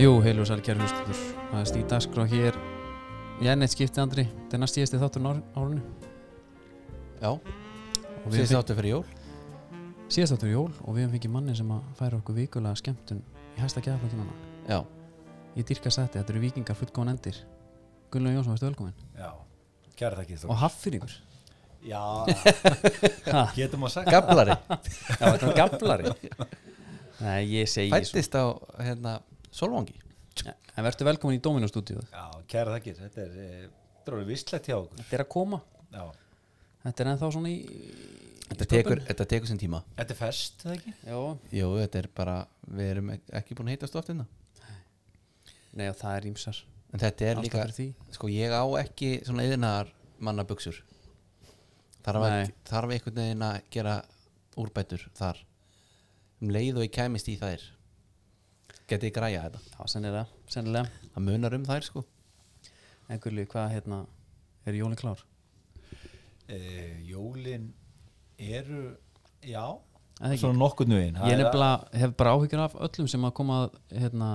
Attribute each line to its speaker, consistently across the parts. Speaker 1: Jú, heil og sæl kæru hlustundur Það er stíð dagskrá hér Ég er neitt skiptið Andri Þetta er næst síðasti þáttur á árinu
Speaker 2: Já,
Speaker 1: og við
Speaker 2: síðast
Speaker 1: síðast,
Speaker 2: áttu fyrir jól
Speaker 1: fengi, síðast þáttur í jól og við hefum fengið manni sem að færa okkur vikulega skemmtun í hæsta gæðaflöndunana
Speaker 2: Já,
Speaker 1: Ég dýrka sætti, þetta eru vikingar fullgóðan endir Gunnlaug Jónsson, veistu velkominn
Speaker 3: Já, kæra þakki Þór.
Speaker 1: Og Haffinningur
Speaker 3: Já, getur maður sagt
Speaker 2: gablari,
Speaker 1: Já, þetta er gamlari Nei, ég segi
Speaker 2: fættist á hérna, Solvangi
Speaker 1: svo En verður velkominn í Dominó stúdíu
Speaker 3: Já, kæra þakki, þetta er eh, þetta er orðið vistlegt hjá okkur
Speaker 1: Þetta er að koma
Speaker 3: Já,
Speaker 1: Þetta er ennþá svona í
Speaker 2: Þetta tekur, þetta tekur sem tíma
Speaker 3: þetta er fest, það ekki?
Speaker 1: Já,
Speaker 2: Jú, þetta er bara, við erum ek- ekki búin að heitast oft hérna
Speaker 1: nei og það er ímsar
Speaker 2: En þetta er
Speaker 1: Ástæða
Speaker 2: líka,
Speaker 1: fyrir því.
Speaker 2: sko ég á ekki svona yðnar manna buksur Þarf,
Speaker 1: Nei.
Speaker 2: ekki, þarf einhvern veginn að gera úrbætur þar Um leið og ég kæmist í þær Geti ég græja þetta
Speaker 1: Já, sennilega, sennilega
Speaker 2: Það munar um þær sko
Speaker 1: En Gunnlaug, hvað hérna, er jólin klár?
Speaker 3: E, jólin eru, já,
Speaker 1: Er það ekki?
Speaker 3: svona nokkurnu einn
Speaker 1: Ég nefnilega hef bara áhyggjur af öllum sem að koma að, hérna,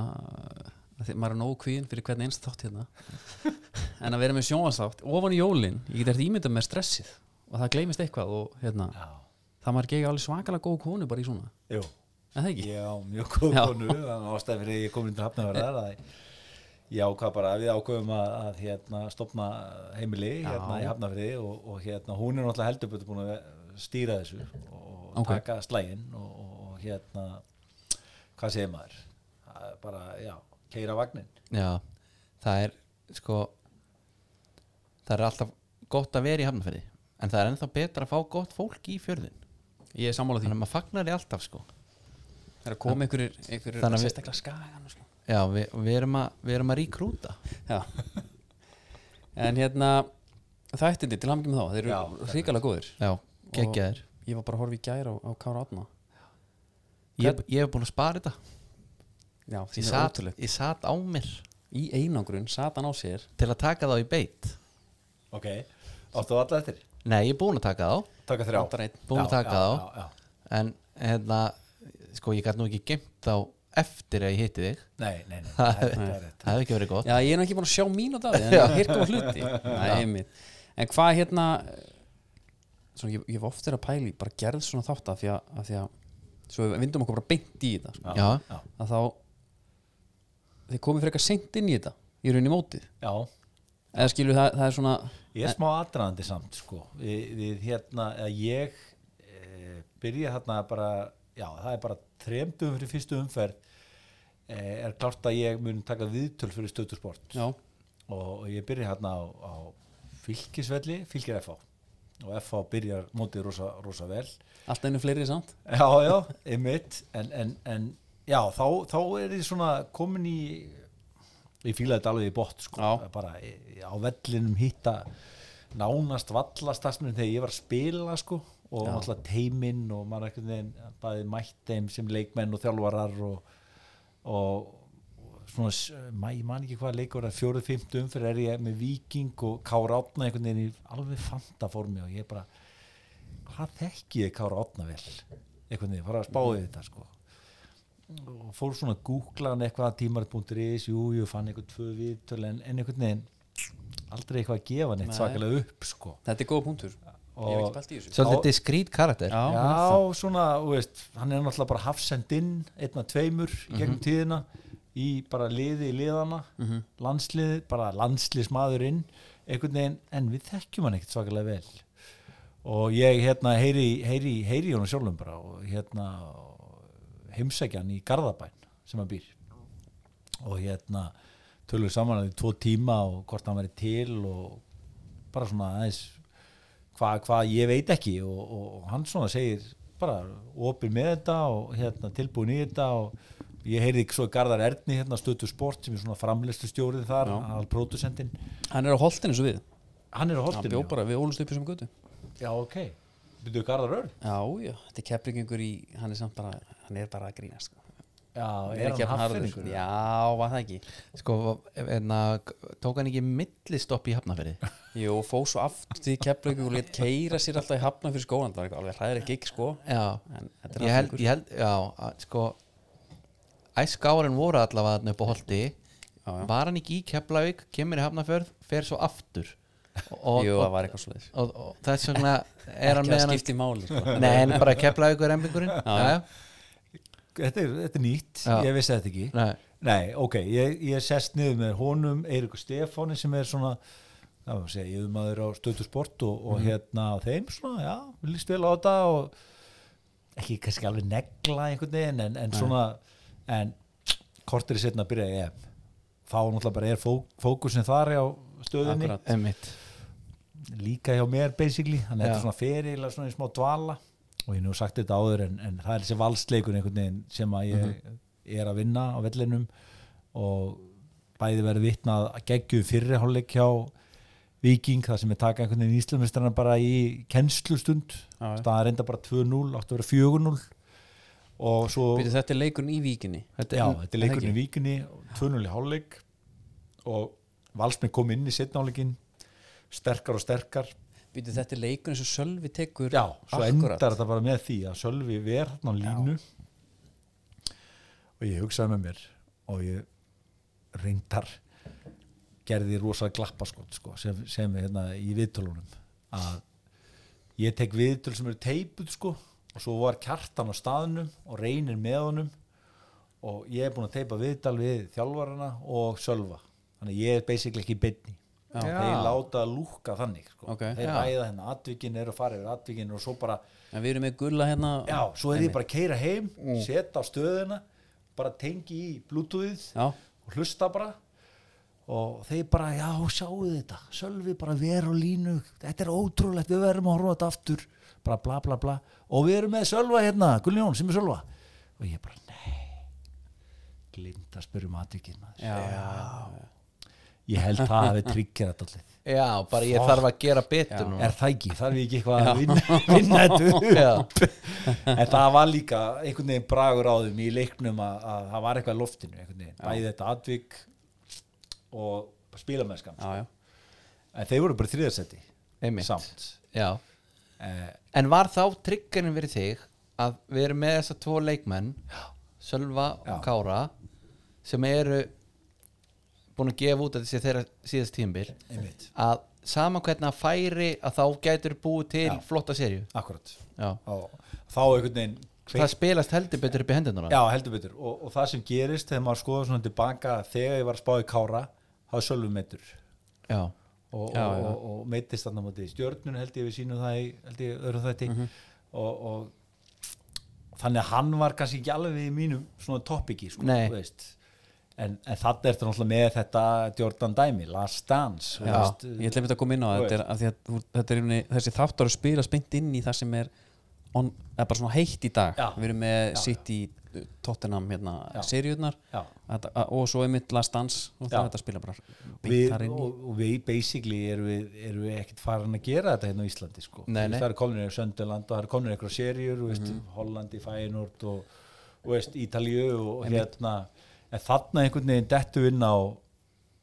Speaker 1: að því- maður er nógu kvíðin fyrir hvern einst þátt hérna en að vera með sjónvarsþátt ofan í jólin, ég get eftir ímyndað með stressið og það gleymist eitthvað og hérna
Speaker 3: Já,
Speaker 1: það maður gegja alveg svakalega góð konu bara í svona
Speaker 3: jú,
Speaker 1: en það ekki?
Speaker 3: ég á mjög góð
Speaker 1: Já.
Speaker 3: konu þannig ástæði fyrir að ég kom inn til hafnaverðar að ég ákvað bara við ákveðum að, að hérna, stopna heimili hérna
Speaker 1: Já.
Speaker 3: í hafnaverði og, og hérna, hún er náttúrulega heldur betur búin að stýra þessu og
Speaker 1: Ok.
Speaker 3: taka slægin og, og, og hérna hvað segir maður Það er bara, já, keira vagnin
Speaker 2: Já, það er sko það er alltaf gott að vera í hafnafæri en það er ennþá betra að fá gott fólk í fjörðin
Speaker 1: Ég er sammála því,
Speaker 2: þannig að maður fagnar því alltaf sko
Speaker 1: það er að koma einhverjir, einhverjir
Speaker 2: Þannig að við-
Speaker 1: sérstaklega skagan og svona
Speaker 2: Já, við, við, erum, að, við erum að ríkrúta
Speaker 1: Já En hérna, þættindi til hamngjum þá þeir
Speaker 3: Já,
Speaker 1: eru hrikalega góðir
Speaker 2: Já, geggjaðir
Speaker 1: Ég var bara að horfa í gær á, á Kára Átna
Speaker 2: ég, ég hef búin að spara þetta
Speaker 1: Já,
Speaker 2: ég
Speaker 1: því er
Speaker 2: sat,
Speaker 1: ótrúlegt
Speaker 2: ég sat á mér
Speaker 1: Í einangrun, satan á sér
Speaker 2: til að taka þá í beit
Speaker 3: ok, áttu alla eftir
Speaker 2: Nei, ég er búin að taka þá
Speaker 3: taka þrjá
Speaker 1: Vantar einn.
Speaker 2: Búin að
Speaker 3: Já,
Speaker 2: taka
Speaker 3: já,
Speaker 2: þá.
Speaker 3: já, já.
Speaker 2: en hérna, sko ég gæti nú ekki gemt þá eftir að ég hitti þig
Speaker 3: nei, nei, nei,
Speaker 2: Það
Speaker 3: það er- það er rétt.
Speaker 2: það hefði ekki verið gott
Speaker 1: Já, ég er nú ekki búin að sjá mín á daði en ég hirka á hluti Nei, einmitt. En hvað hérna eh, svona, ég, ég hef oft verið að pæli bara gerð svona þátt af því að, af því að svo við vindum okkur bara beint í þetta sko.
Speaker 2: Já,
Speaker 3: já,
Speaker 1: að þá þið komið fyrir eitthvað seint inn í þetta í rauninni mótið
Speaker 3: já.
Speaker 1: eða skilur það, það er svona
Speaker 3: Ég er smá aðdraðandi samt sko við, við hérna, eða ég e, byrja hérna bara já, það er bara tremdum fyrir fyrstu umferð e, er klart að ég mun taka viðtöl fyrir stöðtusport
Speaker 1: já,
Speaker 3: og, og ég byrja hérna á, á fylkisvelli, fylkir FH og FH byrjar mótið rosa, rosa vel
Speaker 1: allt einu fleiri samt
Speaker 3: já, já, einmitt en, en, en já, þá, þá er ég svona komin í ég fílaði þetta alveg í bótt sko,
Speaker 1: Já.
Speaker 3: bara í- á vellinum hitta nánast vallastarsminn þegar ég var að spila sko, og
Speaker 1: Já.
Speaker 3: náttúrulega teiminn og maður einhvern veginn bæði mætt þeim sem leikmenn og þjálfarar og, og, og svona, s- ma- ég man ekki hvað leikur að fjóruð fymtu umfyrir er ég með viking og Kára Átna einhvern veginn í alveg fanta formi og ég bara hvað þekki ég Kára Átna vel einhvern veginn, fara að spáði þetta sko og fór svona að googla hann eitthvað tímarit.is, jú, jú, fann eitthvað tvö viðtöl en, en einhvern veginn aldrei eitthvað að gefa neitt
Speaker 1: Nei.
Speaker 3: svakalega upp sko.
Speaker 1: þetta er góða punktur ég hef
Speaker 3: Og-
Speaker 1: ekki pælt í þessu
Speaker 2: svolítið diskrít karakter
Speaker 1: Já.
Speaker 3: Já,
Speaker 1: hann er
Speaker 3: svona, þú veist, hann er náttúrulega bara hafsendinn, einn að tveimur í
Speaker 1: Mhm.
Speaker 3: gegnum tíðina, í bara liði í liðana, landsliði bara landsliðsmaðurinn einhvern veginn, en við þekkjum hann ekkert svakalega vel og ég hérna heyri, heyri, heyri honum sjálfum bara og hérna heimsækjan í Garðabæn sem hann býr og hérna tölum saman að í tvo tíma og hvort hann væri til og bara svona aðeins hvað hva ég veit ekki og, og, og hann svona segir bara opið með þetta og hérna, tilbúin í þetta og ég heyrði ekki svo Garðar Erni hérna stötu sport sem er svona framlistu stjórið þar,
Speaker 1: Já.
Speaker 3: alpródusendin
Speaker 1: hann er á holtinu svo við
Speaker 3: hann er á
Speaker 1: hann
Speaker 3: holtinu
Speaker 1: bjó bara við ólust upp í sem götu
Speaker 3: já ok, byrjuðu Garðar Örn
Speaker 1: Já, já, þetta er kepplingingur í, hann er samt bara, hann er bara að grínast sko.
Speaker 3: Já,
Speaker 1: Er
Speaker 3: er
Speaker 1: ekki
Speaker 3: hann
Speaker 1: jafn harður. sko.
Speaker 3: hafðingur?
Speaker 1: Já, var það ekki
Speaker 2: sko,
Speaker 1: hérna,
Speaker 2: enna, tók hann ekki millistopp í hafnafyrði
Speaker 1: Jú, fóð svo aftur til Keflavík og létt keira sér alltaf í hafna fyrir skólan það var eitthvað alveg hræðir gig sko
Speaker 2: já,
Speaker 1: en þetta
Speaker 2: ég
Speaker 1: er
Speaker 2: held,
Speaker 1: hafningur
Speaker 2: ég held já, að, sko æskárin voru allavega þarna upp á holti
Speaker 1: Já, já.
Speaker 2: var hann ekki í Keflavík kemur í hafnafjörð, fer svo aftur og,
Speaker 1: Jú,
Speaker 2: og,
Speaker 1: það var eitthvað svo leiðis
Speaker 2: og, og þess vegna er hann
Speaker 1: Ekki
Speaker 2: með
Speaker 1: að
Speaker 2: hann
Speaker 1: skipti máli sko.
Speaker 2: Nei, en bara Keflavík er embingurinn
Speaker 1: Já, já.
Speaker 2: já,
Speaker 3: Þetta er, þetta er nýtt,
Speaker 2: Já.
Speaker 3: ég vissi þetta ekki
Speaker 2: já,
Speaker 3: Nei, ok, ég, ég sest niður með honum Eirik Stefáni sem er svona það var að segja, yfirmaður á stöðu sport og, og hérna þeim svona, já, vil ég spila á þetta og ekki kannski alveg negla einhvern veginn en, en svona en kortir í setna að byrja ég fá náttúrulega bara er fó, fókusin þar á stöðinni,
Speaker 1: Akkurat.
Speaker 2: einmitt
Speaker 3: líka hjá mér basically, hann er
Speaker 2: Já.
Speaker 3: svona ferilega svona í smá dvala og ég hef nú sagt þetta áður en, en það er þessi valsleikun einhvern veginn sem að ég er að vinna á vellinum og bæði verið vitnað að geggju fyrriháleik hjá Viking þar sem ég taka einhvern veginn íslumistrana bara í kennslustund
Speaker 1: Já, já.
Speaker 3: staðar enda bara 2-0, átti að vera 4-0 og svo
Speaker 1: Býtu, Þetta er leikurinn í víkinni
Speaker 3: Já, þetta er leikurinn í vikinni 2-0 í hálfleik og Valsmenn kom inn í setnáleikin sterkar og sterkar
Speaker 1: Býtu, Þetta er leikurinn sem Sölvi tekur
Speaker 3: Já, svo
Speaker 1: akkurat.
Speaker 3: endar þetta bara með því að Sölvi ver hann á línu og ég hugsaði með mér og ég reyndar gerði rosa glappaskot sko, sem, sem er hérna í viðtölunum að ég tek viðtöl sem eru teipuð sko og svo var kjartan á staðnum og reynir með honum og ég er búin að teipa viðtal við þjálfarana og Sölva þannig að ég er basically ekki í beinni
Speaker 1: Já.
Speaker 3: þeir láta að lúka þannig sko.
Speaker 1: Ok.
Speaker 3: þeir
Speaker 2: Já.
Speaker 3: ræða hérna atvikin eru að fara yfir atvikin og svo bara,
Speaker 1: En við erum með gulla hérna
Speaker 3: já, svo er ég bara að keira heim setja á stöðuna bara tengi í bluetoothið
Speaker 1: Já,
Speaker 3: og hlusta bara og þeir bara, já, sjáu þetta Sölvi bara ver á línu þetta er ótrúlegt, við verðum að horfa á þetta aftur bara bla bla bla og við erum með Sölva hérna, Guljón sem er Sölva og ég bara, nei glimt að spyrja um atvikin maður
Speaker 1: já, já.
Speaker 3: ég held það að við tryggja þetta allir
Speaker 2: já, bara ég þarf að gera betur núna
Speaker 3: er það ekki, þarf ég ekki eitthvað að vinna, vinna þetta upp en það var líka einhvern veginn bragur á þeim í leiknum að, að það var eitthvað í loftinu einhvern veginn, bæði þetta atvik og spilamennskan
Speaker 1: já, já.
Speaker 3: en þeir voru bara þriðarsetti
Speaker 2: Einmitt.
Speaker 3: samt
Speaker 2: já
Speaker 3: eh,
Speaker 2: En var þá triggerinn fyrir þig að við erum með þessa tvo leikmenn Sölva og
Speaker 3: Já.
Speaker 2: Kára sem eru búin að gefa út að þessi þeirra síðast tímbil
Speaker 3: einmitt,
Speaker 2: að sama hvernig að færi að þá gætur búið til flotta serju
Speaker 3: akkurat
Speaker 2: Já.
Speaker 3: og þá einhvern veginn
Speaker 2: það spilast heldur betur upp í hendunar
Speaker 3: Já, heldur betur og, og það sem gerist þegar maður skoða svona tilbaka þegar ég var að spá í Kára þá er Sölvi meittur
Speaker 2: Já.
Speaker 3: og,
Speaker 1: Já,
Speaker 3: og,
Speaker 1: já.
Speaker 3: og, og meittist þarna á móti stjörnun held ég við sínum það í, held ég öðru þætti
Speaker 1: Mhm.
Speaker 3: og, og þannig að hann var kannski ekki alveg í mínum svona topiki sko,
Speaker 2: Nei.
Speaker 3: þú veist en, en þarna ertu náttúrulega með þetta Jordan Dæmi, Last Dance þú
Speaker 1: Já,
Speaker 3: veist, eh,
Speaker 1: ég ætla einmitt að koma inn á það
Speaker 3: Þú
Speaker 1: þetta er, af því að þú- þetta er einhvernig, þessi þáttur að spila spynnt inn í það sem er on, það er bara svona heitt í dag
Speaker 3: Já.
Speaker 1: við erum með
Speaker 3: Já, já.
Speaker 1: sitt í Tottenham hérna,
Speaker 3: Já.
Speaker 1: seriurnar
Speaker 3: Já.
Speaker 1: og svo einmitt Last Dance og það
Speaker 3: Já.
Speaker 1: er þetta að spila bara beint
Speaker 3: við,
Speaker 1: þar inn í
Speaker 3: og, og við basically erum við, erum við ekkert farin að gera þetta hérna á Íslandi sko.
Speaker 2: Nei,
Speaker 3: Þú veist,
Speaker 2: nei. Mhm.
Speaker 3: það eru konur í Söndaland og það eru konur einhverja serjur mm veist, Hollandi, Fæinort og, og veist, Ítalíu og hérna en þarna einhvern veginn dettu inn á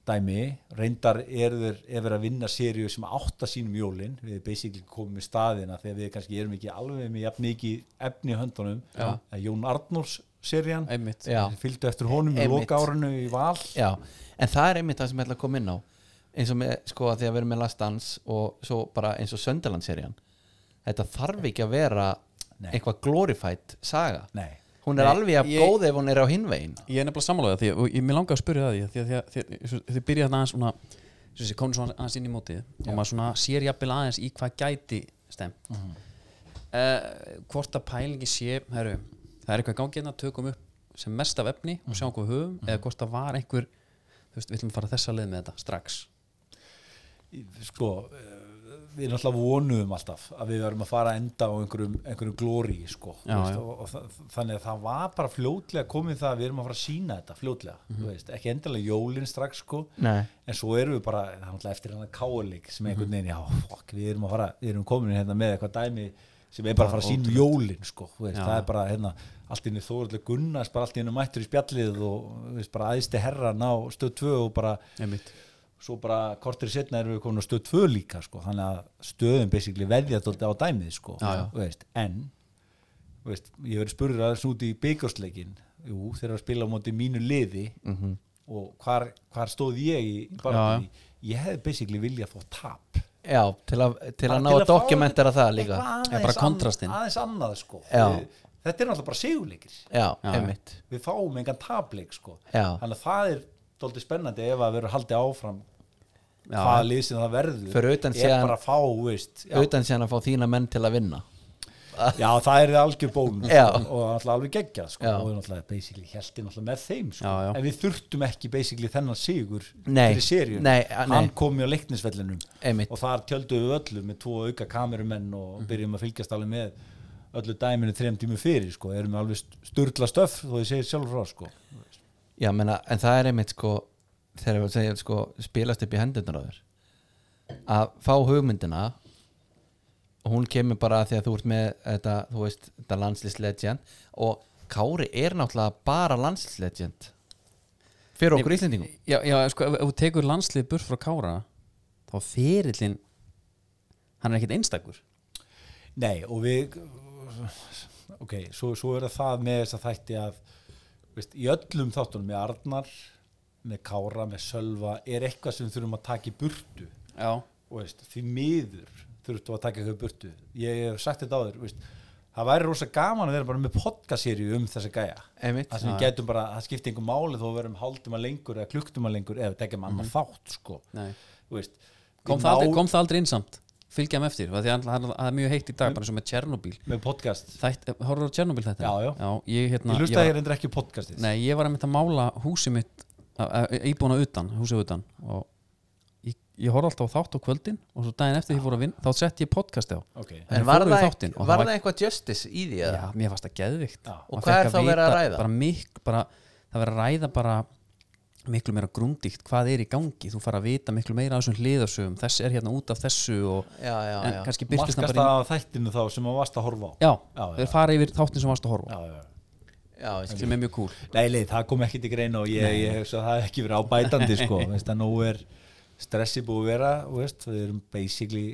Speaker 3: dæmi, reyndar er þeir er verið að vinna serju sem átta sínum jólin, við basically komum í staðina þegar við kannski erum ekki alveg með jafn mikið efni í höndunum
Speaker 2: Já.
Speaker 3: Að Jón Arnórs serjan
Speaker 1: einmitt,
Speaker 2: Já.
Speaker 3: fylgdu eftir honum í
Speaker 2: Einmitt.
Speaker 3: loka árinu í val
Speaker 2: Já. En það er einmitt það sem ég ætla að koma inn á eins og með, sko, að því að við erum með Last Dance og svo bara eins og Söndaland-serían Þetta þarf ekki að vera
Speaker 3: Nei.
Speaker 2: eitthvað glorified saga
Speaker 3: Nei.
Speaker 2: hún er
Speaker 1: Nei,
Speaker 2: alveg að
Speaker 1: ég-
Speaker 2: góð ef hún er á hinvegin
Speaker 1: ég er nefnilega sammálaðið því að- og ég, mér langar að spyrja það því að- því að því að- því að- því að þið byrja þarna aðeins svona sem þessi komin svona aðeins inn í mótið og maður svona sér jafnvel aðeins í hvað gæti stemt mm hvort að pælingi sé heru, það er eitthvað gangið að tökum upp sem mest af efni og sjáum hvað við höfum eða hvort að var einhver þú veist, við ætlum að fara þessa leið með þetta strax
Speaker 3: sko eh, við náttúrulega vonuðum alltaf að við verðum að fara að enda á einhverjum, einhverjum glóri sko,
Speaker 1: Já,
Speaker 3: þú veist,
Speaker 1: já.
Speaker 3: og, og þa- þannig að það var bara fljótlega komið það að við erum að fara að sína þetta fljótlega,
Speaker 1: Mhm.
Speaker 3: þú veist, ekki endalega jólin strax sko,
Speaker 2: Nei.
Speaker 3: en svo erum við bara það
Speaker 1: Mhm.
Speaker 3: er náttúrulega eftir hann að káleik sem einhvern veginn, já, fokk, við erum að fara við erum komin hérna með eitthvað dæmi sem er bara að fara að sína um jólin sko, þú veist,
Speaker 1: Já.
Speaker 3: það er bara hérna, allt inni þóðurlega Gunnars bara allt inni mættur í spjallið og þú veist, bara aðisti herran á stöð 2 og bara
Speaker 1: einmitt
Speaker 3: svo bara kortir setna erum við komin á stöð 2 líka sko, þannig að stöðum basically veðja tóldi á dæmið sko,
Speaker 1: Já, já.
Speaker 3: þú Veist, en þú veist, ég verið spurður aðeins út í byggarsleikin jú, þeir eru að spila á móti mínu liði
Speaker 2: Mhm.
Speaker 3: -hmm. og hvar, hvar stóð ég í bara, ég hefði basically viljað fá tap
Speaker 2: já, til að, til
Speaker 3: Bara
Speaker 2: að ná að
Speaker 3: fá
Speaker 2: dokumentera það líka
Speaker 3: eitthvað
Speaker 1: Já, bara
Speaker 3: aðeins annað-
Speaker 1: kontrastinn.
Speaker 3: aðeins annað sko,
Speaker 2: Já.
Speaker 3: Við- þetta er náttúrulega bara seguleikir
Speaker 2: já,
Speaker 1: Já.
Speaker 2: einmitt
Speaker 3: við fáum engan tapleik sko
Speaker 2: Já.
Speaker 3: þannig að það er dóldi spennandi ef að vera haldið áfram
Speaker 1: Já.
Speaker 3: hvaða lið sem það verður
Speaker 2: Fyrir utan
Speaker 3: er
Speaker 2: síðan-
Speaker 3: bara að fá, veist já,
Speaker 2: utan síðan að fá þína menn til að vinna
Speaker 3: já, það er algjör bónus sko,
Speaker 2: Já.
Speaker 3: og náttúrulega alveg geggjað sko,
Speaker 2: Já.
Speaker 3: og við náttúrulega basically heldi náttúrulega með þeim sko.
Speaker 1: Já, já.
Speaker 3: en við þurftum ekki basically þennan sigur
Speaker 2: Nei.
Speaker 3: fyrir seríun,
Speaker 2: Nei, a- nei.
Speaker 3: hann kom í á leiknisvellinum
Speaker 2: Einmitt.
Speaker 3: og þar tjöldum við öllu með tvo auka kamerumenn
Speaker 2: Mhm.
Speaker 3: og byrjum að fylgjast alveg með öllu dæminu þrejum tímu fyrir sko, erum við alveg sturla stöf þó ég segir sjálfur frá sko
Speaker 2: Já, menna, en það er einmitt sko þegar við segjum sko spilast upp í hendurnar á þér að fá hugmyndina og hún kemur bara af því að þú ert með þetta, þú veist, þetta landslýslegend og Kári er náttúrulega bara landslýslegend fyrir okkur Íslendingum
Speaker 1: já, já, sko, ef, ef þú tekur landslið burt frá Kára þá ferillin hann er ekkert einstakur
Speaker 3: Nei og við ok, svo, svo er það með þess að þætti að veist, í öllum þáttunum með Arnar með Kára, með Sölva er eitthvað sem við þurfum að taka í burtu
Speaker 1: já,
Speaker 3: og veist, því miður þurftum að taka eitthvað í burtu ég hef sagt þetta áður veist, það væri rosa gaman að vera bara með podcaseríu um þessa gæja
Speaker 2: einmitt,
Speaker 3: það sem við getum bara, það skipti einhver máli þó að verðum hálftíma lengur eða klukktíma lengur eða tekja með annan þátt sko.
Speaker 1: nei
Speaker 3: Þú veist,
Speaker 1: Mhm. kom,
Speaker 3: við
Speaker 1: það aldrei,
Speaker 3: ná-
Speaker 1: kom það aldrei innsamt fylgja hann eftir, af því að hann- það er mjög heitt í
Speaker 3: Mm.
Speaker 1: dag bara eins og með Tjernobyl
Speaker 3: með podcast
Speaker 1: horfður á Tjernobyl þetta?
Speaker 3: Já, já.
Speaker 1: ég, hérna,
Speaker 3: ég
Speaker 1: ég,
Speaker 3: lusta að
Speaker 1: var,
Speaker 3: ég reyndir ekki podcastið
Speaker 1: nei, ég var að mynda að mála húsið mitt íbúna utan, húsið utan og ég, ég horfði alltaf á þátt á kvöldin og svo daginn eftir því ég fór að vinna, þá sett ég podcasti á
Speaker 3: okay.
Speaker 2: en
Speaker 1: Þeir
Speaker 2: var
Speaker 1: fóru í
Speaker 2: það,
Speaker 1: þáttinn
Speaker 2: þáttinn,
Speaker 1: og það
Speaker 2: var
Speaker 1: var-
Speaker 2: það eitthvað justice í því að
Speaker 1: Já, mér fannst það geðvikt
Speaker 3: Já.
Speaker 2: Og hvað er þá verið að ræða?
Speaker 1: Bara mik, bara, það verið að ræða bara miklu meira grundíkt hvað er í gangi þú fara að vita miklu meira af þessum hliðarsögum þess er hérna út af þessu og,
Speaker 2: já, já,
Speaker 1: en
Speaker 2: já.
Speaker 1: kannski byrtist það
Speaker 3: markast
Speaker 1: bara í,
Speaker 3: það af þættinu þá sem maður varst að horfa á
Speaker 1: já,
Speaker 3: Já, já.
Speaker 1: þeir fara yfir þáttin sem varst að horfa á,
Speaker 3: já, já.
Speaker 2: já, ég skil.
Speaker 1: sem er mjög cool
Speaker 3: Nei, leið, það kom ekki til greina og ég, ég hef svo að það hef ekki verið ábætandi sko. veist, að nú er stressi búið að vera þú veist, við erum basically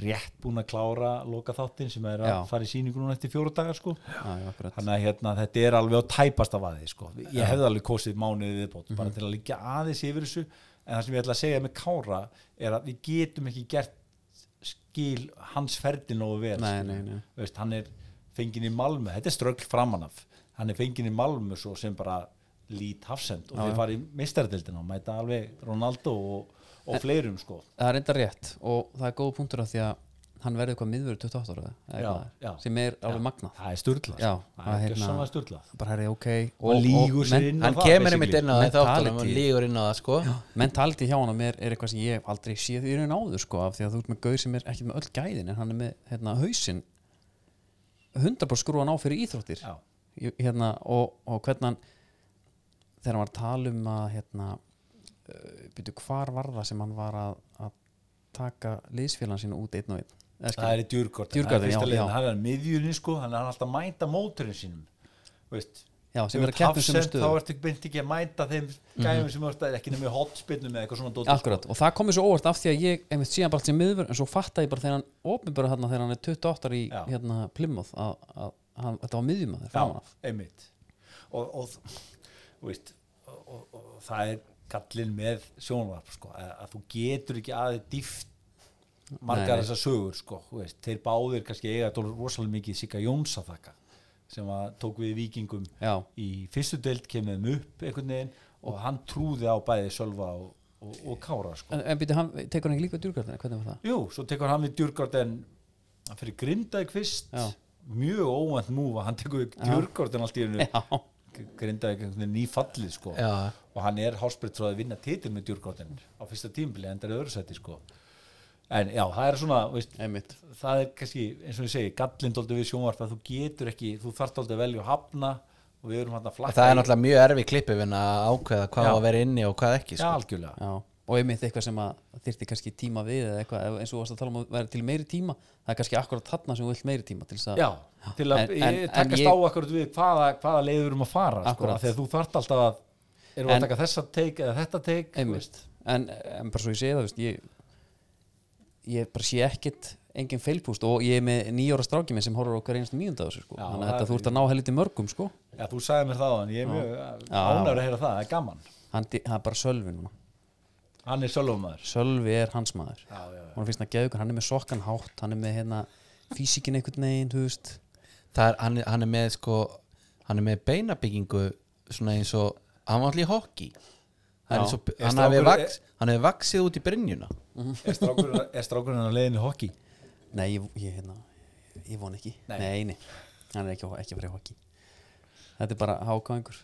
Speaker 3: rétt búin að klára loka þáttin sem er að
Speaker 1: Já.
Speaker 3: fara í síningu núna eftir fjóra dagar sko.
Speaker 1: já, já, akkurat.
Speaker 3: þannig að hérna, þetta er alveg á tæpast af aðeins sko. ég hefði alveg kosið mánuðið viðbót
Speaker 1: Mhm.
Speaker 3: bara til að líka aðeins yfir þessu en það sem ég ætla að segja með Kára er að við getum ekki gert skil hans ferdi nógu vel
Speaker 1: Nei,
Speaker 3: skilur.
Speaker 1: nei, nei.
Speaker 3: Veist, hann er fengin í Malmö þetta er ströggl framan af hann er fengin í Malmö svo sem bara lít hafsend og þeir fara í meistardildin og mæta alveg Ronaldo og, og fleirum sko
Speaker 1: það er enda rétt og það er góð punktur af því að hann verði eitthvað miðvöru 28 ára eða
Speaker 3: Já,
Speaker 1: eitthvað,
Speaker 3: já.
Speaker 1: sem er alveg magnað
Speaker 3: það er sturlað
Speaker 1: Já,
Speaker 3: sko. það
Speaker 1: að
Speaker 3: er
Speaker 1: hérna-
Speaker 3: hérna, sturlað
Speaker 1: bara herri ok og,
Speaker 3: og lígur sér
Speaker 1: men-
Speaker 3: inn á
Speaker 2: hann
Speaker 3: það,
Speaker 2: kemur
Speaker 3: basically.
Speaker 2: einmitt inn á það í þáttunum og
Speaker 1: Mentality.
Speaker 2: lígur inn á það sko
Speaker 1: mentality hjá hann er, er eitthvað sem ég hef aldrei séð í raun áður sko af því að þú ert með gauð sem er ekki með öll gæðin en hann er með hérna hausinn 100% skrúan á fyrir íþróttir
Speaker 3: Já.
Speaker 1: Ég- hérna, og, og hvernig hann þegar hann var að tala um að hérna, uh, byrju hvar var það sem hann var að, að taka liðsfélagann sín út einn og einn Eða skilur-
Speaker 3: það er í djúrgård
Speaker 1: Djurgården, já, já.
Speaker 3: hann er miðjunni sko hann er alltaf að mæta móturinn sínum veist
Speaker 1: Já, sem er
Speaker 3: Þú
Speaker 1: að
Speaker 3: ert
Speaker 1: keppnum sem
Speaker 3: hafsend,
Speaker 1: stöðu
Speaker 3: þá ertu beint ekki að mæta þeim gæfum sem þú ert að ekki nefnir hotspinnum eða eitthvað svona sko. dót
Speaker 1: Akkurat, og það komið svo óvart af því að ég einmitt síðan bara allt sem miður, en svo fatta ég bara þegar hann opinbara þarna, þegar hann er 28 í
Speaker 3: Já.
Speaker 1: hérna Plymouth að, að, að þetta var miðjumæður
Speaker 3: já,
Speaker 1: framan af
Speaker 3: einmitt og, og, þú veist, og, og, og, það er gallin með sjónvarp sko, að, að þú getur ekki aðeins dýft
Speaker 1: Nei,
Speaker 3: margar
Speaker 1: nei.
Speaker 3: þessar sögur sko, þú veist, þeir báðir kannski eiga tólu rosalega mikið Sigga Jóns að þakka sem að tók við vikingum
Speaker 1: Já,
Speaker 3: í fyrstu deild kemur þeim upp einhvern veginn og hann trúði á bæði Sölva og, og, og Kára sko.
Speaker 1: en, en býti, hann, tekur hann ekki líka djúrgardina, hvernig var það?
Speaker 3: Jú, svo tekur hann við Djurgården fyrir Grindavík fyrst
Speaker 1: Já.
Speaker 3: mjög óvænt múfa, hann tekur við Djurgården allt í hennu
Speaker 1: Já,
Speaker 3: Grindavík einhvern veginn nýfallið sko
Speaker 2: Já.
Speaker 3: og hann er hásbyrð tróði að vinna titil með Djurgården á fyrsta tímbili en það er öðru sæti sko en já, það er svona, veist
Speaker 1: einmitt
Speaker 3: það er kannski, eins og ég segi, gallin dóldi við sjónvarp að þú getur ekki, þú þarft dóldi að velja og hafna og við erum hann að flakka
Speaker 2: það er
Speaker 3: í-
Speaker 2: náttúrulega mjög erfi klippið að ákveða hvað
Speaker 3: Já.
Speaker 2: á að vera inni og hvað ekki
Speaker 3: Já,
Speaker 2: sko.
Speaker 3: algjörlega
Speaker 1: Já, og einmitt eitthvað sem að þyrfti kannski tíma við eða eitthvað, ef- eins og þú varst að tala um að vera til meiri tíma það er kannski akkurat þarna sem þú vilt meiri tíma til þess að
Speaker 3: Já, til að
Speaker 1: En-
Speaker 3: en,
Speaker 1: en- en
Speaker 3: takast
Speaker 1: ég-
Speaker 3: á akkurat við hvaða, hvaða leiður við erum að fara sko,
Speaker 1: Akkúrat.
Speaker 3: af því að þú þart alltaf að erum við
Speaker 1: En-
Speaker 3: að taka þessa teik eða þetta teik þú
Speaker 1: einmitt,
Speaker 3: veist.
Speaker 1: en, en bara svo ég segi það veist, ég, ég bara sé ekkit engin feilpúst og ég er með nýjóra stráki minn sem horfur okkar einstu mínúnda þessu sko.
Speaker 3: Já,
Speaker 1: þannig
Speaker 3: það
Speaker 1: að
Speaker 3: er-
Speaker 1: þetta þú ert að ná helviti mörgum sko.
Speaker 3: Já, þú sagði mér það á hann, ég er mjög ánægur að heyra það, það er gaman
Speaker 1: hann, di- það er bara Sölvi núna
Speaker 3: Hann er sölvumæður
Speaker 1: Sölvi er hans maður
Speaker 3: Já, já, já.
Speaker 1: hann finnst það geðugur, hann er með sokkan hátt hann er með hérna físikin einhvern veginn þú veist
Speaker 2: Það er, hann, er- hann er með sko hann er með beinabyggingu svona eins og, hann var allir í hockey
Speaker 1: Já.
Speaker 2: hann, er svo,
Speaker 3: Er
Speaker 2: hann, hefur
Speaker 3: strákur-
Speaker 2: vaks, hann hefur vaksið út í brynjuna
Speaker 3: Er strákurinn- Er strákurinn á leiðinni í hockey?
Speaker 1: Nei, ég, ég, hérna, ég von ekki
Speaker 3: Nei.
Speaker 1: Nei, nei, hann er ekki, ekki að fara í hockey Þetta er bara hákáingur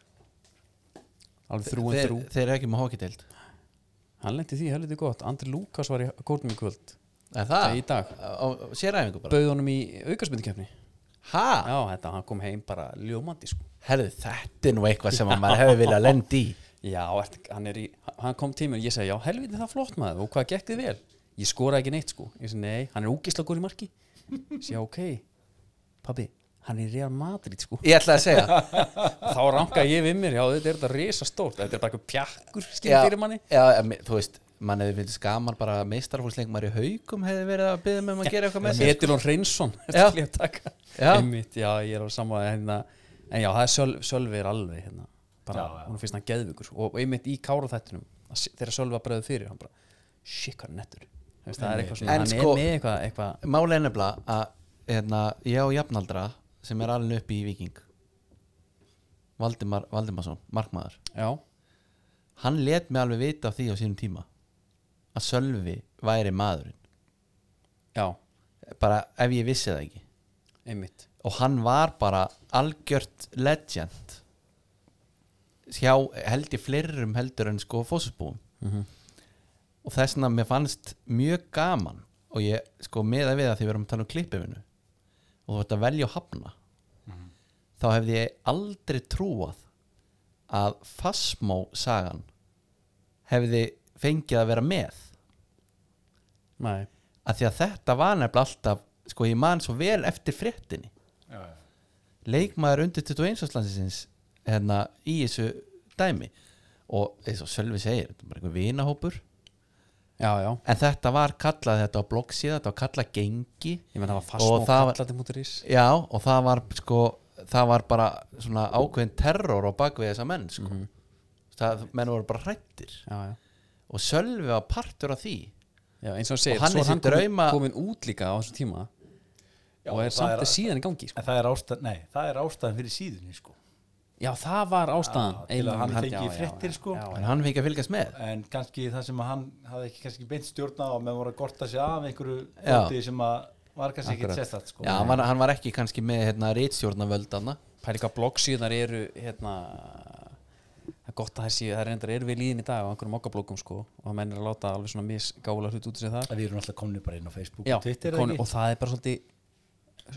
Speaker 1: Alveg þrú en
Speaker 2: þeir,
Speaker 1: þrú
Speaker 2: þeir eru ekki með hockeyteild
Speaker 1: Hann lendi því helviti gott, Andri Lúkas var í kórnum í kvöld
Speaker 2: Er
Speaker 1: Í dag.
Speaker 2: Á, á séræfingu bara
Speaker 1: Bauð honum í aukarsmyndikefni
Speaker 2: Hæ?
Speaker 1: Já, þetta, hann kom heim bara ljómandi sko.
Speaker 2: Herðu, þetta er nú eitthvað sem að maður hefur viljað lendi í
Speaker 1: Já, ert, hann, er í, hann kom tímur Ég segi, já, helviti það flott maður Og hvað gekk þið vel? Ég skoraði ekki neitt sko Ég segi, nei, hann er úkisla gór í marki Ég segi, ok, pabbi Hann er í Real Madrid sko
Speaker 2: Ég ætla að segja
Speaker 1: þá ranka ég við mér, já þetta er þetta risa stórt þetta er bara eitthvað pjakkur skil
Speaker 2: já,
Speaker 1: fyrir manni
Speaker 2: já, em, Þú veist, mann hefur finnst skamar bara meistarfólksleik maður í haugum hefur verið að byggja með um að gera eitthvað með sér
Speaker 1: Edilon Reynsson
Speaker 2: Já.
Speaker 1: já.
Speaker 2: Já.
Speaker 1: Einmitt, já, ég er á sama hérna, en já, það er Söl, Sölvi er alveg hérna, bara,
Speaker 3: Já, já.
Speaker 1: hún finnst hann geðvikur sko. og einmitt í kára þættunum að se- þegar Sölvi var bregðu fyrir, hann bara shit, hvað hann er nettur Þú veist, það er eitthvað svona,
Speaker 2: En
Speaker 1: hann
Speaker 2: sko-
Speaker 1: er með eitthvað, eitthvað
Speaker 2: Máli er nefnilega að hérna, ég á jafnaldra sem er alveg upp í Viking Valdimar, Valdimarsson, markmaður
Speaker 1: já,
Speaker 2: Hann let mig alveg vita af því á sínum tíma að Sölvi væri maðurinn
Speaker 1: já,
Speaker 2: bara ef ég vissi það ekki
Speaker 1: einmitt
Speaker 2: og hann var bara algjört legend hjá held ég flerum heldur en sko fósusbúum og þess vegna mér fannst mjög gaman og ég sko meða við að því við erum að tala um klippifinu og þú ert að velja og hafna þá hefði ég aldrei trúað að Fasmó sagan hefði fengið að vera með
Speaker 1: Nei.
Speaker 2: að því að þetta var nefnilega alltaf sko ég man svo vel eftir fréttinni
Speaker 3: Já, já.
Speaker 2: leikmaður undir 21 árslandsins hérna í þessu dæmi og eins og Sölvi segir þetta er bara einhver vinahópur
Speaker 1: já, já,
Speaker 2: en þetta var kallað þetta á bloggsíða þetta var kallað gengi
Speaker 1: ég menn það var
Speaker 2: Og
Speaker 1: fast
Speaker 2: það
Speaker 1: og
Speaker 2: var-
Speaker 1: kallandi mútur ís
Speaker 2: já og það var sko það var bara svona ákveðin terror á bakvið þessa menn sko
Speaker 1: Mhm.
Speaker 2: það, menn voru bara hrættir
Speaker 1: já, já
Speaker 2: og Sölvi var partur af því
Speaker 1: Já, eins og hann segir,
Speaker 2: Og hann
Speaker 1: svo
Speaker 2: er
Speaker 1: er hann
Speaker 2: sér drauma-
Speaker 1: komin, komin út líka á þessum tíma
Speaker 3: Já,
Speaker 1: og er
Speaker 3: það
Speaker 1: samt
Speaker 3: er-
Speaker 1: síðan í gangi sko.
Speaker 3: En það er ástæðan, nei, það er ástæðan fyrir síðunni sko.
Speaker 1: Já, það var ástæðan
Speaker 3: Já, til að
Speaker 1: Eiginlega
Speaker 3: hann
Speaker 1: mynd-
Speaker 3: fengi
Speaker 1: já, já,
Speaker 3: fréttir,
Speaker 1: já,
Speaker 3: sko.
Speaker 1: já, já.
Speaker 2: en hann fengi að fylgjast með
Speaker 3: En kannski það sem að hann hafði ekki kannski beint stjórna á að menn voru að gorta sig af einhverju
Speaker 2: Já.
Speaker 3: fóti sem að var kannski
Speaker 1: Akkurat.
Speaker 3: ekki sérstætt sko.
Speaker 2: já, hann var, hann var ekki kannski með hérna rítstjórnavöldana
Speaker 1: Pæli hvað bloggsíðunar eru hérna það er gott að það séu, það er reyndar eru við líðin í dag á einhverjum mokkablókum sko og það menn er að láta alveg svona misgála hlut út sér þar
Speaker 3: Við erum alltaf komni bara inn á Facebook
Speaker 1: Já,
Speaker 3: og Twitter eða
Speaker 1: konu,
Speaker 3: ekki?
Speaker 1: og það er bara svolítið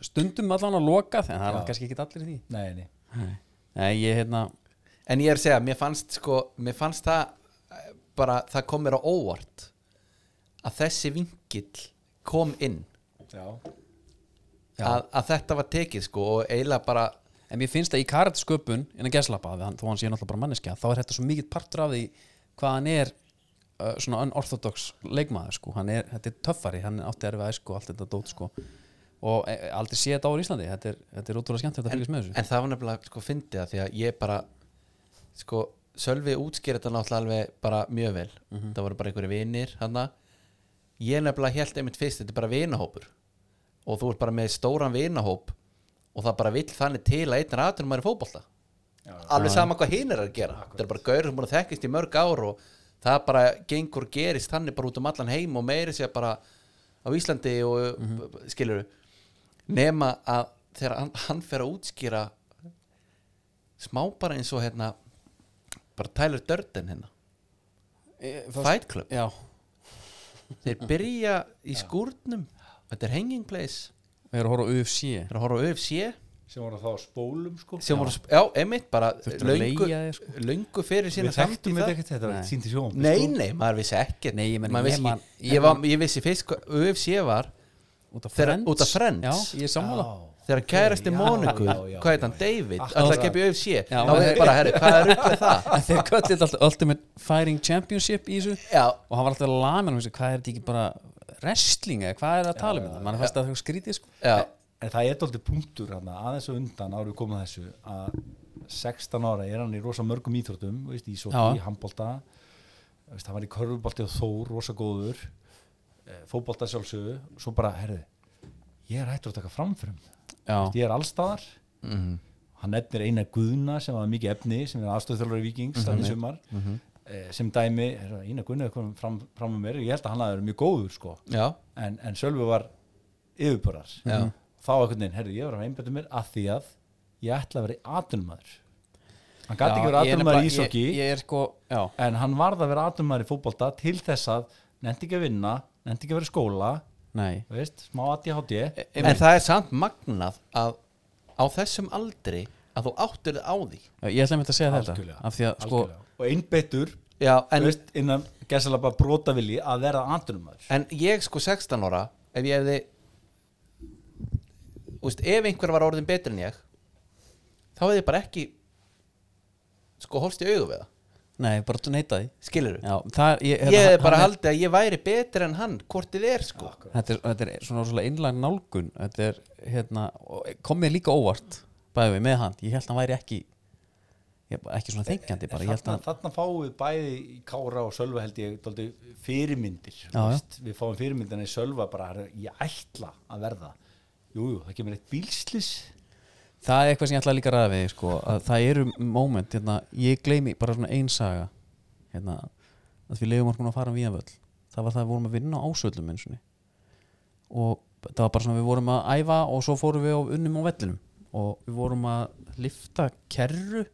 Speaker 1: stundum allan að lokað en það er
Speaker 3: Já.
Speaker 1: kannski ekki allir í því
Speaker 3: Nei, nei.
Speaker 1: Nei, ég hérna
Speaker 2: En ég er að segja, mér fannst sko mér fannst það eh, bara, það kom mér á óvart að þessi vingill kom inn
Speaker 3: Já.
Speaker 2: að, að þetta var tekið sko og eiginlega bara,
Speaker 1: En mér finnst að í karatsköpun innan geslapa, þó hann sé náttúrulega bara manneskja þá er þetta svo mikið partur af því hvað hann er uh, svona unorthodox leikmaður sko, hann er, þetta er töffari hann átti erfið að sko, allt þetta dót sko og e, aldrei sé þetta á Íslandi þetta er, þetta er útrúlega skemmt þetta fylgist með þessu
Speaker 2: en það var nefnilega sko fyndið að því að ég bara sko, Sölvi útskýrði þetta náttúrulega alveg bara mjög vel,
Speaker 3: Mhm.
Speaker 2: það voru bara einhverju vinir hann ég nefnilega held einmitt fyrst, þetta er bara vinahópur og þú ert bara með stóran vinahóp og það bara vill þannig til að einn ratunum maður í fótbolta
Speaker 3: Já.
Speaker 2: alveg sama hvað hinn er að gera þetta er bara gaur sem búin að þekkist í mörg ár og það bara gengur gerist þannig bara út um allan heim og meiri sér bara á Íslandi og mm
Speaker 3: Mhm.
Speaker 2: skilur nema að þegar hann, hann fer að útskýra smá bara eins og hérna bara Tyler Durden hérna Fight Club,
Speaker 1: E, Já,
Speaker 2: þeir byrja í skúrnum þetta er hanging place
Speaker 1: við erum að horfa á UFC
Speaker 2: þeir eru að horfa á UFC
Speaker 3: sem voru þá á spólum sko.
Speaker 2: sem voru, já, einmitt bara
Speaker 1: Þurftur að
Speaker 2: löngu,
Speaker 1: leigja þér, sko.
Speaker 2: löngu fyrir sína
Speaker 3: við þekktum
Speaker 2: samtíð
Speaker 3: þetta
Speaker 2: þar.
Speaker 3: ekkert þetta var
Speaker 1: Nei.
Speaker 3: sínt í sko. sjónum
Speaker 2: Nei, nei, maður vissi ekkert
Speaker 1: Nei, ég meina,
Speaker 2: Maður
Speaker 1: ég
Speaker 2: vissi,
Speaker 1: man-
Speaker 2: ekki- ég, var, ég vissi fyrst hvað UFC var
Speaker 1: út af
Speaker 2: Þegar-
Speaker 1: Friends
Speaker 2: út af Friends.
Speaker 1: já, ég er sammála
Speaker 2: þegar kærasti
Speaker 3: Já,
Speaker 2: Móniku,
Speaker 3: já, já,
Speaker 2: hvað heit hann,
Speaker 3: já.
Speaker 2: David
Speaker 3: Akkurat.
Speaker 2: alltaf keppi UFC,
Speaker 1: Já,
Speaker 2: þá er
Speaker 1: þeir-
Speaker 2: bara, herri, hvað er upplega það?
Speaker 1: En þeir kallið þetta alltaf Ultimate Fighting Championship í þessu
Speaker 2: Já,
Speaker 1: og hann var alltaf að lama hann hvað er þetta ekki bara wrestling eða hvað er að tala um þetta mann fannst það skrítið sko
Speaker 2: já,
Speaker 3: en það er dálítið punktur hana, aðeins og undan árið komað þessu að 16 ára er hann í rosa mörgum íþróttum veist, í sóti,
Speaker 1: Já.
Speaker 3: handbolta veist, hann var í körfubolti og þó rosa góður eh, fótbolta sjálfsögðu svo bara, herði, ég er hættur að taka framfyrum
Speaker 1: já,
Speaker 3: ég er allstaðar
Speaker 2: Mhm,
Speaker 3: hann nefnir eina guðna sem var mikið efni sem er aðstöðþjálfari vikings
Speaker 2: Mhm.
Speaker 3: þannig sumar eh, sem dæmi, herra, eina guðna kom fram, fram með mér, ég held að hann hafi verið mjög góður sko
Speaker 2: já,
Speaker 3: en, en Sölvi var yfirpörar
Speaker 2: Já.
Speaker 3: þá einhvern veginn, herri, ég var að einbæta mér að því að ég ætla að vera atvinnumæður hann gæti ekki
Speaker 1: Já,
Speaker 3: vera
Speaker 1: ég er
Speaker 3: atvinnumæður í
Speaker 1: nefnilega-
Speaker 3: ísokki
Speaker 1: ég, ég er sko, já,
Speaker 3: en hann varð að vera atvinnumæður í fótbolta til þess að nefndi ekki að vinna, nefndi ekki að vera í skóla
Speaker 1: nei
Speaker 3: þú veist, smá ADHD
Speaker 1: E-
Speaker 2: en það er samt magnað að á þessum aldri að þú áttur þið á því
Speaker 1: ég ætla mér að segja þetta
Speaker 3: Algjörlega.
Speaker 1: af því að sko,
Speaker 3: Algjörlega. og einbeittur
Speaker 2: Já,
Speaker 3: þú
Speaker 2: en,
Speaker 3: veist, innan gæsalega bara brotavili að vera atvinnumæður
Speaker 2: en ég sko 16 ára ef ég hefði Þú veist, ef einhver var orðin betur en ég þá hefði ég bara ekki sko holst í augu við það
Speaker 1: nei, bara neita því
Speaker 2: skilur
Speaker 1: já, það, ég, hérna,
Speaker 2: ég hefði
Speaker 1: hann-
Speaker 2: bara
Speaker 1: hann er-
Speaker 2: haldið að ég væri betur en hann hvort þið er sko
Speaker 1: þetta er, þetta er svona rosalega innlæg nálgun þetta er hérna og kom mér líka óvart bæði við með hann, ég held hann væri ekki ég, ekki svona þengjandi bara, ég held
Speaker 3: þarna,
Speaker 1: hann
Speaker 3: þarna fáum við bæði í Kára og Sölva held ég dálítið fyrirmyndir
Speaker 1: Já,
Speaker 3: þú
Speaker 1: já.
Speaker 3: veist. við fáum fyrirmyndina í Sölva bara "Herra, ég ætla að verða jújú, jú, það kemur eitt bílslis
Speaker 1: það er eitthvað sem ég ætla líka að ræða við þig, sko, að það eru moment, hérna, ég gleymi bara svona ein saga hérna, að við leiðum orkun að fara um Víðanvöll það var það að við vorum að vinna á ásöldum eins og og það var bara svona við vorum að æfa og svo fórum við og unnum á vellinum og við vorum að lifta kerru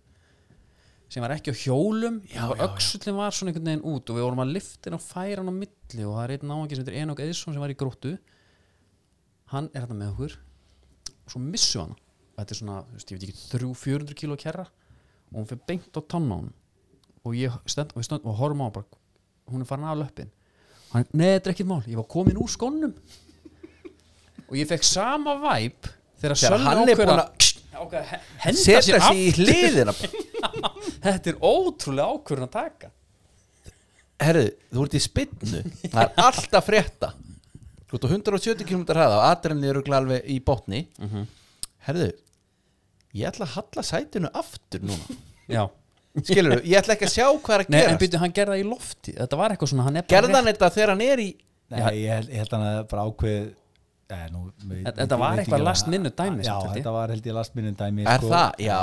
Speaker 1: sem var ekki á hjólum já, og öxullin var svona einhvern veginn út og við vorum að lifta henn og færa hann á milli og það er einn náðangi sem heitir Enok Eðsson sem var í gróttu hann er þetta með okkur og svo missum við hana og þetta er svona, þú veist, ég veit ekki 300-400 kíló kerra og hún fyrir beint á tanna hún og ég stend og við stend og horfum á hann bara, hún er farin af löppin og hann, neða, þetta er ekkert mál, ég var komin úr skónum og ég fekk sama væp þegar,
Speaker 2: Þegar
Speaker 1: Sölvi
Speaker 2: hann er
Speaker 1: ákveður
Speaker 2: búinn
Speaker 1: að- ákveður að he- henda
Speaker 2: setja
Speaker 1: sér
Speaker 2: sig í
Speaker 1: aftur
Speaker 2: hliðina
Speaker 1: Þetta er ótrúlega ákvörðun að taka
Speaker 2: herðu, þú ert í spinnu það er allt að frétta þú ert á 170 km hraða og atremni eru alveg í botni herðu, ég ætla að halla sætinu aftur núna
Speaker 1: Já
Speaker 2: skilur ég ætla ekki að sjá hvað er að
Speaker 1: Nei, en
Speaker 2: gera
Speaker 1: byrju, hann gerði það í lofti Þetta var eitthvað svona, hann er bara
Speaker 2: gerðan þetta þegar hann er í
Speaker 3: Nei, ég, held- ég held hann að bara ákveð eh, nú, við,
Speaker 1: Þetta- þetta var
Speaker 3: veit
Speaker 1: eitthvað
Speaker 3: ekki
Speaker 1: last
Speaker 3: að-
Speaker 1: minute dæmi,
Speaker 3: já,
Speaker 1: samt, held ég.
Speaker 3: þetta var held ég last minute dæmi
Speaker 2: er
Speaker 3: sko.
Speaker 2: það, já,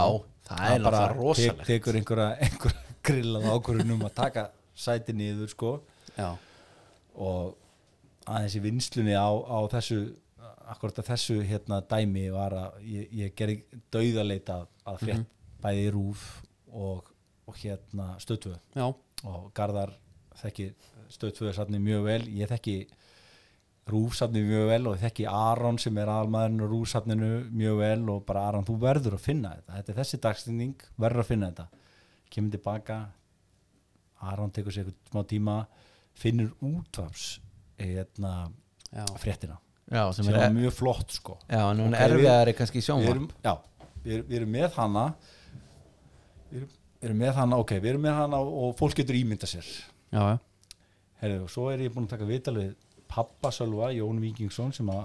Speaker 2: það er
Speaker 3: bara
Speaker 2: bara
Speaker 3: te-
Speaker 2: rosalegt
Speaker 3: tekur einhverja, einhverja grillað ákvörunum að taka sæti niður sko
Speaker 1: Já,
Speaker 3: og aðeins í vinslunni á, á þessu akkurat að þessu hérna dæmi var að ég, ég gerði dauðaleita að frétt bæði í rúf og, og hérna stöðtvöð
Speaker 1: já,
Speaker 3: og Garðar þekki stöðtvöðu safni mjög vel ég þekki rúf safni mjög vel og ég þekki Aron sem er aðalmaðurinn og rúf safninu mjög vel og bara Aron þú verður að finna þetta þetta er þessi dagstending, verður að finna þetta kemur tilbaka Aron tekur sér eitthvað smá tíma finnur útvaps hérna,
Speaker 1: já
Speaker 3: fréttina
Speaker 2: já, sem
Speaker 3: sem
Speaker 2: er,
Speaker 3: var mjög flott sko
Speaker 2: já, en hún
Speaker 3: Ok,
Speaker 2: er
Speaker 3: við-
Speaker 2: erfiðari kannski í
Speaker 3: við
Speaker 2: sjónvarp
Speaker 3: erum, já, við erum, við erum með hana við erum, við erum með hana ok, við erum með hana og fólk getur ímynda sér
Speaker 1: Já, já,
Speaker 3: Herðu, og svo er ég búin að taka viðtal við pappa Sölva, Jón Víkingsson sem að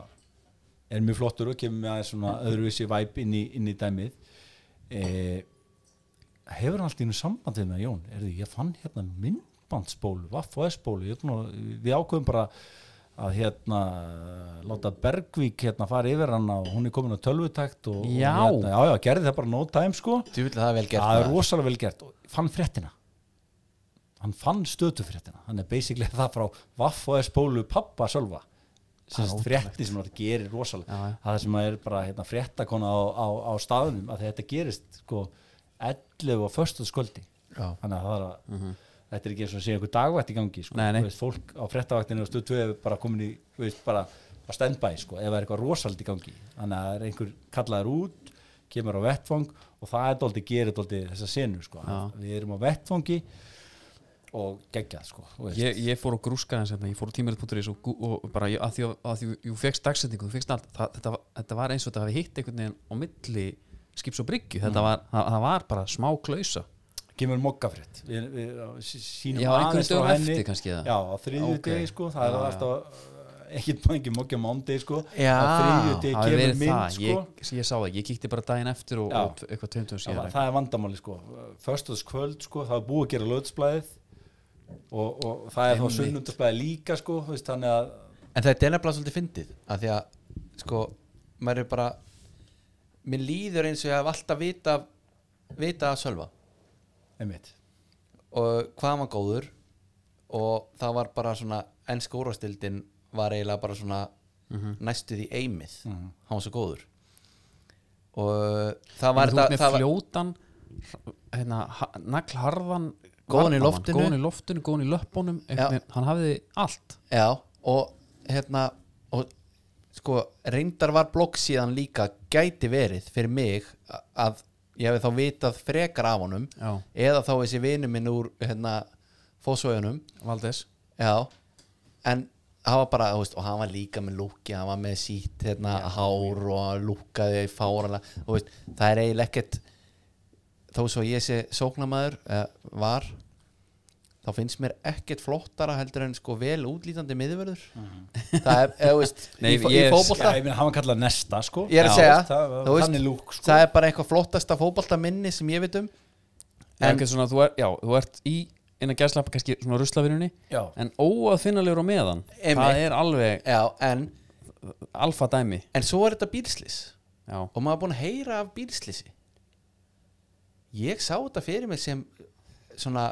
Speaker 3: er mjög flottur og kemur með aðeins svona öðruvísi væp inn í, inn í dæmið eh, hefur hann allt í einu samband við með Jón, Herðu, ég fann hérna myndbandsbólu, vaffoðsbólu við ákveðum bara að hérna láta Bergvík hérna fara yfir hann og hún er komin á tölvutakt og,
Speaker 1: Já.
Speaker 3: og hérna, já, já, gerði það bara no time sko
Speaker 2: Þú vil það er vel gert
Speaker 3: það er
Speaker 2: maður.
Speaker 3: rosalega vel gert og fann fréttina hann fann stötufréttina hann er basically það frá vaff og spólu pappa sölva sem sagt frétti sem þetta gerir rosalega
Speaker 1: Já, já.
Speaker 3: það sem er bara hérna, fréttakona á, á, á staðunum að þetta gerist sko 11 og föstudskvöldi
Speaker 2: Já.
Speaker 3: þannig að það er að þetta er ekki eins og að sé einhver dagvætt í gangi sko.
Speaker 1: Mhm. Nei, nei.
Speaker 3: Þú Veist, fólk á fréttavaktinu og stöð 2 er bara komin í þú veist, bara að standby sko, ef það er eitthvað rosald í gangi þannig að það er einhver kallaður út kemur á vettvang og það er dóldi gerir dóldi þessa senu sko.
Speaker 1: Já.
Speaker 3: við erum á vettvangi og geggjað sko, þú veist.
Speaker 1: ég, ég fór og grúska þess hérna, ég fór á tímarit.is og, gú- og bara ég, að því að, að því að þú fegst dagsetningu, þú fegst allt það, þetta, var- þetta var eins og þetta hafi hitt einhvern veginn á milli skips og bryggju, þetta var það, það var bara smá klausa
Speaker 3: kemur mokkafrétt við, við á- sí- sýnum
Speaker 1: Já,
Speaker 3: aðeins
Speaker 1: einhvern
Speaker 3: frá
Speaker 1: dögum
Speaker 3: henni
Speaker 1: eftir kannski það
Speaker 3: já, á þriðju
Speaker 1: Ok.
Speaker 3: degi sko, það
Speaker 1: Já,
Speaker 3: er
Speaker 1: já.
Speaker 3: alltaf uh, ekkert mægir mokki á mándegi sko, á þriðju degi
Speaker 1: hafi
Speaker 3: kemur
Speaker 1: verið
Speaker 3: mynd
Speaker 1: það,
Speaker 3: sko
Speaker 1: ég, ég sá það, ekki, ég kíkti bara daginn eftir og,
Speaker 3: Já.
Speaker 1: og t- eitthvað tveimtum
Speaker 3: Já,
Speaker 1: síðar
Speaker 3: það er vandamáli sko Föstaskvöld sko, það er búið að gera löðsblæðið og, og það er þá
Speaker 1: Einmitt.
Speaker 3: sunnundasblæðið líka sko þú veist, þannig að
Speaker 2: En það er nefnilega svolítið fyndið að því að sko, maður er bara mér líður eins og ég hef alltaf vita vita að sölva
Speaker 3: einmitt,
Speaker 2: og hvað hann var góður og það var bara svona ennska úrvastildin var eiginlega bara svona
Speaker 1: Mhm.
Speaker 2: næstu því eimið hann var svo góður og það var
Speaker 1: En þú ert
Speaker 2: það
Speaker 1: með
Speaker 2: var,
Speaker 1: fljótan hérna, ha- naglharðan
Speaker 2: Góðan í
Speaker 1: varnamann,
Speaker 2: loftinu.
Speaker 1: góðan í loftinu, góðan í löppunum einhvern
Speaker 2: Já.
Speaker 1: veginn, hann hafði allt
Speaker 2: já, og hérna og sko reyndar var blokk síðan líka gæti verið fyrir mig a- að ég hefði þá vitað frekar af honum
Speaker 1: já,
Speaker 2: eða þá þessi vinur minn úr hérna fósvöðunum
Speaker 1: Valdes
Speaker 2: Já, en hann var bara, þú veist, og hann var líka með lúki hann var með sítt, hérna, hár og hann lúkaði fáranlega þú veist, það er eiginlega ekkert þó svo ég sé sóknamaður eh, var þá finnst mér ekkert flottara heldur en sko vel útlítandi miðvörður það er, eða, þú veist,
Speaker 1: Mhm. Nei,
Speaker 2: í, fó- í
Speaker 1: ég-
Speaker 3: já,
Speaker 2: fótbolta
Speaker 3: ég meina hann var kallað nesta sko
Speaker 2: ég er að
Speaker 3: Já,
Speaker 2: segja,
Speaker 3: það,
Speaker 2: þú
Speaker 3: veist,
Speaker 2: veist,
Speaker 3: þannig lúk sko
Speaker 2: það er bara eitthvað flottasta fótbolta minni sem ég veit um
Speaker 1: en,
Speaker 2: En-
Speaker 1: en svona, þú, er, já, þú ert í innan gæslappa kannski svona ruslavinnunni
Speaker 3: já,
Speaker 1: en óaðfinnalegur á meðan
Speaker 2: Einmitt.
Speaker 1: það er alveg
Speaker 2: já, en,
Speaker 1: alfa dæmi
Speaker 2: en svo er þetta bílslis
Speaker 1: já,
Speaker 2: og maður er búin að heyra af bílslisi ég sá þetta fyrir mig sem svona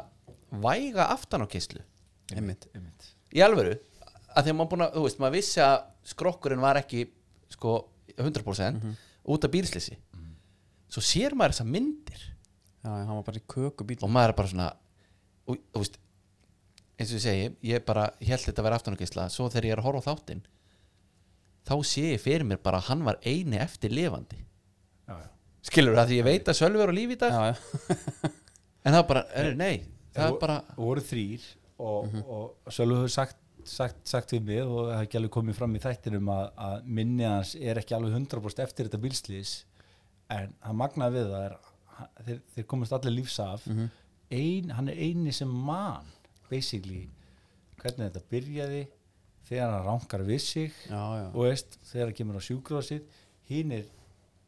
Speaker 2: væga aftan á kistlu
Speaker 1: einmitt
Speaker 3: einmitt
Speaker 2: í alvöru að því að maður búin að, þú veist, maður vissi að skrokkurinn var ekki sko 100% út af bílslisi svo sér maður þessar myndir
Speaker 1: já, hann var bara í kökubíl
Speaker 2: og maður er bara svona og, þú veist, eins og ég segi ég bara held þetta að vera aftan á kistla svo þegar ég er að horfa á þáttinn þá sé ég fyrir mér bara að hann var eini eftir lifandi
Speaker 3: já, já.
Speaker 2: skilur það því ég veit að Sölvi er á lífi í dag
Speaker 1: já, já.
Speaker 2: En það er bara, er, nei Það er
Speaker 3: Vo-
Speaker 2: bara,
Speaker 3: voru þrýr og, og Sölvi hefur sagt, sagt, sagt við mig og það er ekki alveg komið fram í þættinum að, að minni hans er ekki alveg 100% eftir þetta bílslýs en hann magnaði við það er, hann- þeir, þeir komast allir lífs af Ein, hann er eini sem man basically hvernig þetta byrjaði þegar hann rankar við sig
Speaker 1: Já, já.
Speaker 3: og veist, þegar hann kemur á sjúkrásið hinn er,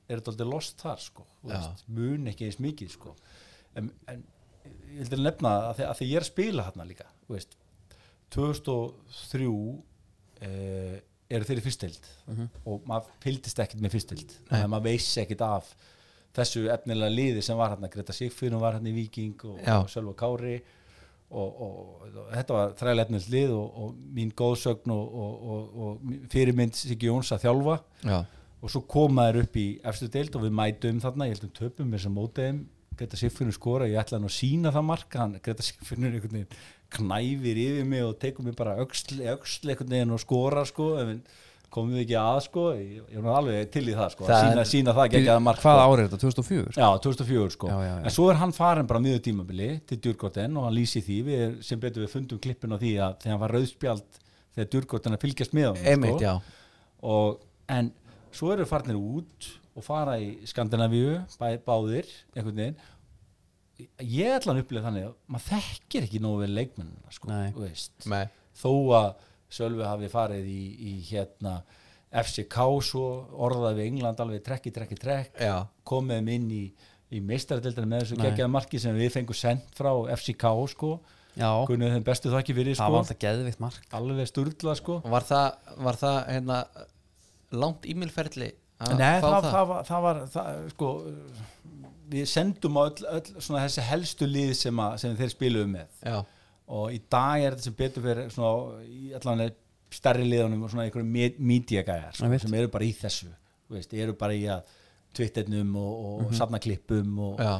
Speaker 3: er þetta aldrei lost þar sko,
Speaker 2: Já.
Speaker 3: þú veist, mun ekki eins mikið sko. en, en ég heldur að nefna að því, að því ég er að spila hérna líka þú veist, 2003 eh, eru þeirri fyrstild mm og maður fylgdist ekkert með fyrstild þannig að maður veist ekkert af þessu efnilega liði sem var hérna Greta Sigfinn og var hérna í Viking og,
Speaker 2: Já.
Speaker 3: og Sölva Kári og, og, og þetta var þræðlefnins lið og, og mín góðsögn og, og, og, og mín- fyrirmynd Siggi Jóns að þjálfa
Speaker 2: já,
Speaker 3: og svo koma þær upp í efstu deild og við mætum þarna, ég heldum töpum þess að móta þeim, Greta Sigfinnur skora ég ætla hann að sína það marka, hann Greta Sigfinnur einhvern veginn knæfir yfir mig og tekur mig bara öxl, öxl einhvern veginn og skora sko, en komum við ekki að sko, ég, ég var nú alveg til í það sko,
Speaker 2: Það
Speaker 3: að
Speaker 2: er-
Speaker 3: sína, sína það ekki að marka
Speaker 1: hvað árið þetta, 2004?
Speaker 3: Já, 2004 sko
Speaker 1: Já, já, já.
Speaker 3: En svo er hann farin bara miður tímabili til Djurgården og hann lýsi því við sem betur við fundum klippin á því að þegar hann var rauðspjald þegar Djurgården að fylgjast með honum, sko.
Speaker 2: einmitt, já
Speaker 3: og, en svo eru farnir út og fara í Skandinavíu bæ, báðir einhvern veginn ég ætla að upplega þannig að maður þekkir ekki nógu vel leikmennina sko,
Speaker 1: Nei.
Speaker 3: þú veist.
Speaker 2: Nei,
Speaker 3: þó að Sölvi hafi farið í, í hérna FCK svo orðaði við England alveg trekk í trekk í trekk
Speaker 2: já,
Speaker 3: komið þeim inn í, í meistaradeildina með þessu geggjaða marki sem við fengum sendt frá FCK sko,
Speaker 1: Já,
Speaker 3: kunnum þeim bestu þakki fyrir
Speaker 1: það var
Speaker 3: sko,
Speaker 1: alltaf geðvikt mark
Speaker 3: alveg sturglað sko
Speaker 2: var það var það, hérna langt ímilferli
Speaker 3: Nei, það, það. var, það var það, sko, við sendum á öll, öll svona þessi helstu lið sem, að, sem þeir spiluðu með
Speaker 2: Já,
Speaker 3: og í dag er þetta sem betur fyrir svona, í allan stærri liðunum og svona einhverjum mídíagæjar sko,
Speaker 1: Einmitt.
Speaker 3: sem eru bara í þessu þú veist, eru bara í að twitternum og, og safna klippum og,
Speaker 2: Já.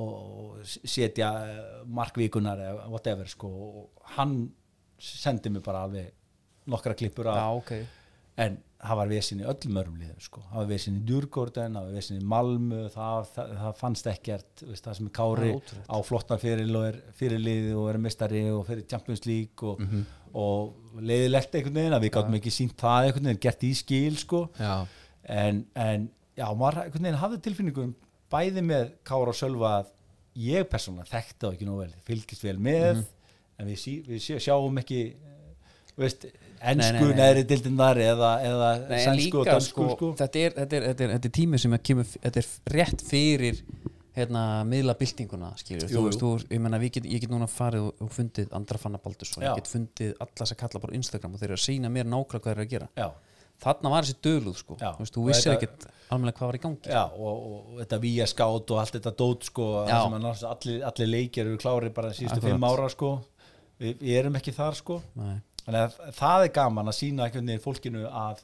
Speaker 3: og, og setja eh, markvíkunar eða whatever sko, og hann sendi mér bara alveg nokkra klippur af
Speaker 1: Já, ok
Speaker 3: en það var vesinn í öllum örum liðum sko. það var vesinn í Djurgården, það var vesinn í Malmö það, það, það fannst ekkert veist, það sem er Kári
Speaker 1: Það er ótrúlegt.
Speaker 3: á flottan fyrir og er fyrirliði og er mistari og fyrir Champions League og,
Speaker 1: Mhm.
Speaker 3: og leiðilegt einhvern veginn að við gáttum ekki sínt það einhvern veginn, gert í skil sko.
Speaker 2: já,
Speaker 3: en, en já, maður einhvern veginn hafði tilfinningum bæði með Kára og Sölva að ég persónulega þekkti það ekki nóg vel fylgist vel með
Speaker 1: Mhm.
Speaker 3: en við, sí, við sjá, sjáum ekki eh, veist, ensku
Speaker 1: nei, nei.
Speaker 3: neðri dildindar eða, eða
Speaker 1: Nei, en
Speaker 3: sænsku og
Speaker 1: líka
Speaker 3: dansku
Speaker 1: sko,
Speaker 3: sko,
Speaker 1: Þetta, er, þetta, er, þetta, er, þetta er tími sem að kemur þetta er rétt fyrir hérna, miðlabildinguna skilur
Speaker 3: Jú,
Speaker 1: þú veist,
Speaker 3: jú.
Speaker 1: þú, ég, menna, get, ég get núna farið og, og fundið Andra Fanna Baldur og
Speaker 3: Já.
Speaker 1: ég get fundið alla þess að kalla bara á Instagram og þeir eru að sína mér nákvæmlega hvað þeir eru að gera
Speaker 3: já,
Speaker 1: þarna var þessi döluð sko
Speaker 3: Já.
Speaker 1: þú, veist, þú
Speaker 3: Og
Speaker 1: vissir
Speaker 3: þetta-
Speaker 1: ekkert alveg hvað var í gangi
Speaker 3: já, og, og, og þetta vía skátt og allt þetta dót sko,
Speaker 1: Já.
Speaker 3: það sem að náttúrulega allir, allir leikir eru klári bara síðustu
Speaker 1: Akkurat.
Speaker 3: fimm ára sko. við, við erum ekki þar sko.
Speaker 1: Nei.
Speaker 3: þannig að það er gaman að sína einhvern veginn fólkinu að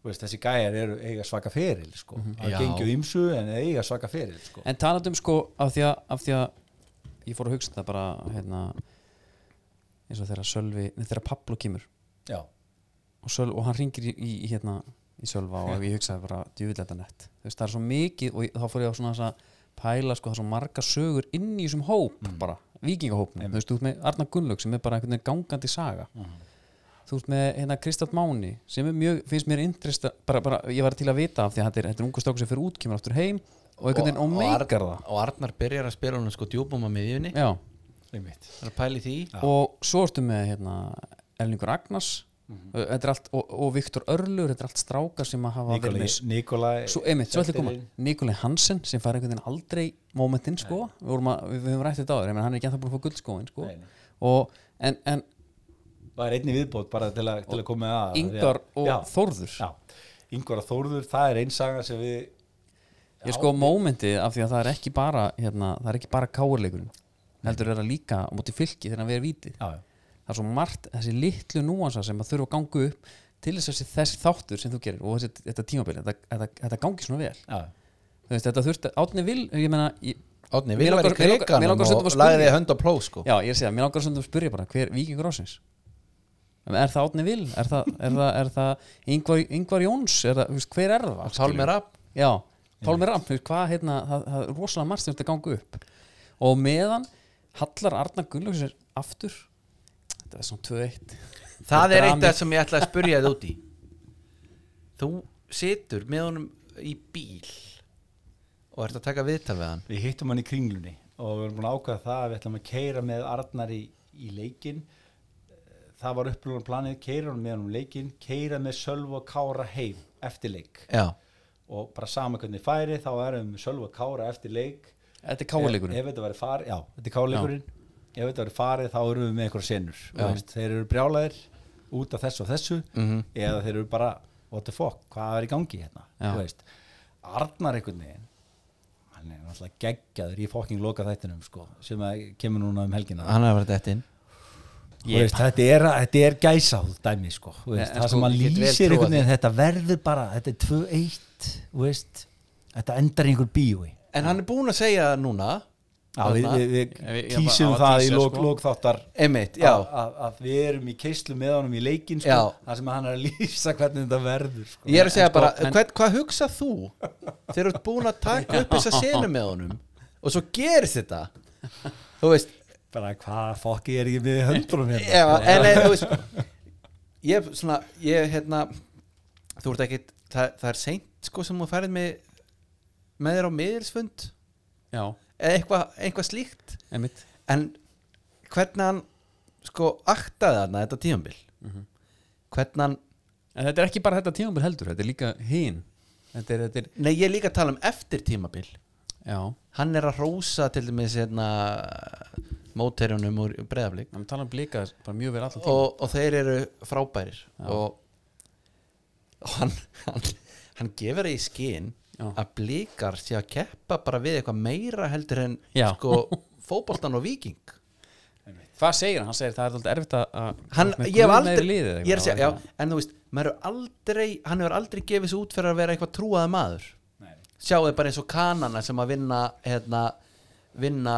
Speaker 3: þú veist, þessi gæjar eru eiga svaka feril sko. mm -hmm.
Speaker 2: Já.
Speaker 3: að gengju ymsu en eiga svaka feril sko.
Speaker 1: Mhm. En talandum sko af því, að, af því að ég fór að hugsa þetta bara hérna, eins og þegar Sölvi nei, þegar Pablo kemur
Speaker 3: já,
Speaker 1: og, Sölv, og hann ringir í, í, í, hérna, í Sölva og ég hugsaði bara djúvillega nett Þú veist, það er svo mikið og ég, þá fór ég á svona þessa pæla sko, það er svo marga sögur inn í þessum hóp bara, vikingahópnum, þú veist, þú ert með Arna Gunnlaug sem er bara einhvern veginn gangandi saga þú ert með hérna Kristall Máni sem er mjög, finnst mér interesta bara, bara, ég var til að vita af því að þetta er, þetta er ungu strákur sem fyrir út, kemur aftur heim og einhvern veginn og meikar það
Speaker 2: og Arnar byrjar að spila hún sko djúbum að miðjunni,
Speaker 1: Já,
Speaker 3: einmitt
Speaker 2: það er að pæli því
Speaker 1: og svo ertu með hérna, Elningur Agnars Þetta er allt, og, og Viktor Örlur þetta er allt strákar sem að hafa verið með-
Speaker 3: Nikolai
Speaker 1: svo, einmitt, svo ætla ég að koma, Nikolai Hansen sem fær einhvern veginn aldrei mómentinn sko. við, vorum að- við, við höfum rætt þetta á þér, hann er ekki ennþá búin að fá guldskóin sko.
Speaker 3: Nei, nei.
Speaker 1: og, en, en
Speaker 3: það er einni viðbót bara til að, til að koma með að
Speaker 1: Ingvar og
Speaker 3: já,
Speaker 1: Þórður
Speaker 3: já. Ingvar og Þórður, það er einsaga sem við
Speaker 1: ég sko mómentið af því að það er ekki bara hérna, það er ekki bara káurleikurinn heldur er það líka á móti fylki þegar hann verið vítið
Speaker 3: já, já,
Speaker 1: það er svo margt, þessi litlu núansa sem að þurfa að ganga upp til þess að þessi- þessi þáttur sem þú gerir og þessi, þetta tímabili, þetta, þetta, þetta gangi svona vel
Speaker 3: já.
Speaker 1: Þú veist, þetta þurfti, Átni vil ég meina, ég,
Speaker 2: Átni,
Speaker 1: Mér
Speaker 2: við
Speaker 1: langar-
Speaker 2: varum
Speaker 1: mér langar- mér
Speaker 2: kriganum
Speaker 1: langar stundum að
Speaker 2: og
Speaker 1: spyrja.
Speaker 2: lagði hönd á pló sko
Speaker 1: já, ég sé það, mér langar svona að spyrja bara, hver vikingur ásins er það Átni vil, er það, er það, er það Ingvar, Ingvar Jóns, er það, þú veist, hver er það
Speaker 2: Pálmi Rapp
Speaker 1: já, Pálmi Ramp, hvað hérna, það, það er rosalega margt sem þetta gangi upp og meðan Hallar Arnar Gunnlaugs er aftur þetta er svona 2-1
Speaker 2: Það er eitt
Speaker 1: Dramið.
Speaker 2: af sem ég ætla að spurja þið út í Þú situr með honum í bíl og ert að taka viðtal við hann
Speaker 3: Við hittum hann í kringlunni og við erum búin að ákvæða það að við ætlum að keira með Arnar í, í leikin það var upplöðan planið keira hann með hann um leikin, keira með Sölva Kára heim eftir leik
Speaker 2: Já,
Speaker 3: og bara sama hvernig færi þá erum við Sölva Kára eftir leik
Speaker 1: þetta er káleikurinn
Speaker 3: ef, ef þetta væri farið, já, þetta er káleikurinn ef þetta væri farið þá erum við með eitthvað senur og veist, þeir eru brjálæðir út af þessu og þessu eða þeir eru bara what the fuck, hvað er í gangi hérna
Speaker 1: Já.
Speaker 3: Þú veist, Arnar einhvern veginn hann er náttúrulega geggjaður í fokking loka þættinum sko, sem að kemur núna um helgina
Speaker 2: hann er að vera þetta inn
Speaker 3: Þú veist, þetta, er, þetta er gæsáð dæmi sko. Þú veist,
Speaker 1: Nei, en
Speaker 3: það
Speaker 1: sko,
Speaker 3: sem hann
Speaker 2: ég get vel
Speaker 3: lýsir
Speaker 2: trúað
Speaker 3: einhvern veginn þetta verður bara, þetta er 2-1 þú veist, þetta endar í einhver bíói
Speaker 2: En hann er búinn að segja núna
Speaker 3: Já, við, við,
Speaker 1: Ef
Speaker 3: við
Speaker 1: ég- ég
Speaker 3: tísum
Speaker 1: bara- á að
Speaker 3: það í
Speaker 1: tísa,
Speaker 3: lók,
Speaker 1: sko.
Speaker 3: lók þáttar
Speaker 2: Einmitt, já
Speaker 3: að, að við erum í keislu með honum í leikin sko,
Speaker 2: Já.
Speaker 3: þar sem hann er að lýsa hvernig þetta verður sko.
Speaker 2: Ég er að segja
Speaker 1: En sko,
Speaker 2: bara,
Speaker 1: en-
Speaker 2: hvern, hvað hugsað þú þegar þú ert búinn að taka upp þessa senu með honum og svo gerist þetta Þú veist,
Speaker 3: bara hvað fokki er ég með í höndunum hérna
Speaker 2: Já, en en, þú veist ég er svona, ég er hérna þú ert ekkit, það, það er seint sko sem þú færið með með þér á miðilsfund
Speaker 1: já,
Speaker 2: eða eitthvað eitthva slíkt
Speaker 1: einmitt
Speaker 2: en hvernig hann sko aktaði þarna þetta tíðanbíl
Speaker 1: Mhm.
Speaker 2: hvernig hann,
Speaker 1: En þetta er ekki bara þetta tímambil heldur, þetta er líka hinn Þetta er, þetta er,
Speaker 2: nei ég er líka að tala um eftir tímabil,
Speaker 1: já
Speaker 2: hann er að rósa til dæmis hérna móterjunum úr breðaflik
Speaker 1: Það tala um blika bara mjög vel alltaf tíma
Speaker 2: og, og þeir eru frábærir og, og hann, hann hann gefur það í skinn
Speaker 1: Já.
Speaker 2: að blikar sé að keppa bara við eitthvað meira heldur en
Speaker 1: Já.
Speaker 2: sko fótboltan og viking
Speaker 1: Hvað segir hann? Hann segir það er alltaf erfitt að- að
Speaker 2: hann,
Speaker 1: með
Speaker 2: ég hef
Speaker 1: guð
Speaker 2: aldrei
Speaker 1: meiri liðið eða
Speaker 2: ég er að
Speaker 1: eitthvað,
Speaker 2: segja,
Speaker 1: það
Speaker 2: já, en þú veist, maður er aldrei hann hefur aldrei gefið sér út fyrir að vera eitthvað trúaði maður sjáðu bara eins og kanana sem að vinna hérna, vinna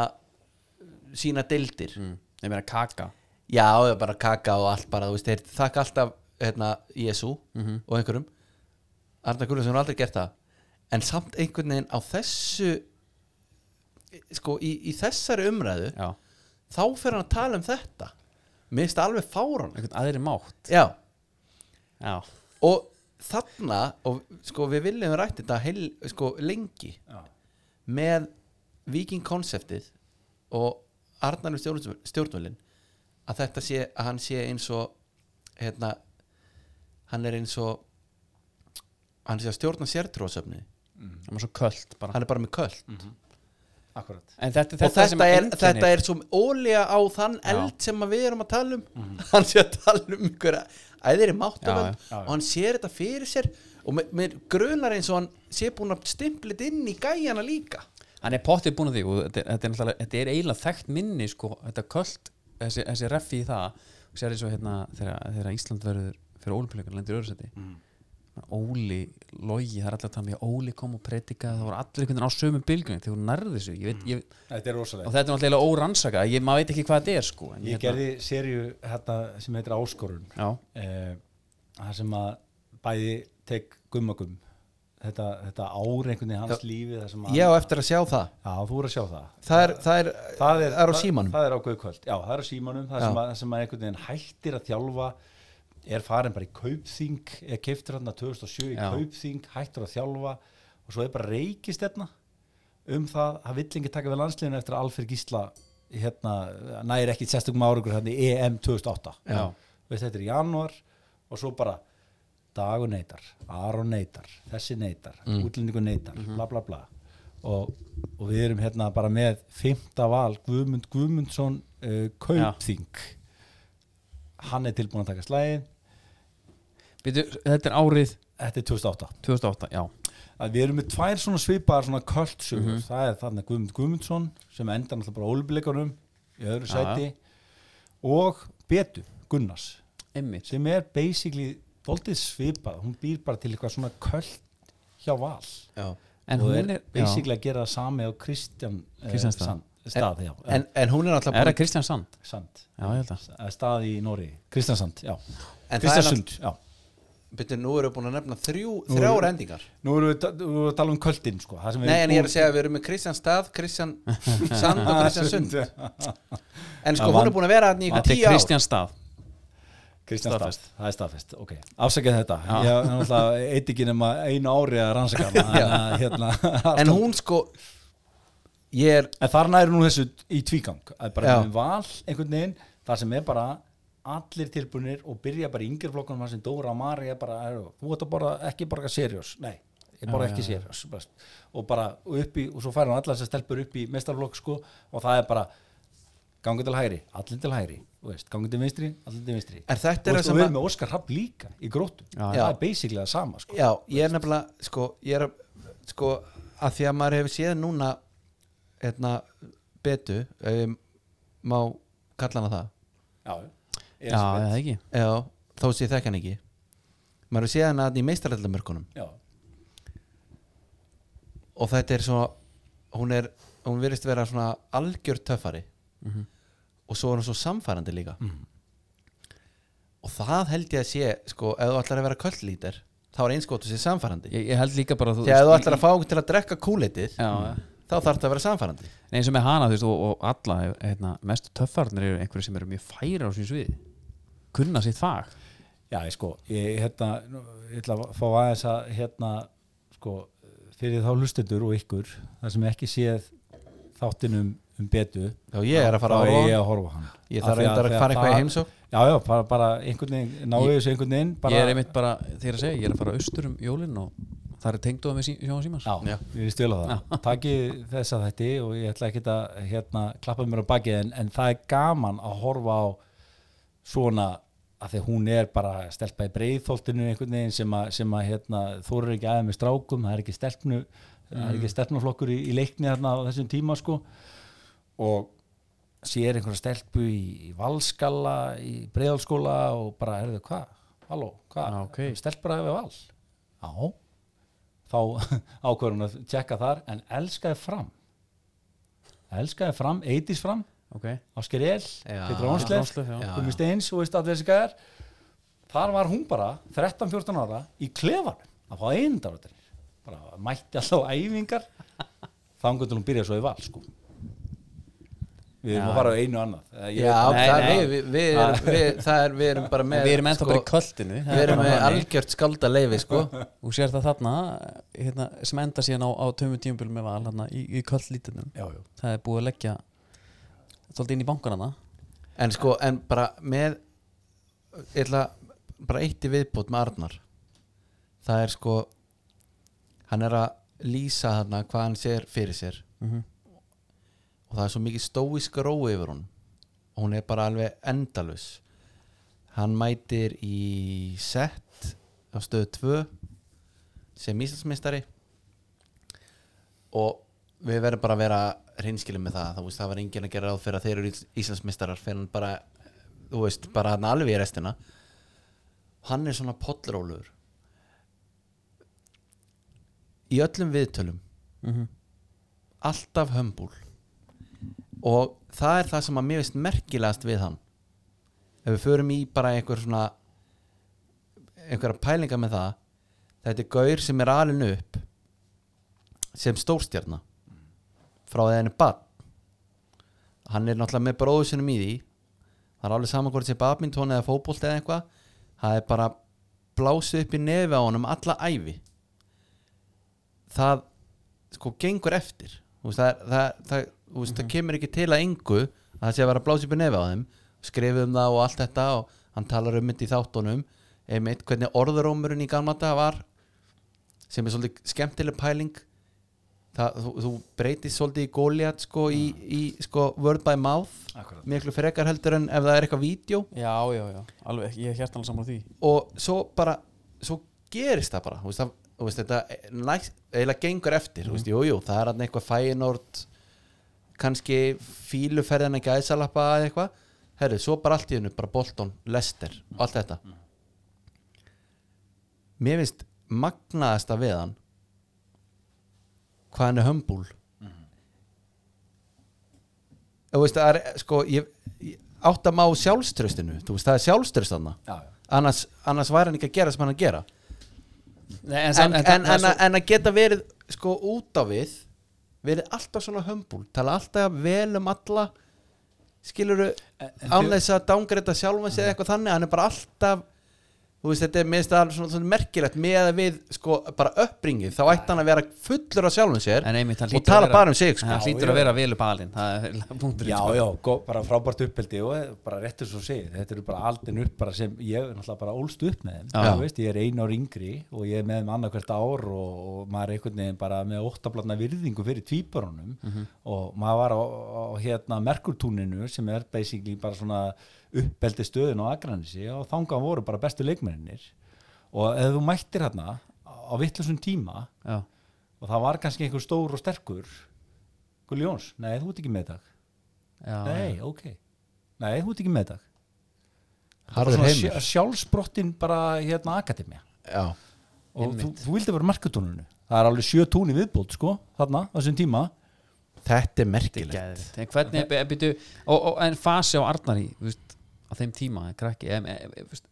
Speaker 2: sína deildir
Speaker 1: Mm. Ég meina kaka
Speaker 2: Já, það er bara kaka og allt bara, þú veist, þeir þakka alltaf hérna, Jésu
Speaker 1: Mhm.
Speaker 2: og einhverjum Arna Gulluðsson har aldrei gert það en samt einhvern veginn á þessu sko í, í þessari umræðu
Speaker 1: já,
Speaker 2: þá fer hann að tala um þetta mér finnst það alveg fáran
Speaker 1: einhvern aðri mátt
Speaker 2: já,
Speaker 1: já,
Speaker 2: og þarna og sko við viljum rætt þetta heil, sko, lengi
Speaker 3: Já.
Speaker 2: með Viking konceptið og Arnar við stjórnvölin, stjórnvölin að þetta sé, að hann sé eins og hérna hann er eins og hann sé að stjórna sértróðsöfni
Speaker 1: það var svo köld bara
Speaker 2: Mm. hann er bara með köll
Speaker 3: Akkurat
Speaker 1: en þetta,
Speaker 2: og þetta er,
Speaker 1: einkennir-
Speaker 2: þetta er svo ólíja á þann
Speaker 1: Já.
Speaker 2: eld sem að við erum að tala um hann sé að tala um einhverja æðri
Speaker 1: Já,
Speaker 2: máttavöld
Speaker 1: já,
Speaker 3: já.
Speaker 2: og hann sér þetta fyrir sér og mér- mér grunar eins og hann sé búin að stimplit inn í gæjana líka
Speaker 1: hann er pottið búin að því og þetta er, þetta er, náttúrulega- þetta er eiginlega þekkt minni sko, þetta köld, þessi, þessi reffi í það sér eins og hérna þegar, þegar Ísland verður fyrir ólimpíuleikunum lendir öðursæti mm. Óli, Logi, það er allir að tala um ég Óli kom og predika, það voru allir einhvern veginn á sömu bylgunni þegar hún nærði þessu ég veit, ég,
Speaker 2: Mm.
Speaker 3: Þetta er
Speaker 1: og
Speaker 3: rosalega
Speaker 1: þetta er náttúrulega órannsaka ég, maður veit ekki hvað þetta er sko en,
Speaker 3: Ég gerði seríu hérna sem heitir Áskorun
Speaker 1: já,
Speaker 3: eh, Það sem að bæði tek gummagum þetta, þetta ár einhvern veginn hans
Speaker 2: Já.
Speaker 3: lífi það sem að
Speaker 2: ég á eftir að sjá það
Speaker 3: Já, þú er að sjá það
Speaker 2: það er, það er,
Speaker 3: það er,
Speaker 2: á símanum
Speaker 3: það, það er ákveðu kvöld, já það er á símanum það
Speaker 2: Já.
Speaker 3: sem, að, sem að einhvern veginn hættir að þjálfa er farin bara í kaupþing er keiftur hann 2007 í
Speaker 1: Já.
Speaker 3: kaupþing hættur að þjálfa og svo er bara reykist hérna um það að villingi taka við landsliðinu eftir að Alfred Gísla hérna, næri ekki sérstökum árugur hérna í EM 2008
Speaker 1: já,
Speaker 3: veist þetta er í janúar og svo bara Dagur neytar, Aron neytar, þessi neytar, mm. útlendingu neytar, bla bla bla og, og við erum hérna bara með fymta val Guðmund Guðmundsson uh, Kaupþing hann er tilbúin að taka slæðin
Speaker 1: Bíddu, þetta er árið
Speaker 3: þetta er 2008
Speaker 1: 2008 já,
Speaker 3: að við erum með tvær svona svipaðar svona kvöldsögur það er þarna Guðmund Guðmundsson sem endar náttúrulega bara ólbileikunum í öðru
Speaker 1: Já.
Speaker 3: sæti og Betu Gunnars
Speaker 1: emmi
Speaker 3: sem er basically doldið svipað, hún býr bara til eitthvað svona köld hjá val
Speaker 2: Já.
Speaker 1: en
Speaker 3: og
Speaker 1: hún er,
Speaker 3: basically að gera það sami á Kristján eh,
Speaker 1: Kristján stað.
Speaker 3: Sand- stað, já, Eh,
Speaker 2: en, en hún er
Speaker 1: já,
Speaker 2: alltaf
Speaker 1: er það Kristján Sand?
Speaker 3: sand
Speaker 1: já, ég held að
Speaker 3: eh, stað í Nóri, Kristjansand já.
Speaker 2: en það er alltaf
Speaker 3: Kristjansund, já
Speaker 2: Bittu, nú erum við búin að nefna þrjú,
Speaker 3: Nú
Speaker 2: þrjár
Speaker 3: erum-
Speaker 2: endingar
Speaker 3: nú erum við ta- nú erum við að tala um köldin sko, það sem við
Speaker 2: Nei, en ég er að segja að við erum með Kristján Stað, Kristján Sand
Speaker 3: Ah,
Speaker 2: og Kristján Sund En sko,
Speaker 3: Það
Speaker 2: hún
Speaker 3: vann-
Speaker 2: er búin að vera hann í ykkur
Speaker 1: þetta er
Speaker 2: tíu ár
Speaker 1: Kristján Stað
Speaker 3: Kristjansand,
Speaker 1: Staðfest.
Speaker 3: það er staðfest ok, afsakið þetta ég er náttúrulega eitt ekki nema einu ári að rannsaka hana, en, að, hérna, alltaf-
Speaker 2: En hún sko Ég er,
Speaker 3: En þar næri hún þessu í tvígang að bara
Speaker 2: Já.
Speaker 3: með val einhvern veginn þar sem er bara allir tilbúinir og byrja bara í yngirflokkunum þar sem Dóra Mari er bara, er, þú ert að borða ekki borga seriós, nei, ég borða ekki seriós best. og bara upp í og svo fær hún allar sem stelpur upp í mestarflokk sko, og það er bara gangi til hægri, allir til hægri þú veist, gangi til vinstri, allir til vinstri
Speaker 2: En þetta er
Speaker 3: og
Speaker 2: það sem
Speaker 3: veist, og við
Speaker 2: að-
Speaker 3: erum með Óskar Rapp líka í gróttum,
Speaker 1: Já.
Speaker 3: það er basically það sama sko.
Speaker 2: já, ég er nefnilega Sko, ég er að, sko Að því að maður hefur séð núna Hérna, betu Ef ég má kalla hana það
Speaker 3: já,
Speaker 1: já, eða ekki
Speaker 2: Já, þó sé ég þekk hann ekki Maður hefur séð hana hann í meistarallamörkunum
Speaker 3: já,
Speaker 2: og þetta er svona hún er, hún virðist vera svona algjör töffari
Speaker 3: Mhm.
Speaker 2: og svo er hún svo samfærandi líka og það held ég að sé sko, ef þú ætlar að vera köllítir þá er einskot að sé samfærandi
Speaker 1: ég, ég held líka bara að þú-
Speaker 2: þegar Mm. ef þú ætlar að fá okkur til að drekka kúleitið
Speaker 1: já, já
Speaker 2: þá þarf það að vera samfærandi
Speaker 1: Nei, eins og með hana þú veist, og, og alla hérna, mestu töffarnir eru einhverju sem eru mjög færi á sín svið kunna sitt fag
Speaker 3: Já, ég sko, ég, hérna, nú, ég ætla að fá aðeins að, hérna, sko, fyrir þá hlustendur og ykkur, þar sem ekki séð þáttinum um betu,
Speaker 2: já ég er að fara á
Speaker 3: þá er ég
Speaker 2: ég,
Speaker 3: að horfa á hann.
Speaker 2: ég
Speaker 3: Af
Speaker 2: þarf
Speaker 3: því
Speaker 2: reyndar
Speaker 3: af
Speaker 2: að
Speaker 3: því
Speaker 2: fara eitthvað í
Speaker 3: það-
Speaker 2: heimsók
Speaker 3: Já, já, bara, bara einhvern veginn, náðu
Speaker 1: Ég-
Speaker 3: þessu einhvern veginn, bara.
Speaker 1: ég er einmitt bara, þegar að segja, ég er að fara austur um jólin og það er tengdóða með sí, sko. Sjóðan Símans
Speaker 3: Já,
Speaker 2: Já.
Speaker 3: ég er stjóla það. Takki þess að þetta og ég ætla ekki að, hérna, klappa mér á bakið, en, en það er gaman að horfa á svona að því að hún er bara stelpa í breiðþóltinu einhvern veginn sem að, sem að hérna, þú eru ekki aðeins með strákum, það er ekki stelpnu það er ekki stelpnuflokkur í, í leikni þarna á þessum tíma sko og sér einhverja stelpu í, í valskalla, í breiðalskóla og bara, herðu, hvað? Halló, hvað?
Speaker 1: Já, ok.
Speaker 3: Stelpur að hefa val? Já þá ákveður hún að tjekka þar en elskaði fram elskaði fram, eitis fram
Speaker 1: ok,
Speaker 3: Ásker El,
Speaker 2: Já.
Speaker 3: Petra Ánsleif
Speaker 1: Áslaug, já.
Speaker 3: Gumi Steins og veist allir þessi gæðar þar var hún bara 13-14 ára í klefanum að fá einundarvöldinir bara mætti alltaf á æfingar þangur til hún byrja svo í val sko við erum
Speaker 1: Já.
Speaker 3: að fara á einu annað Eh, ég
Speaker 2: Já,
Speaker 3: veit-
Speaker 1: Nei,
Speaker 2: það,
Speaker 1: nei.
Speaker 2: nei, við, við, erum, við, það er, við erum bara með sko,
Speaker 1: við erum ennþá bara í kvöldinu
Speaker 2: Við erum með algjört skalda leifi sko
Speaker 1: og sér það þarna hérna, sem enda síðan á, á tömum tímabölu með val hérna, í, í kvöldlítunum
Speaker 3: já, já.
Speaker 1: það er búið að leggja svolítið inn í bankanana
Speaker 2: En sko, en bara með ég ætla bara eitt í viðbót með Arnar það er sko hann er að lýsa þarna hvað hann sér fyrir sér
Speaker 1: Mhm.
Speaker 2: og það er svo mikið stóisk ró yfir hún og hún er bara alveg endalus hann mætir í set á stöðu 2 sem Íslandsmeistari og við verðum bara að vera reynskilum með það, þú veist, það var enginn að gera ráð fyrir að þeir eru Ís- Íslandsmeistarar fyrir hann bara, þú veist, bara hann alveg í restina hann er svona pollrólur í öllum viðtölum
Speaker 1: Mhm.
Speaker 2: alltaf hömbúl og það er það sem að mér veist merkilegast við hann ef við förum í bara einhver svona einhverja pælinga með það þetta er gaur sem er alin upp sem stórstjarna frá því að henni bann hann er náttúrulega með bróðu sinum í því það er alveg saman hvort sé badmintón eða fótbolt eða eitthvað það er bara blásið upp í nefi á honum alla ævi það sko gengur eftir Þú veist, það, er- það, það, þú veist, það kemur ekki til að engu að það sé að vera blásið upp í nefi á þeim skrifið um það og allt þetta og hann talar um þetta í þáttunum einmitt hvernig orðurómurinn í gamla daga var sem er svolítið skemmtileg pæling það, þú, þú breytist svolítið í góliat sko, í, í sko, word by mouth
Speaker 3: Akkúrat.
Speaker 2: miklu frekar heldur en ef það er eitthvað vídeo
Speaker 1: já, já, já, alveg, ég er hjartanlega saman því
Speaker 2: og svo bara svo gerist það bara þú veist, það, þú veist, þetta næst, eiginlega gengur eftir þú veist, jú, jú, það er hann eitthvað fæinort kannski fíluferðina gæðsalappa eða eitthvað herri, svo bara allt í hennu, bara Bolton, Lester og allt þetta mér finnst magnaðasta við hann hvað hann er hömbúl þú veist, það er sko, ég, ég áttam á sjálfströstinu, þú veist, það er sjálfströst hann
Speaker 3: Já, já.
Speaker 2: annars, annars væri hann ekki að gera sem hann er að gera
Speaker 1: Nei,
Speaker 2: en,
Speaker 1: samt-
Speaker 2: en, en,
Speaker 1: það er
Speaker 2: en,
Speaker 1: svo-
Speaker 2: að geta verið sko út á við verið alltaf svona hömbúl tala alltaf vel um alla skiluru án þess að dángreita sjálfan sig eða eitthvað þannig hann er bara alltaf þú veist þetta er minnst alveg svona, svona merkilegt með að við sko bara uppbringið þá ætti hann að vera fullur af sjálfum sér
Speaker 1: En einmitt, hann
Speaker 2: og
Speaker 1: hlýtur að
Speaker 2: tala
Speaker 1: vera-
Speaker 2: bara um sig
Speaker 1: hann
Speaker 2: sko.
Speaker 1: hlýtur að vera vel upp alinn það er punktur
Speaker 3: já, já, gó- bara frábært uppeldi og eh, bara réttur svo segið, þetta eru bara aldin upp bara sem ég er náttúrulega bara ólst upp með þeim
Speaker 1: Já.
Speaker 3: þú veist, ég er einu ár yngri og ég er með þeim annarkvært ár og, og maður er einhvern veginn bara með óttablatna virðingu fyrir tvíbarunum og maður var á, á hérna Merkurtúninu sem er basically bara svona uppeldi stöðin á Akranisi og þangað voru bara bestu leikmennir og ef þú mættir hérna á vittlusum tíma
Speaker 1: já.
Speaker 3: og það var kannski einhver stór og sterkur Gulli Jóns, nei þú ert ekki með í dag
Speaker 1: Já,
Speaker 3: Nei, ok Nei, þú ert ekki með dag
Speaker 2: Harður
Speaker 3: Bara svona
Speaker 2: heimur.
Speaker 3: sjá- Sjálfsbrottin bara hérna akademia
Speaker 2: já,
Speaker 3: Og þú, þú vildi vera markatúnunu Það er alveg sjö tún í viðbót, sko Þarna, á þessum tíma
Speaker 2: þetta er merkilegt
Speaker 1: Geðvikt. En hvernig, be- byrju, og, og, en fasi á Arnari þú veist, á þeim tíma, krakki em, em, em, veist,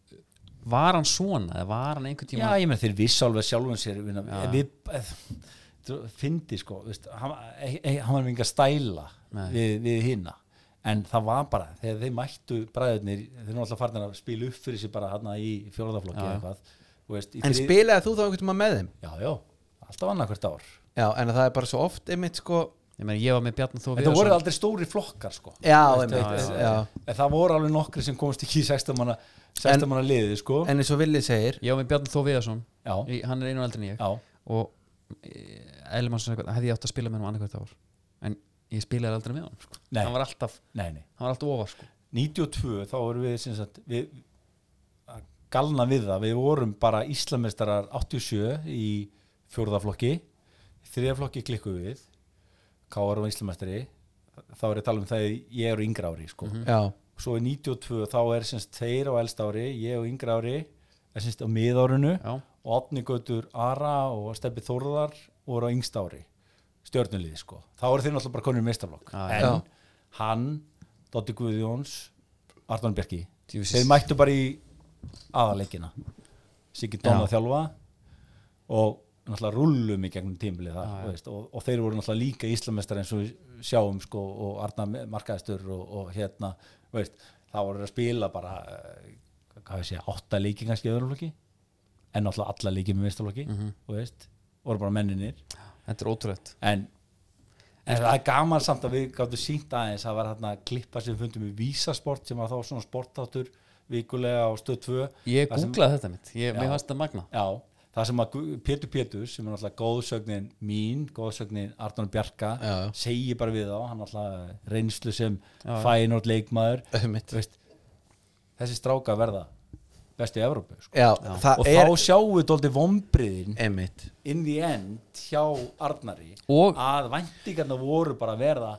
Speaker 1: var hann svona eða var hann einhvern tíma
Speaker 3: Já, ég með þeir viss alveg sjálfum sér vinna,
Speaker 1: Já.
Speaker 3: Við eh, þú- Fyndi, sko veist, hann, eh, eh, hann var með enga stæla
Speaker 1: Nei.
Speaker 3: við, við hinna En það var bara, þegar þeir mættu bræðurnir, þeir eru alltaf farin að spila upp fyrir sér bara hérna í fjólaðaflokki
Speaker 1: Já.
Speaker 3: eitthvað þú veist, í
Speaker 2: en
Speaker 3: þrið-
Speaker 2: spilaði þú þá einhvern tíma með þeim
Speaker 3: Já, já, alltaf annarkvært ár
Speaker 2: já, en það er bara svo oft einmitt sko
Speaker 1: ég, meni, ég var með Bjarni Þó
Speaker 3: Þetta voru aldrei stóri flokkar sko
Speaker 2: já,
Speaker 3: Veist,
Speaker 2: einmitt,
Speaker 3: þetta-
Speaker 2: já.
Speaker 3: En það voru alveg nokkri sem komast ekki í 16 manna, 16 manna liði sko
Speaker 2: en eins og Vili segir
Speaker 1: ég var með Bjarni Þó Viðarsson
Speaker 3: Já,
Speaker 1: Í- hann er einu eldri en ég
Speaker 3: já,
Speaker 1: og Elmarsson eitthvað, hefði ég átt að spila með hann annað hvert ár en ég spilaði aldrei með hann sko.
Speaker 3: Nei.
Speaker 1: hann var alltaf,
Speaker 3: nei, nei
Speaker 1: hann var alltaf ofar sko.
Speaker 3: 92 þá vorum við, sem sagt, við að galna við það, við vorum bara Íslamestarar 87 í fjórðaflokki þriðaflokki klikku við Káar og Íslamestari þá er ég að tala um það að ég er yngra ári sko.
Speaker 2: já,
Speaker 3: svo í 92 þá er semst þeir á elsta ári, ég á yngra ári er semst á miðárunu
Speaker 1: já,
Speaker 3: og Otni Gautur Ara og Steppi Þórðar voru á yngst ári stjörnuliði sko, þá eru þeir náttúrulega bara konur meistaflokk,
Speaker 1: Já,
Speaker 3: en
Speaker 2: já.
Speaker 3: hann Dotti Guðjóns, Arnón Bjarki
Speaker 1: Djú,
Speaker 3: þeir mættu bara í aðaleggina Siggi Dóna að þjálfa og náttúrulega rullum í gegnum tímbilið þar, þú veist, og, og þeir voru náttúrulega líka íslamestar eins og við sjáum sko, og Arna Markaðistur og, og hérna þú veist, þá voru þeir að spila bara eh, hvað ég segja, átta leiki kannski í öðrum flokki en náttúrulega alla leiki með mestarflokki mm veist, voru bara menninir
Speaker 1: Þetta er ótrúlegt
Speaker 3: en, en það er gaman samt að við gáttum sínt aðeins að var hérna klippa sem við fundum í Vísasport sem var þá svona sportáttur vikulega á stöð 2
Speaker 1: Ég
Speaker 3: Þar sem-
Speaker 1: googlaði þetta mitt, ég, mér
Speaker 3: Já.
Speaker 1: fannst þetta magna
Speaker 3: Já, það sem að Gu- Pétur Pétur sem er náttúrulega góðsögnin mín góðsögnin Arnón Bjarka
Speaker 2: Já.
Speaker 3: segir bara við þá, hann er náttúrulega reynslu sem fænort leikmaður
Speaker 2: Einmitt.
Speaker 3: Veist, þessi stráka verða bestu í Evrópu sko.
Speaker 2: Já, það
Speaker 3: og
Speaker 2: er
Speaker 3: þá sjáum við dóldi vombriðin
Speaker 2: Einmitt
Speaker 3: in the end hjá Arnari
Speaker 1: Og-
Speaker 3: að væntingarna voru bara að verða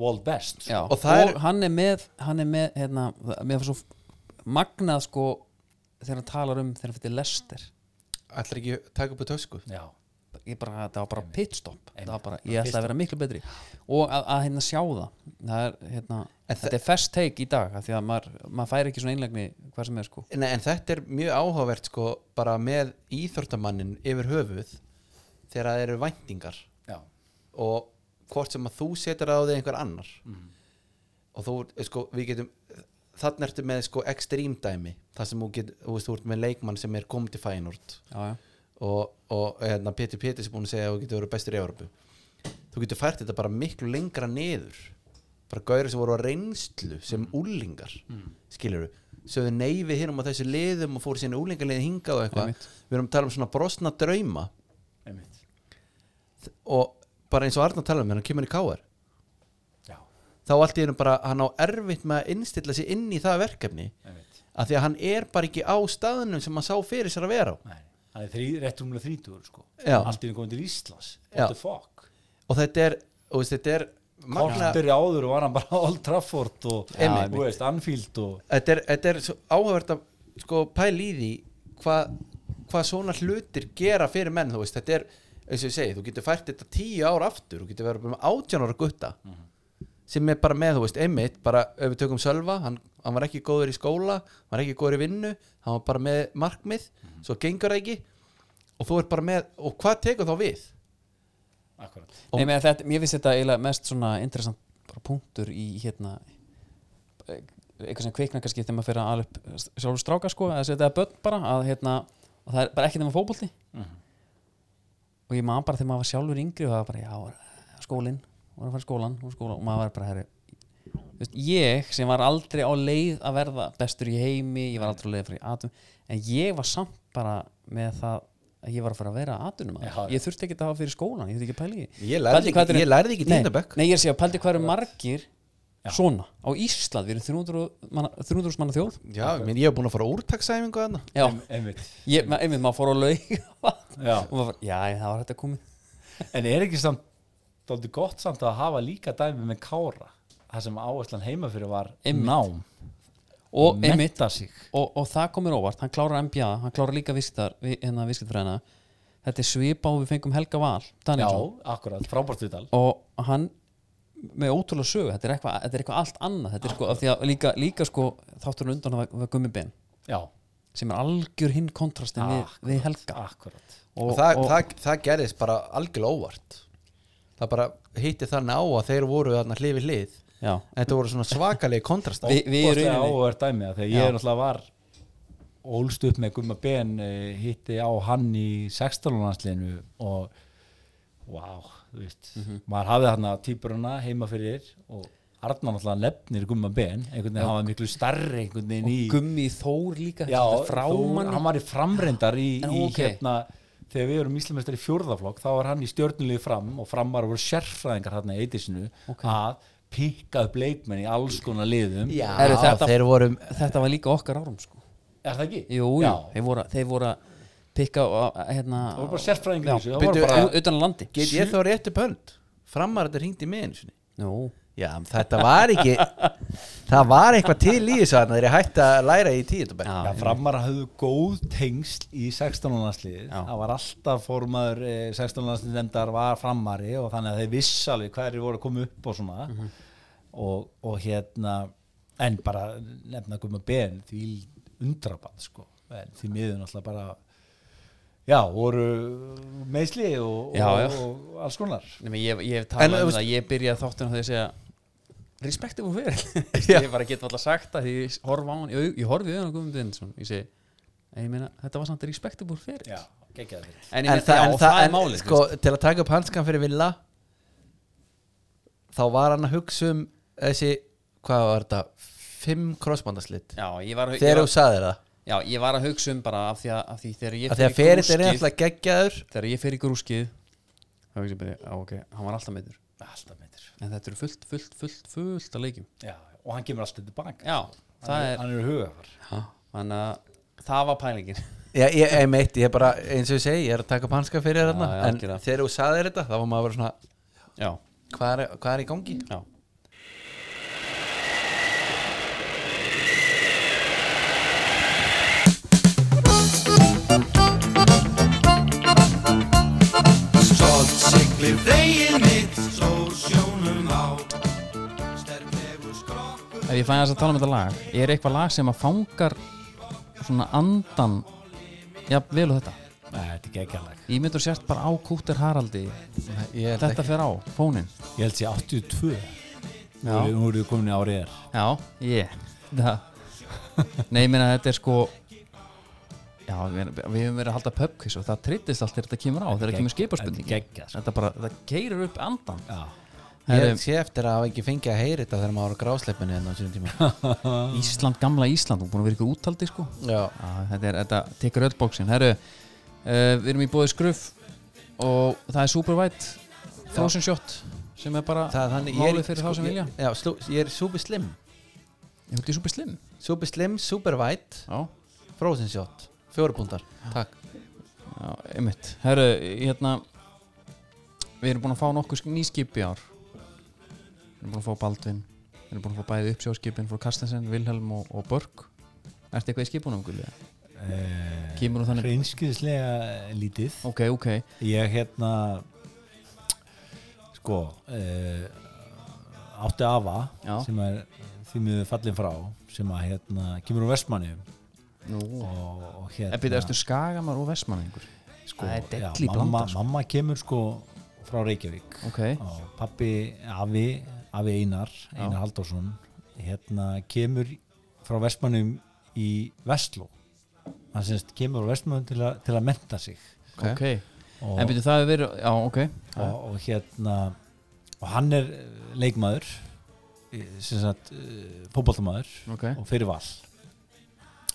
Speaker 3: world best
Speaker 1: Já, og,
Speaker 2: Og það er-
Speaker 1: hann er með hann er með, hérna, það- mér fannst svo magnað sko þegar hann talar um þegar hann fyrir lester
Speaker 2: Ætlar ekki að taka upp í tösku
Speaker 3: Já.
Speaker 1: ég bara, það var bara pitstop
Speaker 3: Einmitt.
Speaker 1: var bara, ég ætla að vera miklu betri og að, að hérna sjá það, það er, hérna,
Speaker 2: En
Speaker 1: þetta er fast take í dag af því að maður, maður fær ekki svona einlegni hvað sem er sko
Speaker 2: Nei, en þetta er mjög áhugavert sko bara með íþórtamannin yfir höfuð þegar það eru væntingar
Speaker 3: Já.
Speaker 2: og hvort sem að þú setur það á þig einhver annar og þú, eh, sko, við getum þannig ertu með sko ekstrím dæmi þar sem þú get, þú veist, þú ert með leikmann sem er komið til fænort
Speaker 1: já, já,
Speaker 2: og, og hérna, Pétur Pétur sem búin að segja að þú getur verið bestur í Európu þú getur fært þetta bara miklu lengra niður bara gaurið sem voru á reynslu sem mm. úlingar mm. skilur við sögðu neyfi hérum á þessu liðum og fóru síðan úlingarliði hingað og eitthvað
Speaker 1: Einmitt.
Speaker 2: við erum að tala um svona brosna drauma
Speaker 3: einmitt
Speaker 2: og bara eins og Arnar tala um hann kemur í káar
Speaker 3: Já,
Speaker 2: þá allt í hennu bara hann á erfitt með að innstilla sig inn í það verkefni
Speaker 3: einmitt
Speaker 2: af því að hann er bara ekki á staðnum sem hann sá fyrir sér að vera á
Speaker 3: Nei, hann er þrí, rétt rúmlega þrítugur sko
Speaker 2: Já.
Speaker 3: Allt í einu komið til Íslands What
Speaker 2: Já.
Speaker 3: the fuck
Speaker 2: og þetta er, og veist, þetta er magna,
Speaker 3: Kortir í áður og var hann bara á Old Trafford og
Speaker 2: Já, einmitt.
Speaker 3: þú veist, Anfield og
Speaker 2: þetta er, þetta er svo áhugavert að sko, pæli í því hvað hva svona hlutir gera fyrir menn þú veist, þetta er, eins og ég segi, þú getur fært þetta tíu ár aftur, þú getur verið með átján ára gutta sem er bara með, þú veist, einmitt, bara ef við tökum Sölva, hann, hann var ekki góður í skóla hann var ekki góður í vinnu, hann var bara með markmið,
Speaker 1: Mhm.
Speaker 2: svo gengur það ekki og þú ert bara með, og hvað tekur þá við?
Speaker 3: akkurat
Speaker 2: Og-
Speaker 1: Nei, meðan þetta, mér finnst þetta eiginlega mest svona interessant bara punktur í hérna eh, eitthvað sem kvikna kannski þegar maður fyrir að ala upp sjálfur stráka sko, að þetta er börn bara að hérna, og það er bara ekki þegar maður fótbolti
Speaker 3: Mhm.
Speaker 1: og ég man bara þegar maður var sjálfur yngri og það var bara, já, var skólinn og að fara í skólan og skóla og maður var bara herri Þú veist, ég sem var aldrei á leið að verða bestur í heimi, ég var aldrei á leið að fara í atum en ég var samt bara með það að ég var að fara að vera atunum
Speaker 3: Já, já.
Speaker 1: ég þurfti ekki að hafa fyrir skólan, ég þurfti ekki að pæla í því.
Speaker 2: Ég lærði
Speaker 1: Pældi
Speaker 2: ekki-
Speaker 1: hvað eru-
Speaker 2: ég lærði ekki í
Speaker 1: Nei,
Speaker 2: tíunda bekk.
Speaker 1: Nei, ég sé að pældi hvað eru margir svona á Ísland, við erum 300 manna, 300 manna þjóð
Speaker 2: Já, ég meina, ég hef búin að fara á úrtaksæfingu þarna
Speaker 1: Já,
Speaker 3: einmitt
Speaker 1: ég, ma- einmitt maður fór á laug
Speaker 3: Já.
Speaker 1: og maður, bara, já, það var hægt að komið
Speaker 3: En er ekki samt Dóldi gott samt að hafa líka dæmi með Kára Það sem áherslan heima fyrir var
Speaker 1: Einmitt.
Speaker 3: Nám,
Speaker 1: og einmitt,
Speaker 3: metta sig
Speaker 1: og, og það komir óvart, hann klárar MBA hann klárar líka viskittar, hérna viskittarfræðina þetta er svipa og við fengum Helga Val
Speaker 3: Já,
Speaker 1: Danielsson,
Speaker 3: akkurat, frábært viðtal
Speaker 1: og hann með ótrúlega sögu, þetta er eitthvað þetta er eitthvað allt annað, þetta er sko, af því að líka, líka sko, þátturinn undan var, var gummibein
Speaker 3: Já,
Speaker 1: sem er algjör hinn kontrastin
Speaker 3: Ah,
Speaker 1: við, við Helga
Speaker 3: akkurat
Speaker 2: og, það, það, það gerðist bara algjörlega óvart það bara hitti þannig á að þeir voru þarna hlifi hlið
Speaker 1: já,
Speaker 2: þetta voru svona svakalegi kontrast
Speaker 1: Vi- við í
Speaker 3: Óbúðslega
Speaker 1: rauninni-
Speaker 3: áhverð dæmi að þegar ég er náttúrulega var ólst upp með Gumma Ben eh, hitti á hann í 16. landsliðinu og wow, þú veist
Speaker 1: Mhm.
Speaker 3: maður hafði þarna týpuruna heima fyrir og Arnar náttúrulega nefnir Gumma Ben einhvern veginn hafa miklu starri einhvern veginn í
Speaker 1: gummi Þór líka
Speaker 3: já,
Speaker 1: þetta er frá
Speaker 3: þú-
Speaker 1: manni
Speaker 3: hann var í framreyndar í,
Speaker 1: En
Speaker 3: í
Speaker 1: ok.
Speaker 3: hérna þegar við erum íslumestari í fjórðaflokk þá var hann í stjörnulegu fram og framar voru sérfræðingar hérna í eitisinu að pikka upp leikmenn í alls konar liðum
Speaker 2: já,
Speaker 1: Herru, þetta-
Speaker 2: þeir voru
Speaker 1: þetta var líka okkar árum sko
Speaker 3: er það ekki?
Speaker 1: Jú, jú,
Speaker 3: Já.
Speaker 1: þeir voru, þeir voru að pikka og að, hérna
Speaker 3: Það voru bara sérfræðingur í þessu, það
Speaker 2: Bíddu,
Speaker 3: voru bara
Speaker 1: u- utan á landi
Speaker 2: get ég þá réttu pönd framar þetta hringdi mig einu sinni
Speaker 1: Jú,
Speaker 2: já, þetta var ekki það var eitthvað til í þessu þarna þeir hætti að læra í tíðutabæk
Speaker 1: já,
Speaker 3: Já, framar hafðu góð tengsl í 16. landsliðið,
Speaker 1: Já.
Speaker 3: það var alltaf formaður eh, 16. landslið nefndar var framari og þannig að þeir viss alveg hverju voru að koma upp og svona
Speaker 1: Mhm.
Speaker 3: og, og hérna en bara nefna Guðmund Ben því undrabann sko. en því miður náttúrulega bara já, voru meðsli og,
Speaker 1: Já, já.
Speaker 3: og, og alls konar
Speaker 1: Nei, menn, ég, ég hef
Speaker 2: En,
Speaker 1: talað
Speaker 2: þú
Speaker 1: um
Speaker 2: veist-
Speaker 1: það, ég byrjaði þáttunum þegar ég segja respektum hún fyrir ég bara get alltaf sagt það því ég horf á hann, ég, ég horfi auðvitað á Guðmundin sem ég segi, en ég meina þetta var samt respektum hún fyrir
Speaker 3: já, geggjaði
Speaker 1: en,
Speaker 3: fyrir
Speaker 1: ég
Speaker 2: en,
Speaker 1: meina,
Speaker 2: það,
Speaker 1: já,
Speaker 2: en,
Speaker 1: og
Speaker 2: það,
Speaker 1: er
Speaker 2: en
Speaker 1: málið,
Speaker 2: sko, til að taka upp hanskan fyrir Villa þá var hann að hugsa um þessi, hvað var þetta fimm krossbandaslit
Speaker 1: já, ég var, ég
Speaker 2: þegar
Speaker 1: var,
Speaker 2: þú saðir það,
Speaker 1: já, ég var að hugsa um bara af því að, af því þegar ég
Speaker 2: að þegar
Speaker 1: fer í
Speaker 2: ferið er
Speaker 1: grúskið-
Speaker 2: reyndlega geggjaður
Speaker 1: þegar ég fer í grúskið þá hugsa ég bara, já ok, hann var alltaf meitur
Speaker 3: alltaf meitur
Speaker 1: en þetta eru fullt, fullt, fullt, fullt að leikjum
Speaker 3: já, og hann kemur alltaf tilbaka
Speaker 1: já, það er
Speaker 3: hann er hugafar
Speaker 1: þannig að það var pælingin
Speaker 2: Já, ég, ég meitt, ég er bara, eins og ég segi, ég er að taka upp hanskan fyrir þarna,
Speaker 1: já,
Speaker 2: en
Speaker 1: algjörlega.
Speaker 2: þegar þú saðir þetta þá var maður bara svona,
Speaker 1: já,
Speaker 2: hvað er, hvað er í gangi?
Speaker 1: já
Speaker 4: Stolt siglir vegið mitt, sól sjónum á Sterklegur skrokkur
Speaker 1: Ef ég fæði þess að tala um þetta lag Er eitthvað lag sem að fangar svona andan Já, vel og þetta
Speaker 3: þetta er geggjaðleg
Speaker 1: Ég myndur sért bara á Kúter Haraldi
Speaker 2: Ég held
Speaker 1: Þetta fer á, fónin
Speaker 3: ég held sé 82
Speaker 1: Já.
Speaker 3: nú eru þið komin í árið er
Speaker 1: Já, ég Það Nei, ég meina þetta er sko Já, ég meina, við hefum verið að halda pubquiz og það trillist allt þegar þetta kemur á þegar þetta kemur skiparspurning
Speaker 3: Þetta er geggjað, sko.
Speaker 1: Þetta bara, það keirir upp andan
Speaker 3: já,
Speaker 2: Ég
Speaker 1: Herri,
Speaker 2: sé eftir að hafa ekki fengið að heyri þetta þegar maður var á grásleipinu enn á sínum tíma
Speaker 1: Ísland, gamla Ísland, hún er búin að vera ykkur úttaldi sko
Speaker 2: Já,
Speaker 1: Já, þetta, er, þetta tekur öll bóksin Herru, uh, við erum í bóði skruf og það er super white frozen shot sem er bara
Speaker 2: það er þannig
Speaker 1: málið fyrir þá sem
Speaker 2: ég,
Speaker 1: vilja
Speaker 2: Já, slú, ég er super slim
Speaker 1: Ég hundi super slim
Speaker 2: Super slim, super white
Speaker 1: Já,
Speaker 2: Frozen shot, fjórubúndar Takk
Speaker 1: já einmitt Herru, hérna við erum búin að fá nokkuð sk- ný skip í ár við erum búin að fá Baldvin við erum búin að fá bæði uppsjóðskipin frá Karstensen, Vilhelm og, og Börg Ertu eitthvað í skipunum, Gulli? Kemur hún þannig
Speaker 3: reynskiðislega Eh, lítið
Speaker 1: Ok, ok,
Speaker 3: ég hérna sko uh, átti afa
Speaker 1: Já.
Speaker 3: sem er því miður fallin frá sem að hérna kemur úr vestmanni
Speaker 1: nú
Speaker 3: og, og
Speaker 1: En byrja,
Speaker 3: hérna
Speaker 1: ertu skagamar og vestmanningur?
Speaker 3: sko,
Speaker 1: það er
Speaker 3: já,
Speaker 1: delli
Speaker 3: mamma,
Speaker 1: blanda, sko.
Speaker 3: mamma kemur sko frá Reykjavík
Speaker 1: Ok,
Speaker 3: og pappi afi afi Einar, Einar Halldórsson hérna kemur frá vestmannum í Vestló hann semst kemur frá vestmannum til, að- til að menta sig
Speaker 1: ok,
Speaker 3: og,
Speaker 1: En byrju, það hefur verið, já, ok
Speaker 3: og, og hérna og hann er eh, leikmaður eh, sem sagt eh, fótballtamaður
Speaker 1: Ok,
Speaker 3: og fyrir val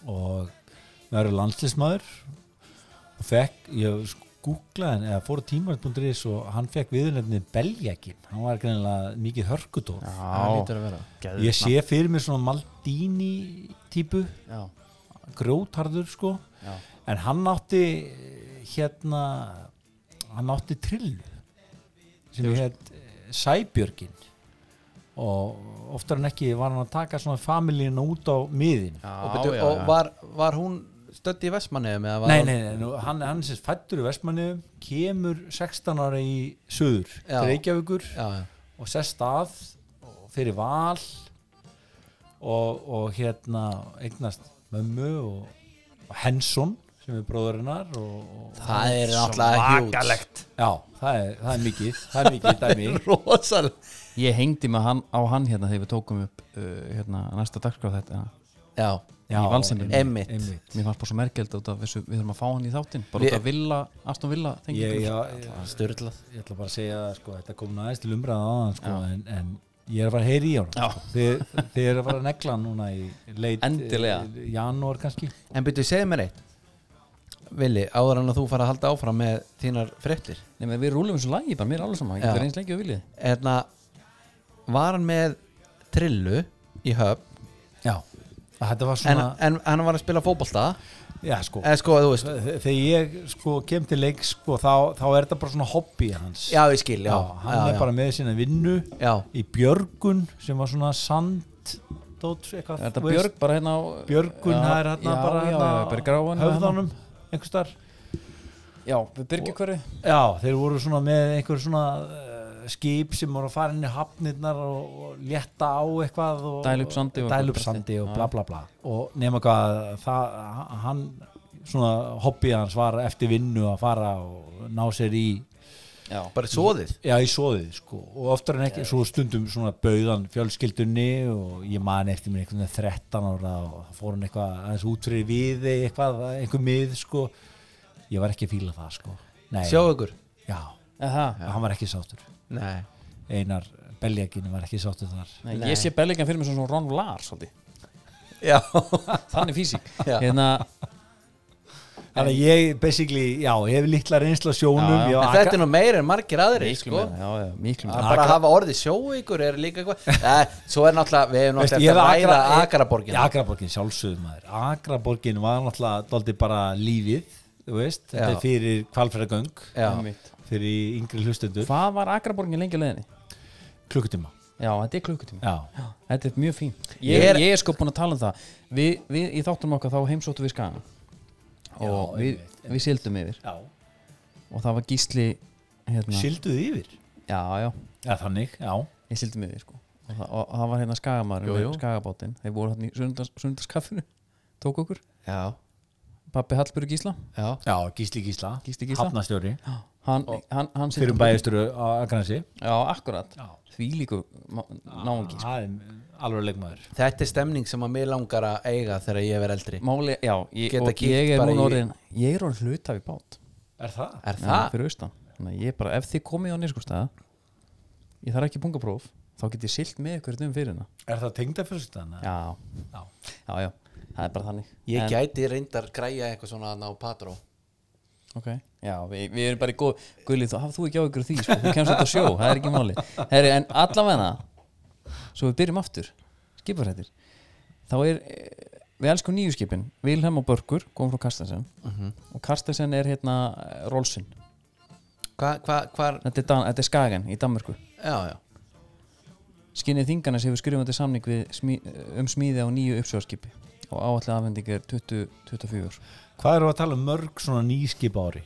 Speaker 3: og verður landslismadur og fekk ég googlaði hann eða fór tímar.is og hann fekk viðurlefni Beljakin, hann var greinilega mikið hörkutóð
Speaker 2: Það
Speaker 1: já
Speaker 2: lítur að vera
Speaker 3: ég sé fyrir mér svona Maldini típu
Speaker 1: Já,
Speaker 3: grjótharður sko
Speaker 1: Já.
Speaker 3: en hann átti eh, hérna hann átti trill sem
Speaker 1: Hefur-
Speaker 3: hétt eh, Sæbjörgin og oftar en ekki var hann að taka svona familíina út á miðin
Speaker 2: Og, betur, og var, var hún stödd í Vestmanniðum?
Speaker 3: nei, nei, nei, nú, hann, hann sést fættur í Vestmanniðum kemur 16 ára í söður,
Speaker 2: Já.
Speaker 3: til Reykjavíkur
Speaker 2: Já, já
Speaker 3: og sest að og fyrir val og, og hérna eignast mömmu og, og Henson sem er bróðurinnar og, og
Speaker 2: Það er náttúrulega hjút
Speaker 3: já, það er, það er mikið það er mikið dæmi
Speaker 2: Rósal
Speaker 1: Ég hengdi með hann á hann hérna þegar við tókum upp uh, hérna næsta dagskráð þetta
Speaker 2: Já,
Speaker 1: Í
Speaker 3: já,
Speaker 1: Valsendinum.
Speaker 2: Einmitt.
Speaker 1: Mér fannst bara svo merkjöld út af þessu við þurfum að fá hann í þáttinn bara
Speaker 2: Við-
Speaker 1: út af Villa, Aston Villa
Speaker 3: Ég,
Speaker 1: tengingu.
Speaker 3: já,
Speaker 2: það
Speaker 3: ég,
Speaker 2: er styrlað
Speaker 3: ég ætla bara að segja það, sko, þetta kom næst til umræða aðan sko, en, en ég er að fara að heyri í
Speaker 1: Já.
Speaker 3: honum þið, þið er að fara að negla hann núna í leit
Speaker 1: Endilega.
Speaker 3: eh, janúar kannski
Speaker 2: En byrju, segðu mér eitt Vili, áður en að þú fara að halda áfram með þínar fréttir
Speaker 1: Nei, menn við rúlum þessu lagi bara, mér er alveg saman ég
Speaker 2: Já.
Speaker 1: verið eins lengi og viljið
Speaker 2: Hérna, var hann með trillu í höfn
Speaker 3: já, þetta var
Speaker 2: en,
Speaker 3: svona
Speaker 2: en hann var að spila fótbolta
Speaker 3: já, sko,
Speaker 2: Eða sko, þú veist
Speaker 3: Þe- þegar ég sko kem til leik sko, þá, þá er þetta bara svona hobby hans
Speaker 2: Já, ég skil, já,
Speaker 3: Já, hann er
Speaker 2: já,
Speaker 3: bara með sína vinnu
Speaker 2: já.
Speaker 3: í Björgun sem var svona sand dót, eitthvað,
Speaker 1: Er þetta
Speaker 3: þú veist,
Speaker 1: Björg bara hérna á
Speaker 3: Björgun,
Speaker 1: Já,
Speaker 3: það er hérna
Speaker 1: já,
Speaker 3: bara
Speaker 1: já,
Speaker 3: hérna
Speaker 1: já, bara í gráan með
Speaker 3: höfðanum einhver starf
Speaker 1: Já, við byrgjum hverju
Speaker 3: já, þeir voru svona með einhver svona uh, skip sem voru að fara inn í hafnirnar og, og létta á eitthvað og,
Speaker 1: Dæla upp sandi og-
Speaker 3: dæla upp sandi og bla bla bla og nema hvað það, hann, svona hobby hans var eftir vinnu að fara og ná sér í
Speaker 1: Já.
Speaker 2: bara svoðið
Speaker 3: Já, í svoðið, sko, og oftar en ekki svo stundum svona bauðan fjölskyldunni og ég man eftir mér einhvern veginn 13 ára og það fór hann eitthvað aðeins út fyrir við eitthvað, einhver mið, sko ég var ekki að fíla það, sko Nei,
Speaker 2: sjá ykkur
Speaker 3: já,
Speaker 1: Aha,
Speaker 3: hann var ekki sátur
Speaker 2: Nei.
Speaker 3: Einar Beljakinn var ekki sátur þar
Speaker 1: Nei, ég sé Bellingham fyrir mig sem svona Ron Lars svolítið.
Speaker 2: já,
Speaker 1: þannig físík
Speaker 2: Já.
Speaker 1: hérna,
Speaker 3: Þannig að ég, basically, já, ég hef litla reynsla sjónum
Speaker 1: Já, já.
Speaker 3: ég
Speaker 2: en
Speaker 3: var
Speaker 2: þetta er nú meira en margir aðri
Speaker 1: miklu
Speaker 2: sko.
Speaker 1: meira, já, já, miklu
Speaker 2: að
Speaker 1: meira
Speaker 2: bara
Speaker 3: Akra-
Speaker 2: hafa orðið sjó ykkur er líka eitthvað Nei, svo er náttúrulega, við hefum
Speaker 3: Veist,
Speaker 2: náttúrulega
Speaker 3: ég
Speaker 2: eftir
Speaker 3: hef
Speaker 2: að ræða
Speaker 3: Akra-
Speaker 2: Akraborgin
Speaker 3: Akraborgin sjálfsögðum maður Akraborgin var náttúrulega daldið bara lífið þú veist,
Speaker 2: Já.
Speaker 3: þetta er fyrir kvalfæragang
Speaker 1: Ah,
Speaker 2: já,
Speaker 1: Einmitt.
Speaker 3: fyrir yngri hlustendur
Speaker 1: hvað var Akraborgin lengi á leiðinni?
Speaker 3: klukkutíma
Speaker 1: já, þetta er klukkutíma
Speaker 3: já.
Speaker 1: Já, þetta er mjög fín ég,
Speaker 2: Ég er-
Speaker 1: ég er sko búin að tala um það við, við, í þáttunum okkar þá heimsóttum við skagan og við, við sildum yfir
Speaker 3: Já.
Speaker 1: og það var gísli hérna,
Speaker 3: silduð yfir
Speaker 1: já, já,
Speaker 3: já, þannig, já,
Speaker 1: ég sildum yfir sko. og, það, og, og það var hérna
Speaker 2: Jú, jú.
Speaker 1: skagamæður skagabátinn, þeir voru hérna í sunnudags, sunnudagskaffinu tók okkur,
Speaker 2: já,
Speaker 1: pappi Hallbjörg Gísla
Speaker 2: já.
Speaker 3: já, Gísli Gísla
Speaker 1: Gísli Gísla.
Speaker 3: hafnastjóri,
Speaker 1: hann, hann, hann sigldi
Speaker 3: fyrir
Speaker 1: okkur.
Speaker 3: bæjastjóru á Akranesi
Speaker 1: já, akkurat,
Speaker 3: Já.
Speaker 1: því líku náungi, sko.
Speaker 3: það er alveg leikmaður
Speaker 2: þetta er stemning sem að mér langar að eiga þegar ég verð eldri
Speaker 1: máli, já, ég,
Speaker 2: Geta
Speaker 1: og
Speaker 2: gift
Speaker 1: ég er
Speaker 2: bara
Speaker 1: núna
Speaker 2: í-
Speaker 1: orðin ég er orðin hlutaf í bát
Speaker 3: er það?
Speaker 2: er
Speaker 1: Já,
Speaker 2: það?
Speaker 1: fyrir austan Þannig að ég bara, ef þið komið á nýrskústaða ég þarf ekki pungapróf þá get ég silt með ykkur um fyrir hérna
Speaker 3: er það tengda fyrstana?
Speaker 1: já.
Speaker 3: Já.
Speaker 1: já, já, það er bara þannig
Speaker 2: ég
Speaker 1: En-
Speaker 2: gæti reyndar græja eitthvað svona þarna á patró
Speaker 1: ok, já, við, við erum bara í góð Gulli, þú hafðu þú ekki á ykkur því, sko, þú kemst þetta sjó það er ekki máli, Heri, en allavega svo við byrjum aftur skiparhættir, þá er eh, við elskum nýju skipin, Vilhelm og Börkur kom frá Mhm. Karstensen og Karstensen er hérna eh, Rolsinn
Speaker 2: hvað, hvað, hvað,
Speaker 1: þetta er, Dan, þetta er Skagen í Danmörku
Speaker 2: já, já
Speaker 1: Skinnið Þingarnes hefur skrifandi samning við smí, um smíði á nýju uppsjóðarskipi og áallega afhending er 2024
Speaker 3: hvað eru að tala um mörg svona nýskip á ári?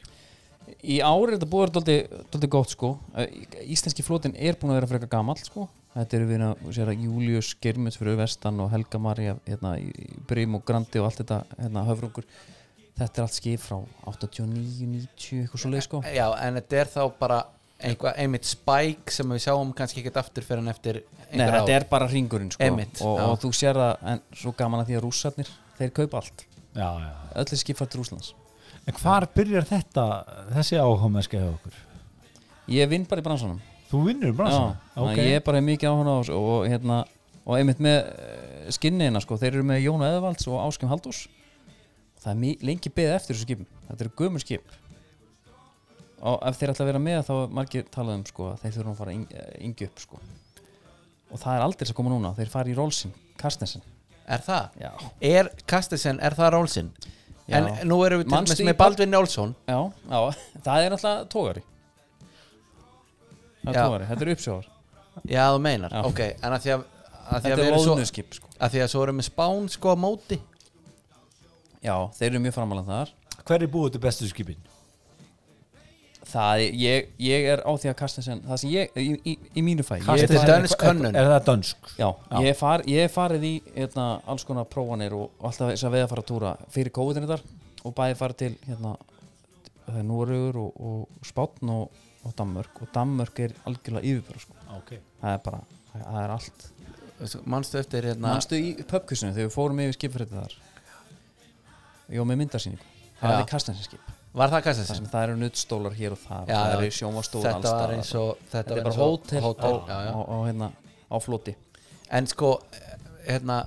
Speaker 1: Í árið þetta búið doldið gott sko Í- Íslenski flotin er búin að vera frekar gamall sko Þetta eru við að sér að Július Germut fyrir vestan og Helga Maria hérna, í- í Brim og Grandi og allt þetta hérna, höfrungur Þetta er allt skip frá 89, 90 eitthvað svo leið sko
Speaker 2: já, en þetta er þá bara einhvað, einmitt spæk sem við sjáum kannski ekkert aftur fyrir en eftir
Speaker 1: Nei,
Speaker 2: einhver
Speaker 1: þetta
Speaker 2: ár.
Speaker 1: er bara ringurinn sko
Speaker 2: Einmitt,
Speaker 1: og,
Speaker 2: já.
Speaker 1: og þú sér það, en svo gaman að því að rússarnir þeir kaupa allt,
Speaker 3: já, já
Speaker 1: öllu skipar til Rúslands
Speaker 3: en hvar byrjar þetta, þessi áhómeskja hjá okkur?
Speaker 1: Ég vinn bara í bransanum
Speaker 3: þú vinnur um bara
Speaker 1: Já, þannig að ég er bara mikið áhuga á þessu og, hérna, og einmitt með skinniðina sko, þeir eru með Jónu Eðvalds og Áskjum Haldús það er mi- lengi beðið eftir þessu skipum þetta eru gömur skip og ef þeir ætla að vera með þá er margir talað um sko, að þeir þurfum að fara yng- eh, yngju upp sko. og það er aldrei að koma núna þeir fara í Rolsin, Karstensen
Speaker 2: er það?
Speaker 1: Já,
Speaker 2: er Kastisen, er það Rólsinn?
Speaker 1: Já.
Speaker 2: en nú erum við til
Speaker 1: Manstu
Speaker 2: dæmis
Speaker 1: í
Speaker 2: með
Speaker 1: Bal-
Speaker 2: Baldvin Njálsson
Speaker 1: já, já það er alltaf tógari það er
Speaker 2: Já.
Speaker 1: tógari, þetta er uppsjóðar
Speaker 2: já, þú meinar,
Speaker 1: Já.
Speaker 2: ok, en að því að að því
Speaker 1: þetta
Speaker 2: að, við
Speaker 1: er
Speaker 2: erum svo,
Speaker 1: loðnuskip sko.
Speaker 2: að því að svo erum við spán sko á móti
Speaker 1: já, þeir eru mjög framalega þar
Speaker 3: hver er búið til bestu skipin?
Speaker 1: Það, er- ég, ég er á því að Karstensen það sem ég, í, í, í mínu fæ
Speaker 2: Þetta
Speaker 1: ég,
Speaker 2: er dönsk hönnun.
Speaker 3: er, er það dönsk?
Speaker 1: Já, ég, far, ég er farið í hérna, alls konar prófanir og og alltaf þess að veða fara túra fyrir COVID-19 þar og bæði farið til hérna, það er Noregur og, og Spátn og, og Danmörk og Danmörk er algjörlega yfirbara sko.
Speaker 3: Okay.
Speaker 1: það er bara, það það er allt
Speaker 2: manstu eftir hérna
Speaker 1: Manstu í pubkissinu þegar við fórum yfir skipfrétti þar Jó, með myndarsýningu Það
Speaker 2: Já.
Speaker 1: er Karstensen skip
Speaker 2: var það
Speaker 1: Það
Speaker 2: Kastisen?
Speaker 1: sem það eru nuttstólar hér og þar
Speaker 2: Já,
Speaker 1: og það
Speaker 2: já.
Speaker 1: eru sjónvastólar
Speaker 2: þetta var eins og þetta,
Speaker 1: þetta
Speaker 2: var
Speaker 1: er bara
Speaker 2: eins og
Speaker 1: hótel,
Speaker 2: hótel,
Speaker 1: á,
Speaker 2: já, já.
Speaker 1: Á, á, hérna, á floti
Speaker 2: en sko hérna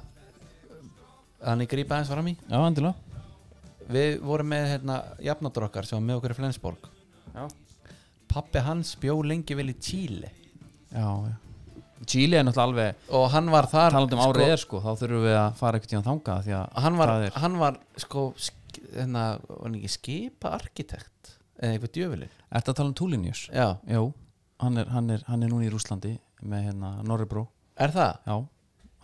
Speaker 2: þannig grípa aðeins fram í
Speaker 1: já, endilega
Speaker 2: við vorum með hérna jafnadur okkar sem var með okkur í Flensborg
Speaker 1: já.
Speaker 2: pappi hans bjó lengi vel í Tíli
Speaker 1: Já, Chile er náttúrulega alveg
Speaker 2: og hann var þar
Speaker 1: talandi um árið er sko, þá þurfum við að fara ekkert í hann þangað því að
Speaker 2: hann var,
Speaker 1: það er,
Speaker 2: hann var sko sk- hérna, var hann ekki skipa arkitekt eða eitthvað djöfili
Speaker 1: ertu að tala um Tulinius?
Speaker 2: já,
Speaker 1: Jú, hann er, hann, er, hann er núna í Rúslandi með hérna Norribró
Speaker 2: er það?
Speaker 1: já,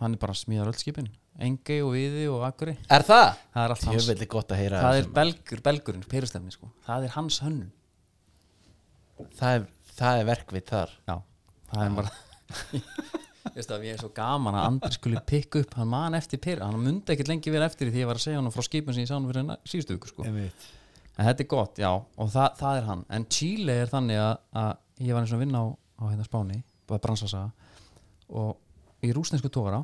Speaker 1: hann er bara að smíða öll skipin Engei og Viði og Akuri
Speaker 2: er það?
Speaker 1: það er allt hans,
Speaker 2: djöfili gott að heyra
Speaker 1: það er
Speaker 2: þessum-
Speaker 1: belgur, belgurinn perustefni sko, það er hans hönnun
Speaker 2: það er, það er verkvið þar
Speaker 1: já, það er bara Veist það, ég er svo gaman að Andri skuli pikka upp hann man eftir pyrra, hann mundi ekkit lengi vera eftir því því ég var að segja hann frá skipum sem ég sá hann fyrir na- síðustu viku sko.
Speaker 3: einmitt
Speaker 1: en þetta er gott, já, og það, það er hann en Chile er þannig að, að ég var eins og að vinna á, á hérna Spáni bara bransasaga og í rúsnesku tóra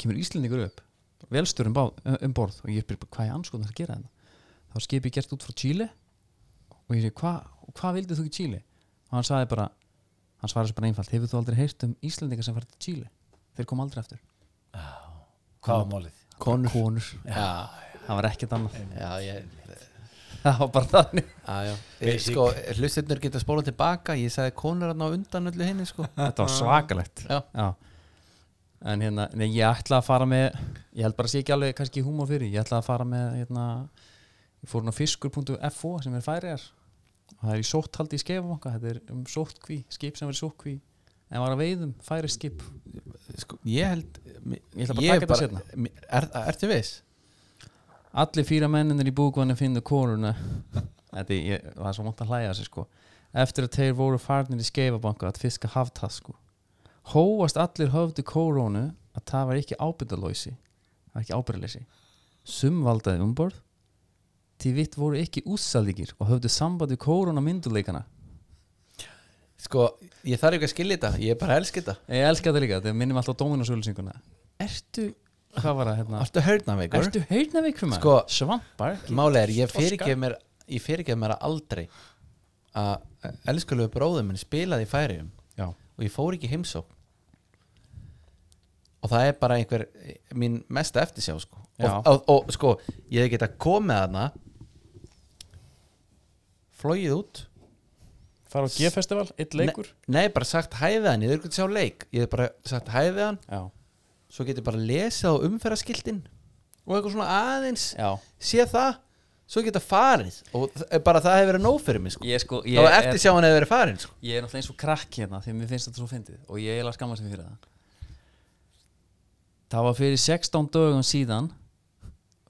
Speaker 1: kemur Íslendingur upp velstur um, bá, um borð og ég spyr bara, hvað er anskoðan að gera þetta þá var skipið gert út frá Chile og ég segi, "Hva- hvað vildið þú í Chile og hann sagði bara hann svarði svo bara einfalt, hefur þú aldrei heyrt um Íslendingar sem farið til Chile, þeir kom aldrei eftir
Speaker 3: hvað var málið?
Speaker 1: konur, konur.
Speaker 2: já,
Speaker 1: það var ekkert annað
Speaker 2: já, ég,
Speaker 1: það var bara þannig
Speaker 2: já, já. Ég, sko, hlustinnur geta spólað tilbaka ég sagði konur hann á undan öllu henni sko.
Speaker 1: þetta var svakalegt
Speaker 2: Já.
Speaker 1: en hérna, nei, ég ætla að fara með ég held bara að sé ekki alveg kannski húma fyrir ég ætla að fara með hérna, ég fór nú fiskur.fo sem er færiðar og það er í sótthaldi í skeifabanka þetta er um sóttkví, skip sem verið sóttkví en var að veiðum, færið skip
Speaker 2: Sko, ég held
Speaker 1: Ég ætla bara að taka þetta seinna.
Speaker 2: mér- er, ertu viss?
Speaker 1: Allir fýra menninir í búkvanni finnur konuna Þetta er- ég, það er svo mónt að hlæja þessi sko Eftir að þeir voru farnir í skeifabanka að fiska haftasku Hóast allir höfðu kórónu að það var ekki ábyrðalósi það var ekki ábyrðaleysi Sum valdaði umborð Því vitt voru ekki úsaldíkir og höfðu sambandi kóróna mynduleikana
Speaker 2: Sko, ég þarf ekki að skilja þetta, ég bara elska þetta
Speaker 1: Ég elska þetta líka, þegar minnum alltaf á Dominus-ölsinguna Ertu, hvað var það hérna?
Speaker 2: Ertu hörnaveikur?
Speaker 1: Ertu heyrnaveikur maður?
Speaker 2: Sko-
Speaker 1: Svampar ekki?
Speaker 2: Máli er, ég fyrirgef mér ég fyrirgef mér aldrei að eh, elskulegu bróðum minn spilaði í færiðum
Speaker 1: Já,
Speaker 2: og ég fór ekki í heimsókn og það er bara einhver eh, mín mesta eftirsjá sko. og,
Speaker 1: Já.
Speaker 2: og, og sko, ég hef geta komið þarna flóið út
Speaker 1: fara á G-festival, eitt leikur
Speaker 2: nei, nei, bara sagt hæfið hann, ég hef ekki sjá leik ég hef bara sagt hæfið hann
Speaker 1: Já,
Speaker 2: svo get ég bara lesið á umferðaskiltin og eitthvað svona aðeins
Speaker 1: já
Speaker 2: sé það, svo geta farið og þ- eh, bara það hefur verið nóg fyrir mig sko.
Speaker 1: Ég, sko, ég,
Speaker 2: þá var
Speaker 1: er,
Speaker 2: eftir sjá hann hefur verið farin sko.
Speaker 1: ég er náttúrulega eins og krakk hérna því að mér finnst þetta svo fyndið og ég er eiginlega skammast mér fyrir það Það var fyrir 16 dögum síðan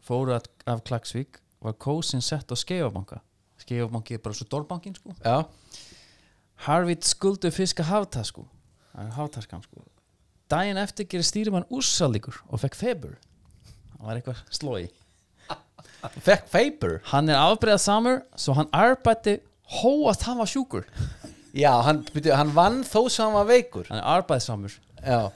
Speaker 1: fóru að, af Klagsvík var kósin sett á Skeifabanka Skeifabanki er bara svo dórbankin sko
Speaker 2: já,
Speaker 1: Harvit skuldu fiska haftasku Það er haftaskan sko Dæin eftir gerir stýrimann úrsalíkur og fekk febur Það var eitthvað slói
Speaker 2: fekk Faber
Speaker 1: Hann er afbreiðað samur svo hann arbætti hóast hann var sjúkur
Speaker 2: já, hann, byrju, hann vann þó sem hann var veikur
Speaker 1: Hann er arbæðið samur
Speaker 2: já,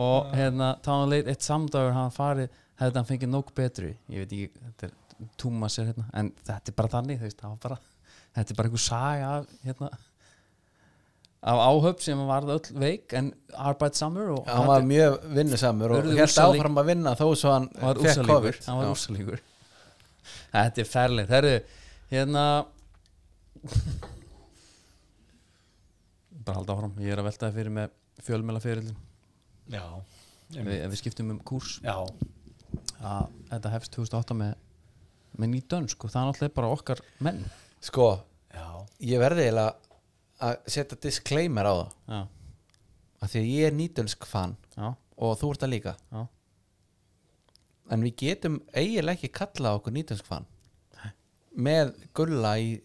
Speaker 1: og hérna þá hann leit eitt samdagur hann farið hefði hann fengið nóg betri ég veit ekki, þetta er túma sér hérna en þetta er bara þannig, þú veist, það var bara þetta er bara einhver saga af hérna af áhöf sem varð öll veik en arbeidsamur og
Speaker 2: hann var mjög vinnusamur og
Speaker 1: Urðu
Speaker 2: held
Speaker 1: úrslalik-
Speaker 2: áfram að vinna þó sem hann
Speaker 1: hann var
Speaker 2: fekk
Speaker 1: úrsalíkur
Speaker 2: COVID
Speaker 1: hann var
Speaker 2: Já.
Speaker 1: úrsalíkur þetta er ferlið, herru hérna bara halda áfram, ég er að velta það fyrir með fjölmjöla fyrirlin,
Speaker 3: já,
Speaker 1: við, ef við skiptum um kúrs
Speaker 3: já,
Speaker 1: að þetta hefst 2008 með, með nýt dönsk og það er náttúrulega bara okkar menn
Speaker 2: sko,
Speaker 3: já.
Speaker 2: ég verði eiginlega að setja disclaimer á það
Speaker 1: já,
Speaker 2: af því að ég er nýtölsk fan
Speaker 1: já,
Speaker 2: og þú ert það líka
Speaker 1: já,
Speaker 2: en við getum eiginlega ekki kallað okkur nýtölsk fan með gulla í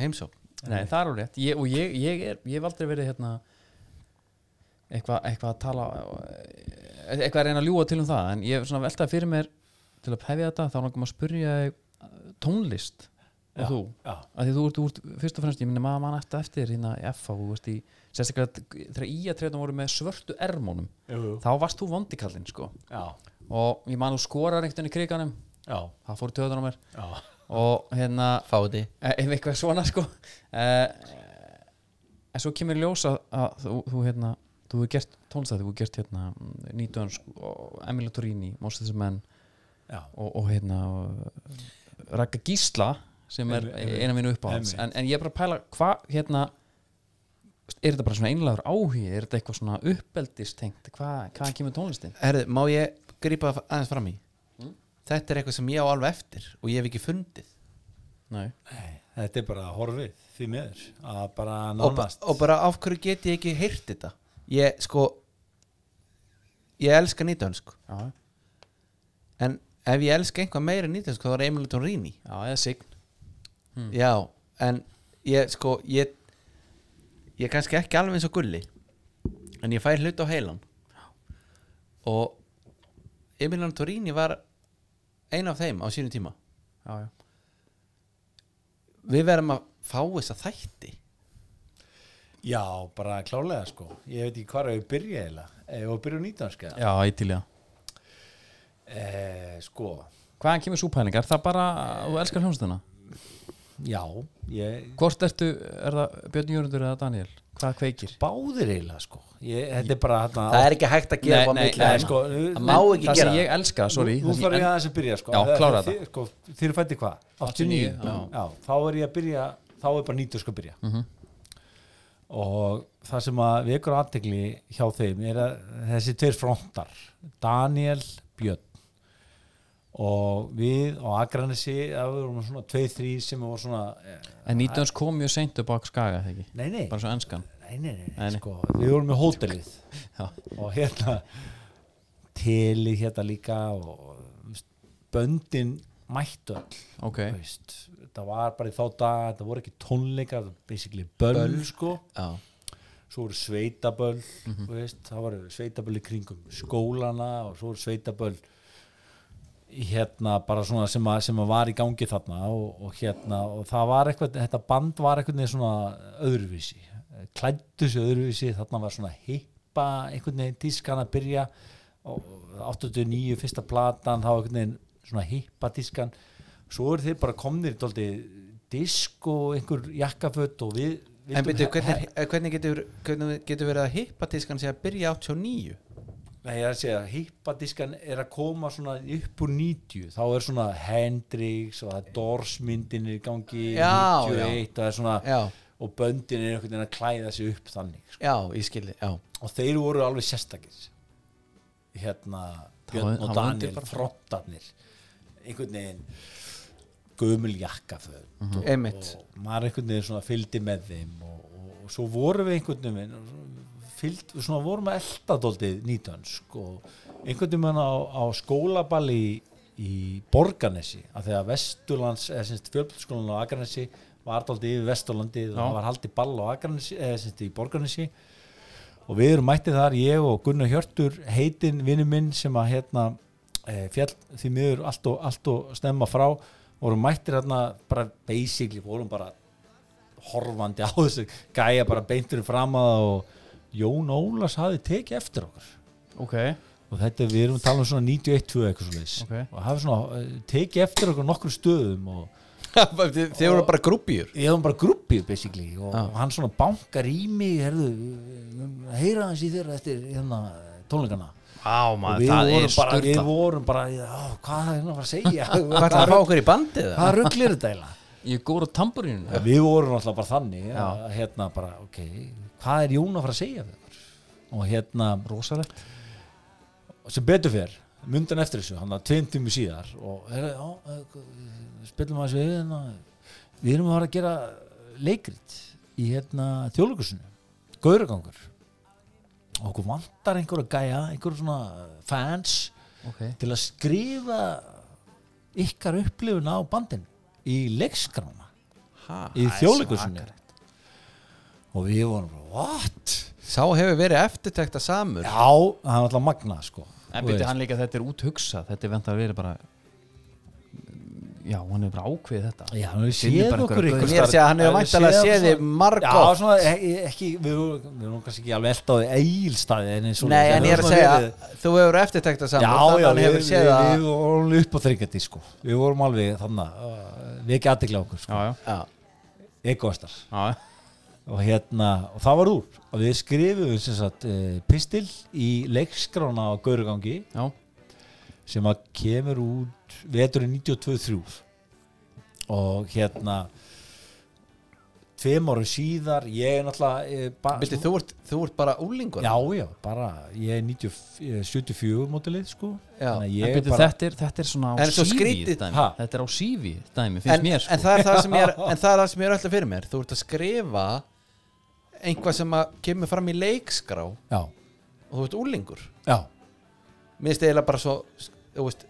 Speaker 2: heimsókn
Speaker 1: nei það er úr rétt ég, og ég, ég, er, ég hef aldrei verið hérna eitthvað eitthva að tala eh, eitthvað að reyna að ljúga til um það en ég er svona veltað fyrir mér til að hefja þetta þá langum að spyrja þig, eh, tónlist og
Speaker 3: Já.
Speaker 1: þú
Speaker 3: já.
Speaker 1: að því þú ert, þú ert fyrst og fremst, ég minna maður mann eftir eftir hérna í FA, þú veist í sérstaklega þegar ía trefnum voru með svörtu ermónum
Speaker 3: Jú, jú.
Speaker 1: þá varst þú vondikallinn sko
Speaker 3: já,
Speaker 1: og ég man þú skorar einhvern í kriganum
Speaker 3: já,
Speaker 1: það fór töðan á mér
Speaker 3: já
Speaker 1: og hérna,
Speaker 2: fáti
Speaker 1: e- ef eitthvað svona sko eh, en svo kemur í ljós að, að þú, þú hérna þú hefur gert tónstæði, þú hefur gert hérna nýtönsk og Emilio Torini Most of the Men
Speaker 3: já,
Speaker 1: og, og hérna og Ragga Gísla sem er
Speaker 3: Einmitt, einmitt.
Speaker 1: eina mínu uppáhalds en,
Speaker 3: Einmitt.
Speaker 1: en ég er bara að pæla hvað hérna er þetta bara svona einlægur áhugi er þetta eitthvað svona uppeldistengt hvað, hvað kemur tónlistin?
Speaker 2: Herðu, má ég grípa aðeins fram í þetta er eitthvað sem ég á alveg eftir og ég hef ekki fundið
Speaker 1: Nei.
Speaker 3: Nei, þetta er bara horfið því miður að bara
Speaker 2: og, ba-
Speaker 3: nánast
Speaker 2: og bara af hverju get ég ekki heyrt þetta ég sko ég elska nýtönsk
Speaker 1: Já,
Speaker 2: en ef ég elska einhvað meira en nýtönsk þá er Emil Tónrini
Speaker 1: já, eða sign
Speaker 2: já, en ég sko ég, ég er kannski ekki alveg eins og gulli en ég fæ hlut á heilan og Emilian Torini var ein af þeim á sínum tíma
Speaker 1: já, já.
Speaker 2: við verðum að fá þessa þætti
Speaker 3: Já, bara klálega sko Ég veit ekki hvað er að byrja eða Ef að byrja á nýtanska
Speaker 1: já ítilega
Speaker 3: eh, Sko,
Speaker 1: Hvaðan kemur súpælingar? Það bara, þú elskar hljómsdana
Speaker 3: já ég,
Speaker 1: Hvort ertu, er það Björn Jörundur eða Daniel? Hvað kveikir?
Speaker 3: Báðir eiginlega sko ég, Þetta er bara hérna
Speaker 2: það er ekki hægt að gera
Speaker 1: Nei,
Speaker 2: upp á
Speaker 1: nei,
Speaker 2: milli
Speaker 1: nei,
Speaker 2: þeirra.
Speaker 3: sko,
Speaker 2: það má
Speaker 1: En
Speaker 2: ekki
Speaker 1: það
Speaker 2: gera
Speaker 1: sem ég elska, sorry
Speaker 3: Nú, nú
Speaker 1: það sem
Speaker 3: þarf ég
Speaker 1: en-
Speaker 3: aðeins að byrja sko
Speaker 1: Já,
Speaker 3: Það-
Speaker 1: klára
Speaker 3: þið- sko, Þið eru fætti hvað? 89 já. þá er ég að byrja Þá er bara nýtur sko að byrja
Speaker 1: Mhm.
Speaker 3: Og það sem að vekur aðtegli hjá þeim er að þessi tveir frontar Daniel Björn og við á Akranesi að við vorum svona tveir þrý sem voru svona eh,
Speaker 1: En 19 kom mjög seint upp á skaga, þegar ekki?
Speaker 3: nei nei,
Speaker 1: Bara svo enskan
Speaker 3: nei, nei, nei,
Speaker 1: Nei,
Speaker 3: nei,
Speaker 1: nei.
Speaker 3: Sko, við vorum með hótelið
Speaker 1: Já,
Speaker 3: og hérna teli hérna líka og þú veist, böndin mættu öll
Speaker 1: ok
Speaker 3: þú veist, það var bara í þá dag það voru ekki tónleikar, það var basically böll, sko,
Speaker 2: já,
Speaker 3: svo voru sveitaböll þú veist, það voru sveitaböll í kringum skólana og svo voru sveitaböll í hérna bara svona sem að, sem að var í gangi þarna og, og hérna og það var eitthvað, þetta band var eitthvað neginn svona öðruvísi klættu sig öðruvísi, þarna var svona hippa einhvern veginn tískan að byrja og 89 fyrsta platan þá einhvern veginn svona hippa tískan svo eru þeir bara komnir dóldi disk og einhver jakkaföt og við
Speaker 2: en
Speaker 3: vildum
Speaker 2: byrju,
Speaker 3: he-
Speaker 2: hvernig, eh, hvernig, getur, hvernig getur verið að hippa tískan sé að byrja 89
Speaker 3: Nei, ég er að segja, hippadískan er að koma svona upp úr 90 þá er svona Hendrix og það er Dorsmyndin er í gangi
Speaker 2: Já,
Speaker 3: 91 og það er svona
Speaker 2: já,
Speaker 3: og böndin er einhvern veginn að klæða sig upp þannig sko.
Speaker 2: já, ég skilji, já
Speaker 3: og þeir voru alveg sérstakir hérna
Speaker 1: var-
Speaker 3: Björn og
Speaker 1: það var undir
Speaker 3: Daniel, frottarnir einhvern veginn gömul jakkaföð
Speaker 1: Mhm.
Speaker 2: Oh. Einmitt.
Speaker 3: og maður einhvern veginn svona fylgdi með þeim og, og, og svo vorum við einhvern veginn og svona fylgd, við svona vorum að elta dóldið nýtönsk og einhvern veginn á, á skólaballi í, í Borganesi að þegar Vesturlands, eða semst fjölbjörnsskólan á Akranesi var dóldið yfir Vesturlandi og það var haldið ball á Akranesi eða semst í Borganesi og við erum mættið þar ég og Gunnar Hjörtur heitinn vinnu minn sem að hérna eh, fjall því miður allt og, allt og stemma frá vorum mættir hérna bara basically vorum bara horfandi á þessu gæja bara beinturinn fram að það og Jón Ólas hafi tekið eftir okkur
Speaker 1: Ok,
Speaker 3: og þetta við erum að tala um svona 91-2 eitthvað svona
Speaker 1: Ok.
Speaker 3: og hafi svona eh, tekið eftir okkur nokkrum stöðum og
Speaker 2: Þið þið voru bara grúpjur
Speaker 3: ég hefum bara grúppið basically og
Speaker 2: Já.
Speaker 3: hann svona bankar í mig herðu, heyra hans í þeirra eftir hérna, tónleikana
Speaker 2: Á
Speaker 3: og við vorum bara, við vorum bara á, hvað er hann að fara að segja
Speaker 2: Hvað ætlaði að fá okkur í bandið? eða?
Speaker 3: hvað rugglir þetta eiginlega
Speaker 1: ég er góður á tamburinu
Speaker 3: við vorum alltaf bara þannig að, hérna bara, ok, hvað er Jón að fara að segja við okkur? og hérna rosalegt sem betur fyrr, mundan eftir þessu hann að tveim tími síðar og heyrðu, já, eh, spilum aðeins við hérna, við erum að fara að gera leikrit í hérna þjóðlugursinu gaurugangur og okkur vantar einhverja gæja einhverja svona fans
Speaker 1: Ok,
Speaker 3: til að skrifa ykkar upplifuna á bandin í leikskrána
Speaker 2: Ha,
Speaker 3: í
Speaker 2: það er
Speaker 3: þjóðleikursunni
Speaker 2: svakalegt.
Speaker 3: og við vorum bara, what?
Speaker 2: Sá hefur verið eftirtekta samur
Speaker 3: Já, það var alltaf magna sko
Speaker 1: en
Speaker 3: Þú
Speaker 1: byrju
Speaker 3: veist.
Speaker 1: hann líka þetta er úthugsa Þetta er vendt að vera bara Já, hann er bara ákveð þetta
Speaker 3: Já, hann hefur
Speaker 1: Finnur
Speaker 3: séð
Speaker 1: bara
Speaker 3: okkur
Speaker 1: einhverja
Speaker 3: einhvers
Speaker 2: Mér sé að hann hefur
Speaker 3: staðar.
Speaker 2: væntanlega séð þig
Speaker 3: svona-
Speaker 2: marg
Speaker 3: Já, svona, e- ekki, við vorum við vorum kannski ekki alveg eld á því eigilstaði en eins og
Speaker 2: Nei, en ég er að segja Þú hefur eftirtekta
Speaker 3: Já,
Speaker 2: samur
Speaker 3: já,
Speaker 2: hann
Speaker 3: við,
Speaker 2: hefur
Speaker 3: við,
Speaker 2: séð
Speaker 3: við
Speaker 2: að
Speaker 3: vorum alveg upp á þryggjandi sko Við vorum alveg þannig Við ekki aðdegla okkur sko
Speaker 1: Já, já,
Speaker 2: Já,
Speaker 3: Egoistar
Speaker 1: já,
Speaker 3: og hérna, og það var úr og við skrifum sem sagt eh, pistil í leikskrána á Gaurugangi
Speaker 1: já,
Speaker 3: sem að kemur út veturinn 92-3 og hérna tveim árum síðar ég er náttúrulega eh, ba-
Speaker 2: Byrju, þú ert, þú ert bara úlingur
Speaker 3: já, já, bara ég er 90 eh, 74 mótilið sko
Speaker 2: Já.
Speaker 3: Þannig að
Speaker 1: En
Speaker 3: ég
Speaker 1: byrju,
Speaker 3: bara,
Speaker 1: þetta, er, þetta er svona á
Speaker 2: En svo
Speaker 1: CV
Speaker 2: skrítið-
Speaker 1: dæmi
Speaker 3: Ha?
Speaker 1: Þetta er á sífi dæmi, finnst
Speaker 2: en,
Speaker 1: mér sko.
Speaker 2: en það er það sem ég er En það er það sem ég er alltaf fyrir mér Þú ert að skrifa einhvað sem að kemur fram í leikskrá og
Speaker 3: já,
Speaker 2: þú ert úlingur
Speaker 3: já,
Speaker 2: Mér finnst eiginlega bara svo þú veist,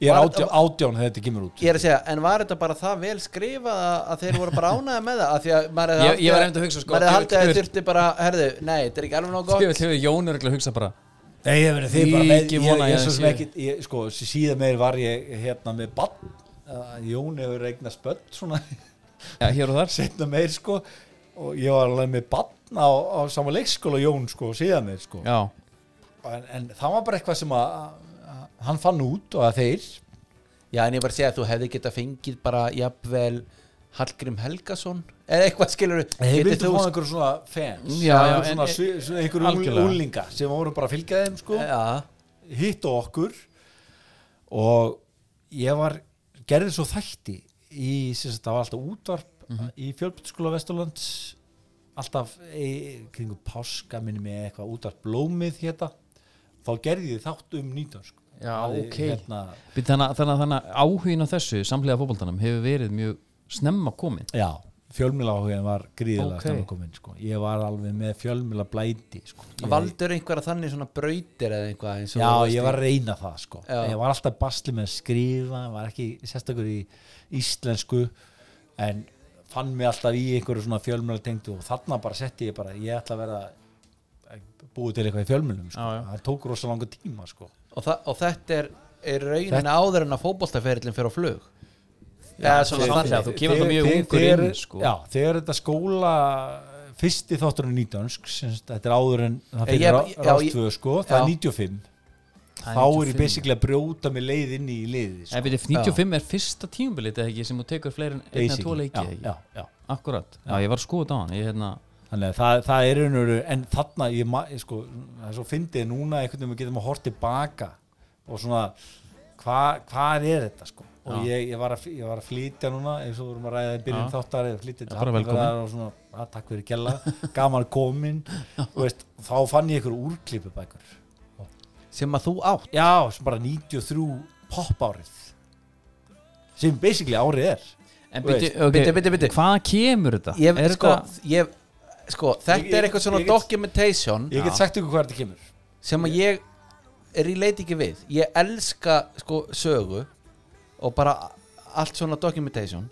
Speaker 3: Ég er
Speaker 2: Var-
Speaker 3: átján, átján þegar þetta kemur út
Speaker 2: Ég er að segja, en var þetta bara það vel skrifað að, að þeir voru bara ánaði með það að því að maður hefði
Speaker 1: Ég-
Speaker 2: haldið
Speaker 1: ég var einmitt að hugsa, sko,
Speaker 2: maður hefði
Speaker 1: djöfull,
Speaker 2: haldið að þeir
Speaker 1: djöfull.
Speaker 2: þurfti bara, herðu, nei, þetta er ekki alveg nóg
Speaker 1: Ég
Speaker 2: gott
Speaker 1: veit hefur Jón örgulega hugsað bara
Speaker 3: Nei, ég verið þið
Speaker 1: Ég
Speaker 3: bara með,
Speaker 1: ekki
Speaker 3: ég,
Speaker 1: vona
Speaker 3: ég,
Speaker 1: að
Speaker 3: svo
Speaker 1: ég
Speaker 3: sem
Speaker 1: sé.
Speaker 3: ekki, ég, sko, síðan meir var ég hérna með bann, uh, Jón hefur eignast börn svona,
Speaker 1: Já, hér og þar
Speaker 3: setna meir sko, og ég var alveg með bann á, á sama leikskóla Jón sko, síðan meir sko,
Speaker 1: Já,
Speaker 3: en, en það var bara eitthvað sem að, að hann fann út og að þeir,
Speaker 2: Já, en ég bara að segja að þú hefði geta fengið bara jafnvel Hallgrim Helgason eða eitthvað skilur
Speaker 3: þeir vildu fá einhverjum svona fans,
Speaker 1: Já, já,
Speaker 3: einhverjum svona,
Speaker 1: en-
Speaker 3: svi- svona einhverjum
Speaker 1: Algjörlega.
Speaker 3: úlinga sem voru bara að fylgja þeim sko,
Speaker 2: Já,
Speaker 3: hitt og okkur og ég var gerði svo þætti í, sem sagt, það var alltaf útvarp
Speaker 1: Mhm.
Speaker 3: í fjölbyrðskóla Vesturlands alltaf í, kringu páska minni með eitthvað útvarp blómið hérna, þá gerði ég þátt um nýtönsk
Speaker 1: já
Speaker 3: Hafði,
Speaker 1: ok
Speaker 3: hérna,
Speaker 1: Býtu, þannig, að- þannig, að- þannig að áhugin á þessu samlega fótboltanum hefur verið mjög snemma komin
Speaker 3: já, fjölmiðláhugin var gríðilega
Speaker 1: Ok.
Speaker 3: okay. komin, sko. ég var alveg með fjölmiðla blæti sko. ég,
Speaker 2: valdur einhverja þannig svona brautir eða eitthvað eins og
Speaker 3: Já,
Speaker 2: þú veist
Speaker 3: ég
Speaker 2: í-
Speaker 3: var að reyna það sko
Speaker 2: Já.
Speaker 3: Ég var alltaf basli með að skrifa Var ekki sérstakur í íslensku En fann mig alltaf í einhverju svona fjölmjölu tengdu Og þarna bara setti ég bara Ég ætla að vera búið til eitthvað í fjölmjölum sko.
Speaker 1: Já, já.
Speaker 3: Það tók rosa langa tíma sko
Speaker 2: og, þa og þetta er, er raunin áður en að fótboltaferillin fyrir á flug Já, svona
Speaker 1: þeir-
Speaker 2: þannig
Speaker 1: þeir- þú kemur þá mjög
Speaker 3: Þegar-
Speaker 1: ungur
Speaker 3: þegar-
Speaker 1: inn, sko.
Speaker 3: Já, þegar þetta skóla Fyrsti þátturinn nýtönsk Þetta er áður en það
Speaker 2: Ég-
Speaker 3: fyrir
Speaker 2: ég- já, ég-
Speaker 3: rástvöð sko Það
Speaker 2: já.
Speaker 3: er 95 Þá er ég basically að brjóta mig leið inn í liðið
Speaker 1: En
Speaker 3: sko.
Speaker 1: byrju, 95 er fyrsta tímubilið eða ekki sem þú tekur fleiri en einn eða tvo
Speaker 3: Basically,
Speaker 1: leiki eða
Speaker 3: já,
Speaker 1: ekki?
Speaker 3: já, já
Speaker 1: Akkurat, já ég var skoðið á hann Ég hérna,
Speaker 3: Þannig að það, það er einhverju, en þarna, ég, ma- ég sko, það er svo fyndið núna einhvern veginn við getum að horta tilbaka og svona, hva, hvað er þetta sko? Og ég, ég, var að, fl- ég var að flytja núna, eins og vorum að ræða í byrjun
Speaker 1: Já.
Speaker 3: þáttar eða flytja til
Speaker 1: Já, bara velkomin.
Speaker 3: Hafnarfjarðar og svona, að takk fyrir gæla, gaman komin, og veist, þá fann ég einhverju úrklipubækur.
Speaker 2: sem að þú átt
Speaker 3: Já, sem bara 93 pop árið, sem basically árið er.
Speaker 1: En
Speaker 3: Þú
Speaker 1: byrju,
Speaker 3: veist,
Speaker 1: ok,
Speaker 2: byrju, byrju, byrju.
Speaker 1: Hvaðan kemur þetta?
Speaker 2: ég,
Speaker 1: Er
Speaker 2: sko,
Speaker 1: þetta-
Speaker 2: ég, sko, þetta
Speaker 3: Ég- ég-
Speaker 2: er eitthvað svona
Speaker 3: ég get-
Speaker 2: documentation
Speaker 3: Ég get sagt ykkur hvað þetta kemur.
Speaker 2: sem að ég er í leiti ekki við ég elska sko sögu og bara allt svona documentation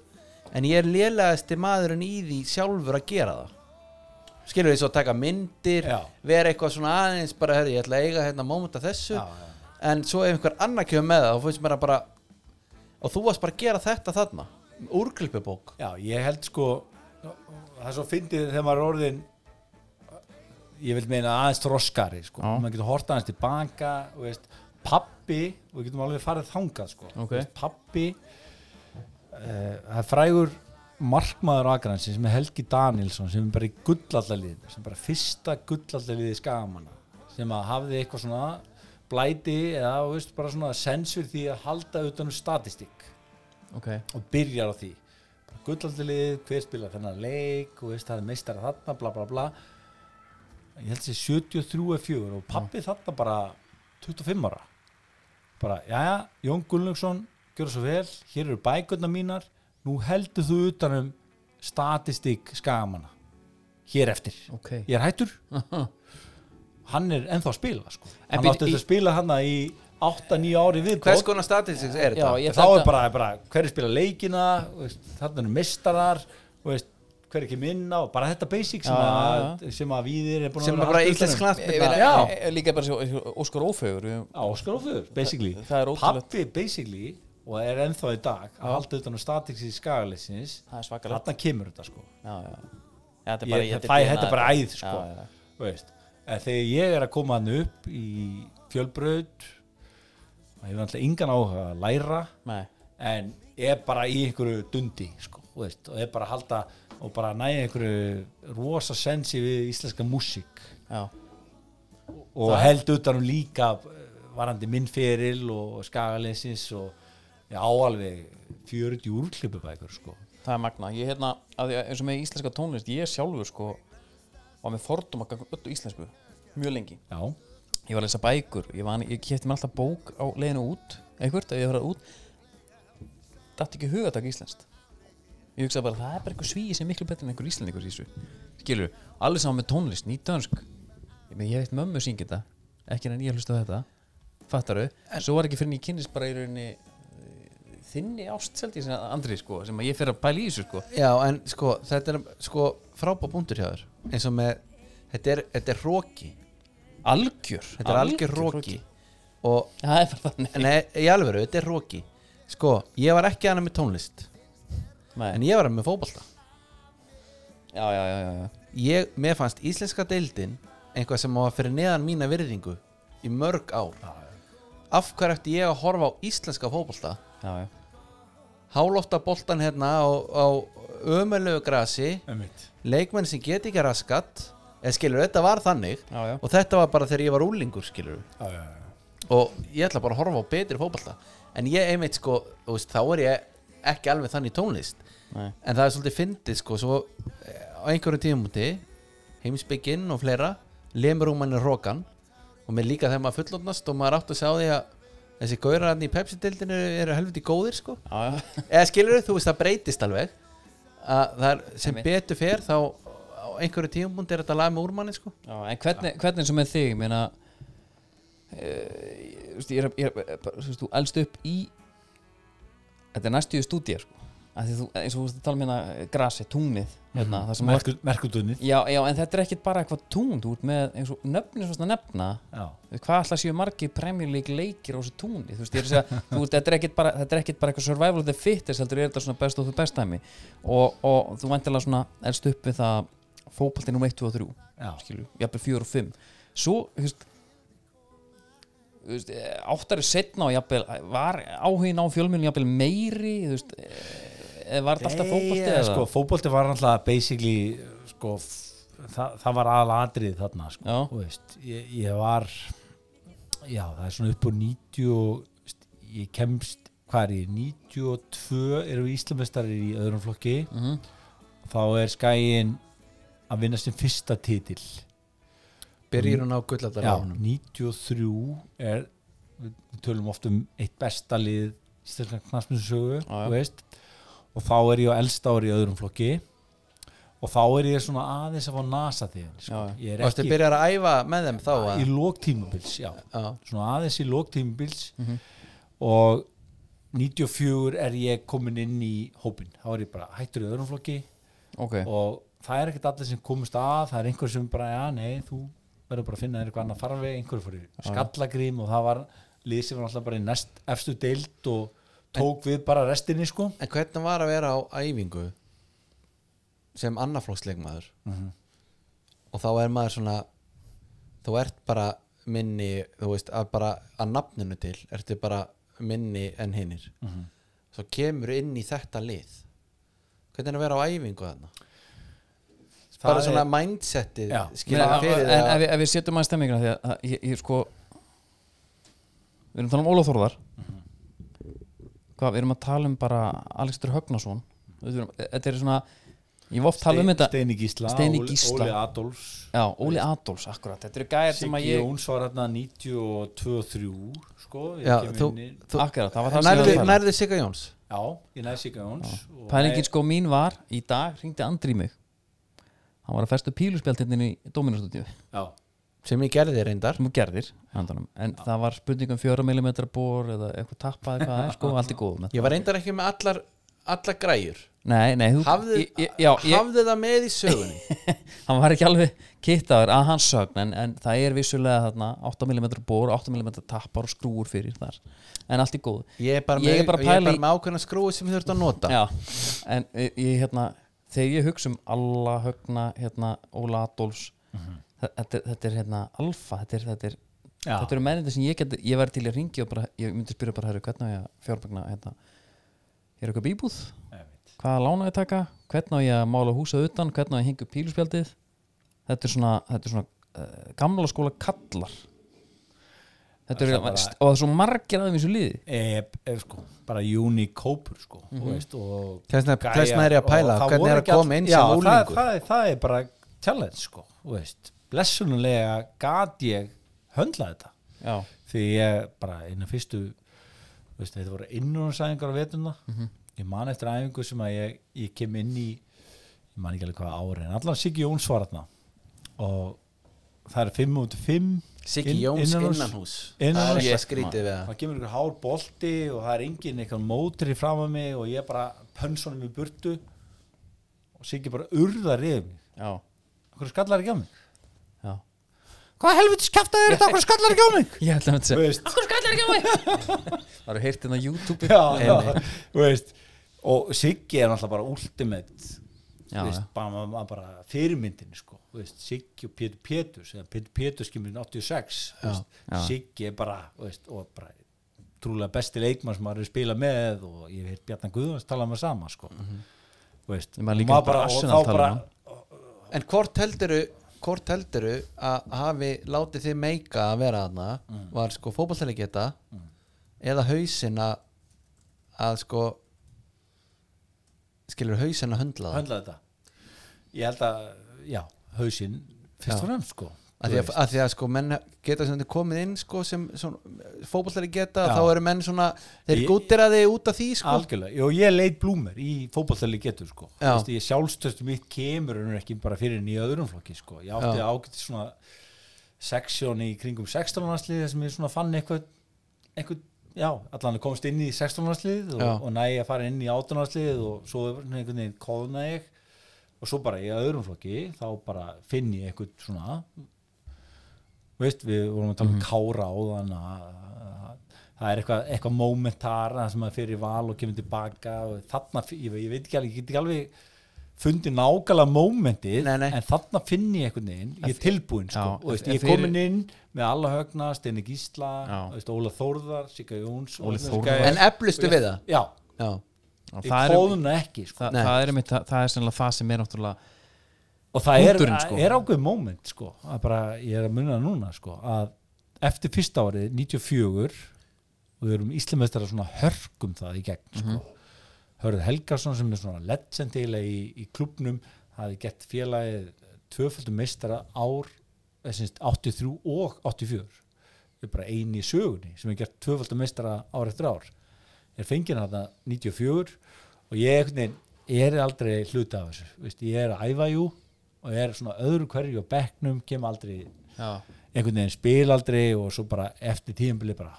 Speaker 2: en ég er lélegasti maðurinn í því sjálfur að gera það skilur því svo að taka myndir
Speaker 3: Já.
Speaker 2: vera eitthvað svona aðeins bara herri, ég ætla að eiga hérna mómenta þessu
Speaker 3: Já, já.
Speaker 2: en svo ef einhver annar kemur með það þá finnst mér að bara og þú varst bara að gera þetta þarna úrklippubók
Speaker 3: Já, ég held sko það er svo fyndið þegar maður er orðin ég vil meina aðeins þroskari sko,
Speaker 1: Já.
Speaker 3: maður getur horta aðeins tilbaka og veist, pappi og við getum alveg farið þangað sko
Speaker 1: Ok.
Speaker 3: Þú veist, pappi eh, það er frægur markmaður Akransi sem er Helgi Danielsson sem er bara í gullallaliðinu sem bara fyrsta gullallaliði skagamanna sem að hafði eitthvað svona blæti eða þú veist, bara svona sens fyrir því að halda utan um statistík
Speaker 1: Ok,
Speaker 3: og byrjar á því gullaldilið, hver spilar þennan leik og veist, það er meistara þarna, bla bla bla ég held sér 73 eða 4 og pappi þarna bara 25 ára bara, jæja, Jón Gunnlaugsson gjör svo vel, hér eru bækurnar mínar nú heldur þú utanum statistík skagamanna hér eftir,
Speaker 1: ok
Speaker 3: ég er hættur hann er ennþá að spila sko.
Speaker 1: En
Speaker 3: hann
Speaker 1: býtu,
Speaker 3: átti
Speaker 1: í-
Speaker 3: þetta að spila hann í 8-9 ári viðbót
Speaker 2: hvers konar statistics er
Speaker 1: Já,
Speaker 2: þetta?
Speaker 1: ég-
Speaker 3: þá
Speaker 1: þetta-
Speaker 3: er bara, bara hverju spila leikina þú veist, þarna eru mistarar veist, hverju ekki minna og bara þetta basic sem,
Speaker 1: Já,
Speaker 3: að,
Speaker 1: já,
Speaker 3: sem að við er búin
Speaker 2: sem
Speaker 3: að
Speaker 2: er bara íslensk knattbyrna
Speaker 3: Já.
Speaker 1: Líka bara svo, Óskar Ófegur við-
Speaker 3: Óskar Ófjör, basically
Speaker 1: Það er ótrúlegt.
Speaker 3: pappi basically og er ennþá í dag að halda utan á statiksi í skagalisins
Speaker 1: Það er svakalegt.
Speaker 3: þarna kemur þetta sko
Speaker 1: Já, já Já, Þetta er bara-
Speaker 3: ég,
Speaker 1: þetta
Speaker 3: það
Speaker 1: er
Speaker 3: fæ
Speaker 1: DNA
Speaker 3: þetta bara æð sko.
Speaker 1: Já, já, já.
Speaker 3: Þú veist, en þegar ég er að koma hann upp í fjölbraut og ég er alltaf engan áhuga að læra
Speaker 1: Nei.
Speaker 3: en er bara í einhverju dundi sko, þú veist, og er bara að halda og bara að næja einhverju rosa sensi við íslenska músík
Speaker 1: Já.
Speaker 3: og held utanum líka eh, varandi minnferil og skagalinsins og já alveg 40 úrklipubækur sko.
Speaker 1: Það er magna Ég hérna, að því að eins og með íslenska tónlist Ég sjálfur sko var með fordum að ganga öllu íslensku mjög lengi
Speaker 3: já,
Speaker 1: ég var að lesa bækur ég, van, ég kefti mér alltaf bók á leiðinu út einhvert, ef ég var að út dætti ekki hugatak íslenskt ég hugsaði bara, það er bara einhver svíi sem er miklu betur en einhver íslendingur í þessu skilur, allir saman með tónlist, nýtönsk ég, meina, ég veit mömmu syngi þetta ekki en ég hlusta á þetta fattaru, svo var ekki fyrir en ég kynnist bara í rauninni eh, þinni ást seldi sem Andri sko, sem að ég fer að pæla í þessu sko
Speaker 2: Já, en sko, þetta er sko frábá búndur hjá þér eins og með, þetta er, þetta er róki
Speaker 1: algjör,
Speaker 2: þetta er algjör róki og,
Speaker 1: það er bara þannig
Speaker 2: nei, í alvöru, þetta er róki sko, ég var ekki annað með tónlist en
Speaker 1: Nei.
Speaker 2: ég var annað með fótbolta
Speaker 1: já, já, já, já, já.
Speaker 2: ég, mér fannst íslenska deildin einhvað sem var fyrir neðan mína virðingu í mörg ár af hverju eftir ég að horfa á íslenska fótbolta
Speaker 1: Já, já.
Speaker 2: hálófta boltan hérna á, á ömulegu grasi
Speaker 3: Einmitt.
Speaker 2: leikmenn sem get ekki raskat eða skilur, þetta var þannig
Speaker 1: Já, já.
Speaker 2: og þetta var bara þegar ég var úlingur skilur
Speaker 3: Já, já, já.
Speaker 2: og ég ætla bara að horfa á betri fótbolta en ég einmitt sko, þú veist, þá er ég ekki alveg þannig í tónlist
Speaker 1: Nei.
Speaker 2: en það er svolítið fyndið sko svo eh, á einhverjum tímumúti heimsbygginn og fleira lemur um manni rókan og mér líka þegar maður fullotnast og maður átt að sjá því að þessi gaurararni í Pepsi-dildinu eru helviti góðir sko
Speaker 1: Já, já.
Speaker 2: eða skilur þú veist það breytist alveg að það er, sem
Speaker 1: Einmitt.
Speaker 2: betur fer þá á einhverju tímumúti er þetta lag með úrmanni sko
Speaker 1: Já, en hvernig, hvernig eins og með þig ég meina eh, ég, þú veist, ég er, ég er bara, þú veist, þú elst upp í þetta er næstu í stúdíu sko Af því þú, eins og þú veist að tala um hérna grasi, túnið hérna, það sem er,
Speaker 3: Merkur- Merkudunnið
Speaker 1: já, já, en þetta er ekkit bara eitthvað tún þú ert með eins og nöfnir svona nefna
Speaker 3: Já,
Speaker 1: Þú veist, hvað alltaf séu margir Premier League leikir á þessu túni þú veist, ég er að segja, þú veist, þetta er ekkit bara þetta er ekkit bara eitthvað survival of the fittest heldur er þetta svona best of the best dæmi og, og þú væntilega svona elst upp við það fótboltinn um 1, 2 og 3
Speaker 3: já,
Speaker 1: skilju, jafnvel 4 og 5 svo, þú veist þú veist, eh, áttari setna og jafnvel, var áhugin á fjölmjölun jafnvel meiri, þú veist eh, var þetta alltaf fótbolti
Speaker 3: Nei,
Speaker 1: eða?
Speaker 3: sko, fótbolti var alltaf basically sko, f- það, það var aðladrið þarna sko,
Speaker 1: Já.
Speaker 3: þú veist, ég, ég var já, það er svona upp á 90 og, þú veist, ég kemst hvað er ég, 92 eru Íslamestarir í öðrum flokki
Speaker 1: Mhm.
Speaker 3: þá er skæin að vinna sem fyrsta titil
Speaker 2: byrjir hún á
Speaker 3: Mm. já,
Speaker 2: gulladarláðunum
Speaker 3: 93 er við við tölum oft um eitt besta lið íslenska knastmjössögu
Speaker 1: Já, já.
Speaker 3: og þá er ég á elsta ári í öðrum flokki og þá er ég svona aðeins að fá nasa þig sko.
Speaker 1: Já, já.
Speaker 3: ég er
Speaker 2: og þetta
Speaker 3: ekki
Speaker 2: byrjar að æfa með þeim þá að,
Speaker 3: í lóktímabils já.
Speaker 2: já,
Speaker 3: svona aðeins í lóktímabils
Speaker 1: Mhm.
Speaker 3: og 94 er ég komin inn í hópin þá er ég bara hættur í öðrum flokki
Speaker 1: ok,
Speaker 3: og það er ekkert allir sem komust að það er einhver sem bara, já, nei, þú verður bara að finna þér eitthvað annað farfi, einhver fór í skallagrím og það var lið sem var alltaf bara í næst efstu deild og tók við bara restinni, sko
Speaker 2: En hvernig var að vera á æfingu sem annaflóksleikmaður
Speaker 3: Mhm.
Speaker 2: og þá er maður svona þú ert bara minni þú veist að bara að nafninu til ertu bara minni en hinnir
Speaker 3: Mhm.
Speaker 2: svo kemur inn í þetta lið hvernig er að vera á æfingu þarna
Speaker 3: Það
Speaker 2: bara svona
Speaker 3: er-
Speaker 2: mindsetið
Speaker 3: Já.
Speaker 2: skilur
Speaker 1: Meina,
Speaker 2: það fyrir
Speaker 1: en,
Speaker 2: það
Speaker 1: ef, við- ef við setjum aðeins stemminguna því að, að ég, ég sko við erum að tala um Ólaf Þórðar
Speaker 2: Mhm.
Speaker 1: hvað, við erum að tala um bara Alekstur Högnason e, þetta er svona ég var oft tala um þetta
Speaker 3: Steini Gísla,
Speaker 1: Steini
Speaker 3: Óli-
Speaker 1: Gísla.
Speaker 3: Óli Adolfs
Speaker 1: já, Óli Adolfs, akkurat, þetta eru gæjar sem
Speaker 3: Siggi
Speaker 1: að ég
Speaker 3: Jóns var hérna 92-3 sko, ég
Speaker 2: Já,
Speaker 3: kem
Speaker 2: þú,
Speaker 3: inn í-
Speaker 2: þú,
Speaker 1: akkurat, það var það sem ég var
Speaker 2: nærðu,
Speaker 1: að tala um.
Speaker 2: nærðu Sigga Jóns
Speaker 3: já, ég næði Siggi Jóns og-
Speaker 1: pælingin sko mín var, í dag ringdi Andri í mig hann var að festu píluspjaldinni í Dominostudíu
Speaker 3: já,
Speaker 2: sem ég gerði reyndar
Speaker 1: sem þú gerðir, handanum en það var spurning um 4 mm bor eða eitthvað tappað eitthvað, það er, sko, allt í góðum
Speaker 2: ég var reyndar ekki með allar, allar græjur
Speaker 1: nei, nei, þú
Speaker 2: hafðu,
Speaker 1: ég- ég- já, ég-
Speaker 2: hafðu það með í sögunni
Speaker 1: hann var ekki alveg kittaður að hans sögn en, en það er vissulega þarna 8mm bor, 8mm tappar og skrúur fyrir þar en allt í góðu
Speaker 2: ég er bara
Speaker 1: Ég
Speaker 2: með,
Speaker 1: er bara að
Speaker 2: ég er
Speaker 1: pæla í-
Speaker 2: bara með ákveðna skrúi sem þú ert að nota
Speaker 1: Já, en ég ég, hérna þegar ég hugsa um alla högna hérna, Óla Adolfs
Speaker 2: Mhm.
Speaker 1: þa- þetta, er- þetta er hérna alfa þetta, er, þetta, er,
Speaker 3: Já.
Speaker 1: þetta eru mennindi sem ég get ég væri til að ringi og bara, ég myndi spyrja bara herru, hvernig á ég að fjárbækna hérna, er eitthvað bíbúð,
Speaker 3: einmitt.
Speaker 1: hvaða lána ég að taka hvernig á ég að mála húsað utan hvernig á ég að hengja upp píluspjaldið þetta er svona, þetta er svona uh, gamla skóla kallar þetta er,
Speaker 3: Það er bara-
Speaker 1: og það er svo margir aðeins í þessu liði
Speaker 3: e, e, sko, bara unikópur sko, mm veist, og
Speaker 2: Mhm. Þess vegna-
Speaker 3: gæjar
Speaker 2: þess vegna er ég að
Speaker 3: og
Speaker 2: pæla,
Speaker 3: það
Speaker 2: hvernig
Speaker 3: voru
Speaker 2: er að
Speaker 3: ekki all-
Speaker 2: koma inn
Speaker 3: já,
Speaker 2: sem
Speaker 3: það-
Speaker 2: unglingur?
Speaker 3: það, er- það er bara challenge sko, þú veist, blessunulega gat ég höndla þetta
Speaker 1: já,
Speaker 3: því ég bara einu fyrstu þú veist, þetta voru innrúnarsæðingar á vetuna
Speaker 2: Mhm.
Speaker 3: ég man eftir æfingu sem að ég, ég kem inn í ég man ekki alveg hvað ári en allan Siggi Jóns var þarna og það er 5 út 5
Speaker 2: Siggi
Speaker 3: Inn-
Speaker 2: Jóns
Speaker 3: innanhús.
Speaker 2: innanhús Það
Speaker 3: Innanhús.
Speaker 2: er
Speaker 3: Ég-
Speaker 2: eitthvað skrítið við það
Speaker 3: það kemur ykkur hár bolti og það er engin eitthvað mótri fram að mig og ég bara pönsonum í burtu og Siggi bara urðar yfir mig
Speaker 1: já,
Speaker 3: okkur skallar ekki á mig
Speaker 1: já
Speaker 3: hvað helvitis kæftar er þetta, okkur skallar ekki á mig
Speaker 1: Ég ætla að
Speaker 3: þú
Speaker 1: segja
Speaker 3: veist,
Speaker 1: Akkur skallar ekki á mig Það eru heyrt inn á YouTube
Speaker 3: já, já, þú veist og Siggi er náttúrulega bara ultimate
Speaker 1: Já,
Speaker 3: þú veist,
Speaker 1: já.
Speaker 3: bara, maður- maður bara fyrirmyndin sko, þú veist, Siggi og Pétur Péturs eða Pétur Péturs kemur inn 86 þú veist,
Speaker 1: já.
Speaker 3: Siggi er bara, þú veist, og bara trúlega besti leikmann sem maður er að spila með og ég hef heitt Bjarnar Guðvans tala með sama sko, þú veist
Speaker 1: Mhm. Ég maður líka
Speaker 3: og
Speaker 1: bara
Speaker 3: og
Speaker 1: Arsenal
Speaker 3: þá
Speaker 1: tala um hann.
Speaker 2: En hvort helduru hvort helduru að hafi látið þið meika að vera þarna
Speaker 1: Mm.
Speaker 2: var sko fótballtæli geta eða hausin að að sko skilur hausin að höndla það
Speaker 3: höndla þetta ég held að, já, hausinn fyrst
Speaker 2: Já.
Speaker 3: og fremst sko
Speaker 2: að því að, að því að sko menn geta sem þið komið inn sko sem fótballtæli geta
Speaker 3: Já.
Speaker 2: þá eru menn svona þeir
Speaker 3: Ég-
Speaker 2: gúttir að þið út af því sko
Speaker 3: algjörlega, og ég leit blúmer í fótballtæli getur sko
Speaker 2: Já.
Speaker 3: Vist, ég sjálfstöðstu mitt kemur en ekki bara fyrir en í öðrum flokki sko ég átti
Speaker 2: Já.
Speaker 3: ágæti svona seksjón í kringum 16 landslið sem ég svona fann eitthvað, eitthvað já, allan komst inn í 16 landslið og,
Speaker 2: Já.
Speaker 3: og næg að fara inn í 18 landslið og svo einhvern veginn kóðna ég og svo bara í öðrum flokki þá bara finn ég eitthvað svona veist, við vorum að tala um
Speaker 1: Mhm.
Speaker 3: Kára áðan að að- það er eitthvað, eitthvað momentar það sem að fyrir val og kemur tilbaka og þarna, fi- ég, ég veit ekki alveg, ég get ekki alveg fundið nákvæmlega momentið
Speaker 2: Nei, nei.
Speaker 3: en þarna finn ég einhvern veginn ég er tilbúinn
Speaker 1: Já,
Speaker 3: sko, og veist,
Speaker 1: en
Speaker 3: ég er
Speaker 1: fyrir-
Speaker 3: komin inn með alla högna, Steini Gísla
Speaker 1: Já.
Speaker 3: veist, Óla Þórðar, Sigga Jóns
Speaker 1: Óli
Speaker 3: og-
Speaker 1: Þórðar.
Speaker 2: en eflustu við það
Speaker 3: já,
Speaker 2: já,
Speaker 1: Það
Speaker 3: ég
Speaker 1: er, um-
Speaker 3: kóðuna ekki sko.
Speaker 1: það,
Speaker 2: Nei.
Speaker 1: það er, mitt, það er sennilega það sem er náttúrulega
Speaker 3: og það er,
Speaker 1: Punkturinn, sko.
Speaker 3: er ákveð moment sko, að bara, ég er að munna það núna sko, að eftir fyrsta árið 94 og við erum íslumestara svona hörkum það í gegn
Speaker 1: Mhm.
Speaker 3: sko. Hörð Helgarsson sem er svona legend eiginlega í, í klubnum hafi gett félagið tvöföldum meistara ár eh, sem sagt, 83 og 84 er bara eini í sögunni sem er gert tvöföldum meistara ár eftir ár er fengið hann að 94 og ég, einhvern veginn, ég er aldrei hluta af þessu, veist, ég er að æfa jú og ég er svona öðru hverju á bekknum kem aldrei,
Speaker 1: já,
Speaker 3: einhvern veginn spil aldrei og svo bara eftir tíðanbili bara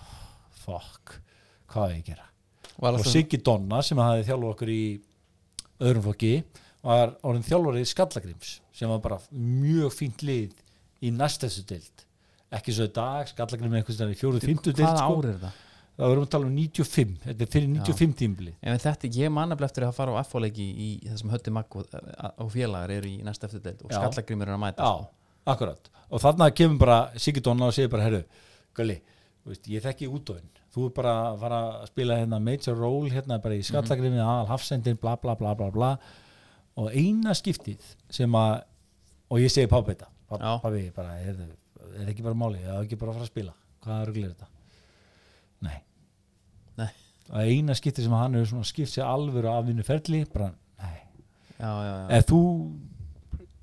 Speaker 3: fuck, hvað á ég að gera
Speaker 2: var
Speaker 3: og
Speaker 2: alltaf-
Speaker 3: Siggi Donna sem hafði þjálfur okkur í öðrum flokki var orðin þjálfur í Skallagrims sem var bara mjög fínt lið í næstessu dild ekki svo í dag, Skallagrim er einhvern veginn í fjóruð fymtu dild
Speaker 1: hvaða
Speaker 3: sko.
Speaker 1: ár er það?
Speaker 3: það erum við að tala um 95 þetta er fyrir 95 tíðanbili
Speaker 1: Ef þetta, ég man nefnilega eftir að fara á F-leiki í þessum hötti magg og, og félagar eru í næsta eftirdeild og
Speaker 3: Já.
Speaker 1: skallagrimur er að mæta
Speaker 3: Já, akkurat og þarna kemur bara Siggi Donna og segir bara herru, Gulli, þú veist, ég þekki útóin þú er bara að fara að spila hérna major role hérna
Speaker 1: Mhm.
Speaker 3: bara í skallagrifinu mm -hmm. al hafsendin, bla bla bla bla bla og eina skiptið sem að og ég segi pabbi þetta
Speaker 1: Já.
Speaker 3: Pab- pabbi bara, er, er ekki bara máli ég á ekki bara að fara að spila, hvað rugl er þetta nei
Speaker 1: Nei.
Speaker 3: og eina skiptið sem hann hefur svona skipt sér alvöru af vinnu ferli bara, nei
Speaker 1: já, já, já.
Speaker 3: ef þú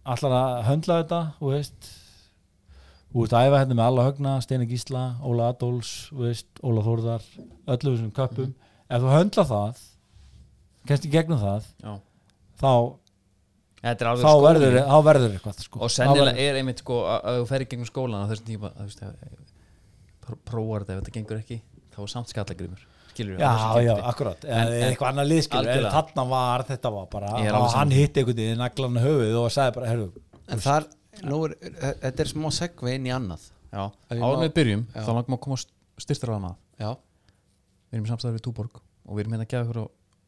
Speaker 3: ætlar að höndla þetta þú veist þú veist að æfa hérna með alla högna, Steina Gísla Óla Adolfs, þú veist, Óla Þórðar öllu þessum köppum
Speaker 1: Mhm.
Speaker 3: ef þú höndla það kennst í gegnum það
Speaker 1: já.
Speaker 3: þá,
Speaker 1: Þetta er alveg
Speaker 3: þá,
Speaker 1: skóli.
Speaker 3: verður, þá verður eitthvað sko.
Speaker 1: og sennilega er einmitt sko að að þú ferði gegnum skólan á þessum tíma að þú veist, ef- pr- prófar þetta ef þetta gengur ekki þá er samt skallagrimur skilur
Speaker 3: Já, já, akkurat, en,
Speaker 1: En- en-
Speaker 3: eitthvað annað liðskil en
Speaker 1: Algjörlega.
Speaker 3: þarna var, þetta var bara
Speaker 1: Ég er alveg
Speaker 3: og hann hitti einhvern veginn naglan höfuð og sagði bara, herru,
Speaker 2: en þar, nú er, þetta er smá segvi inn í annað
Speaker 1: já.
Speaker 2: Ef ég
Speaker 1: árum
Speaker 2: má-
Speaker 1: við byrjum
Speaker 2: Já.
Speaker 1: þá langum að koma styrstur á maður
Speaker 2: já,
Speaker 1: við erum í samstæður við Túborg og við erum hérna að gefa ykkur á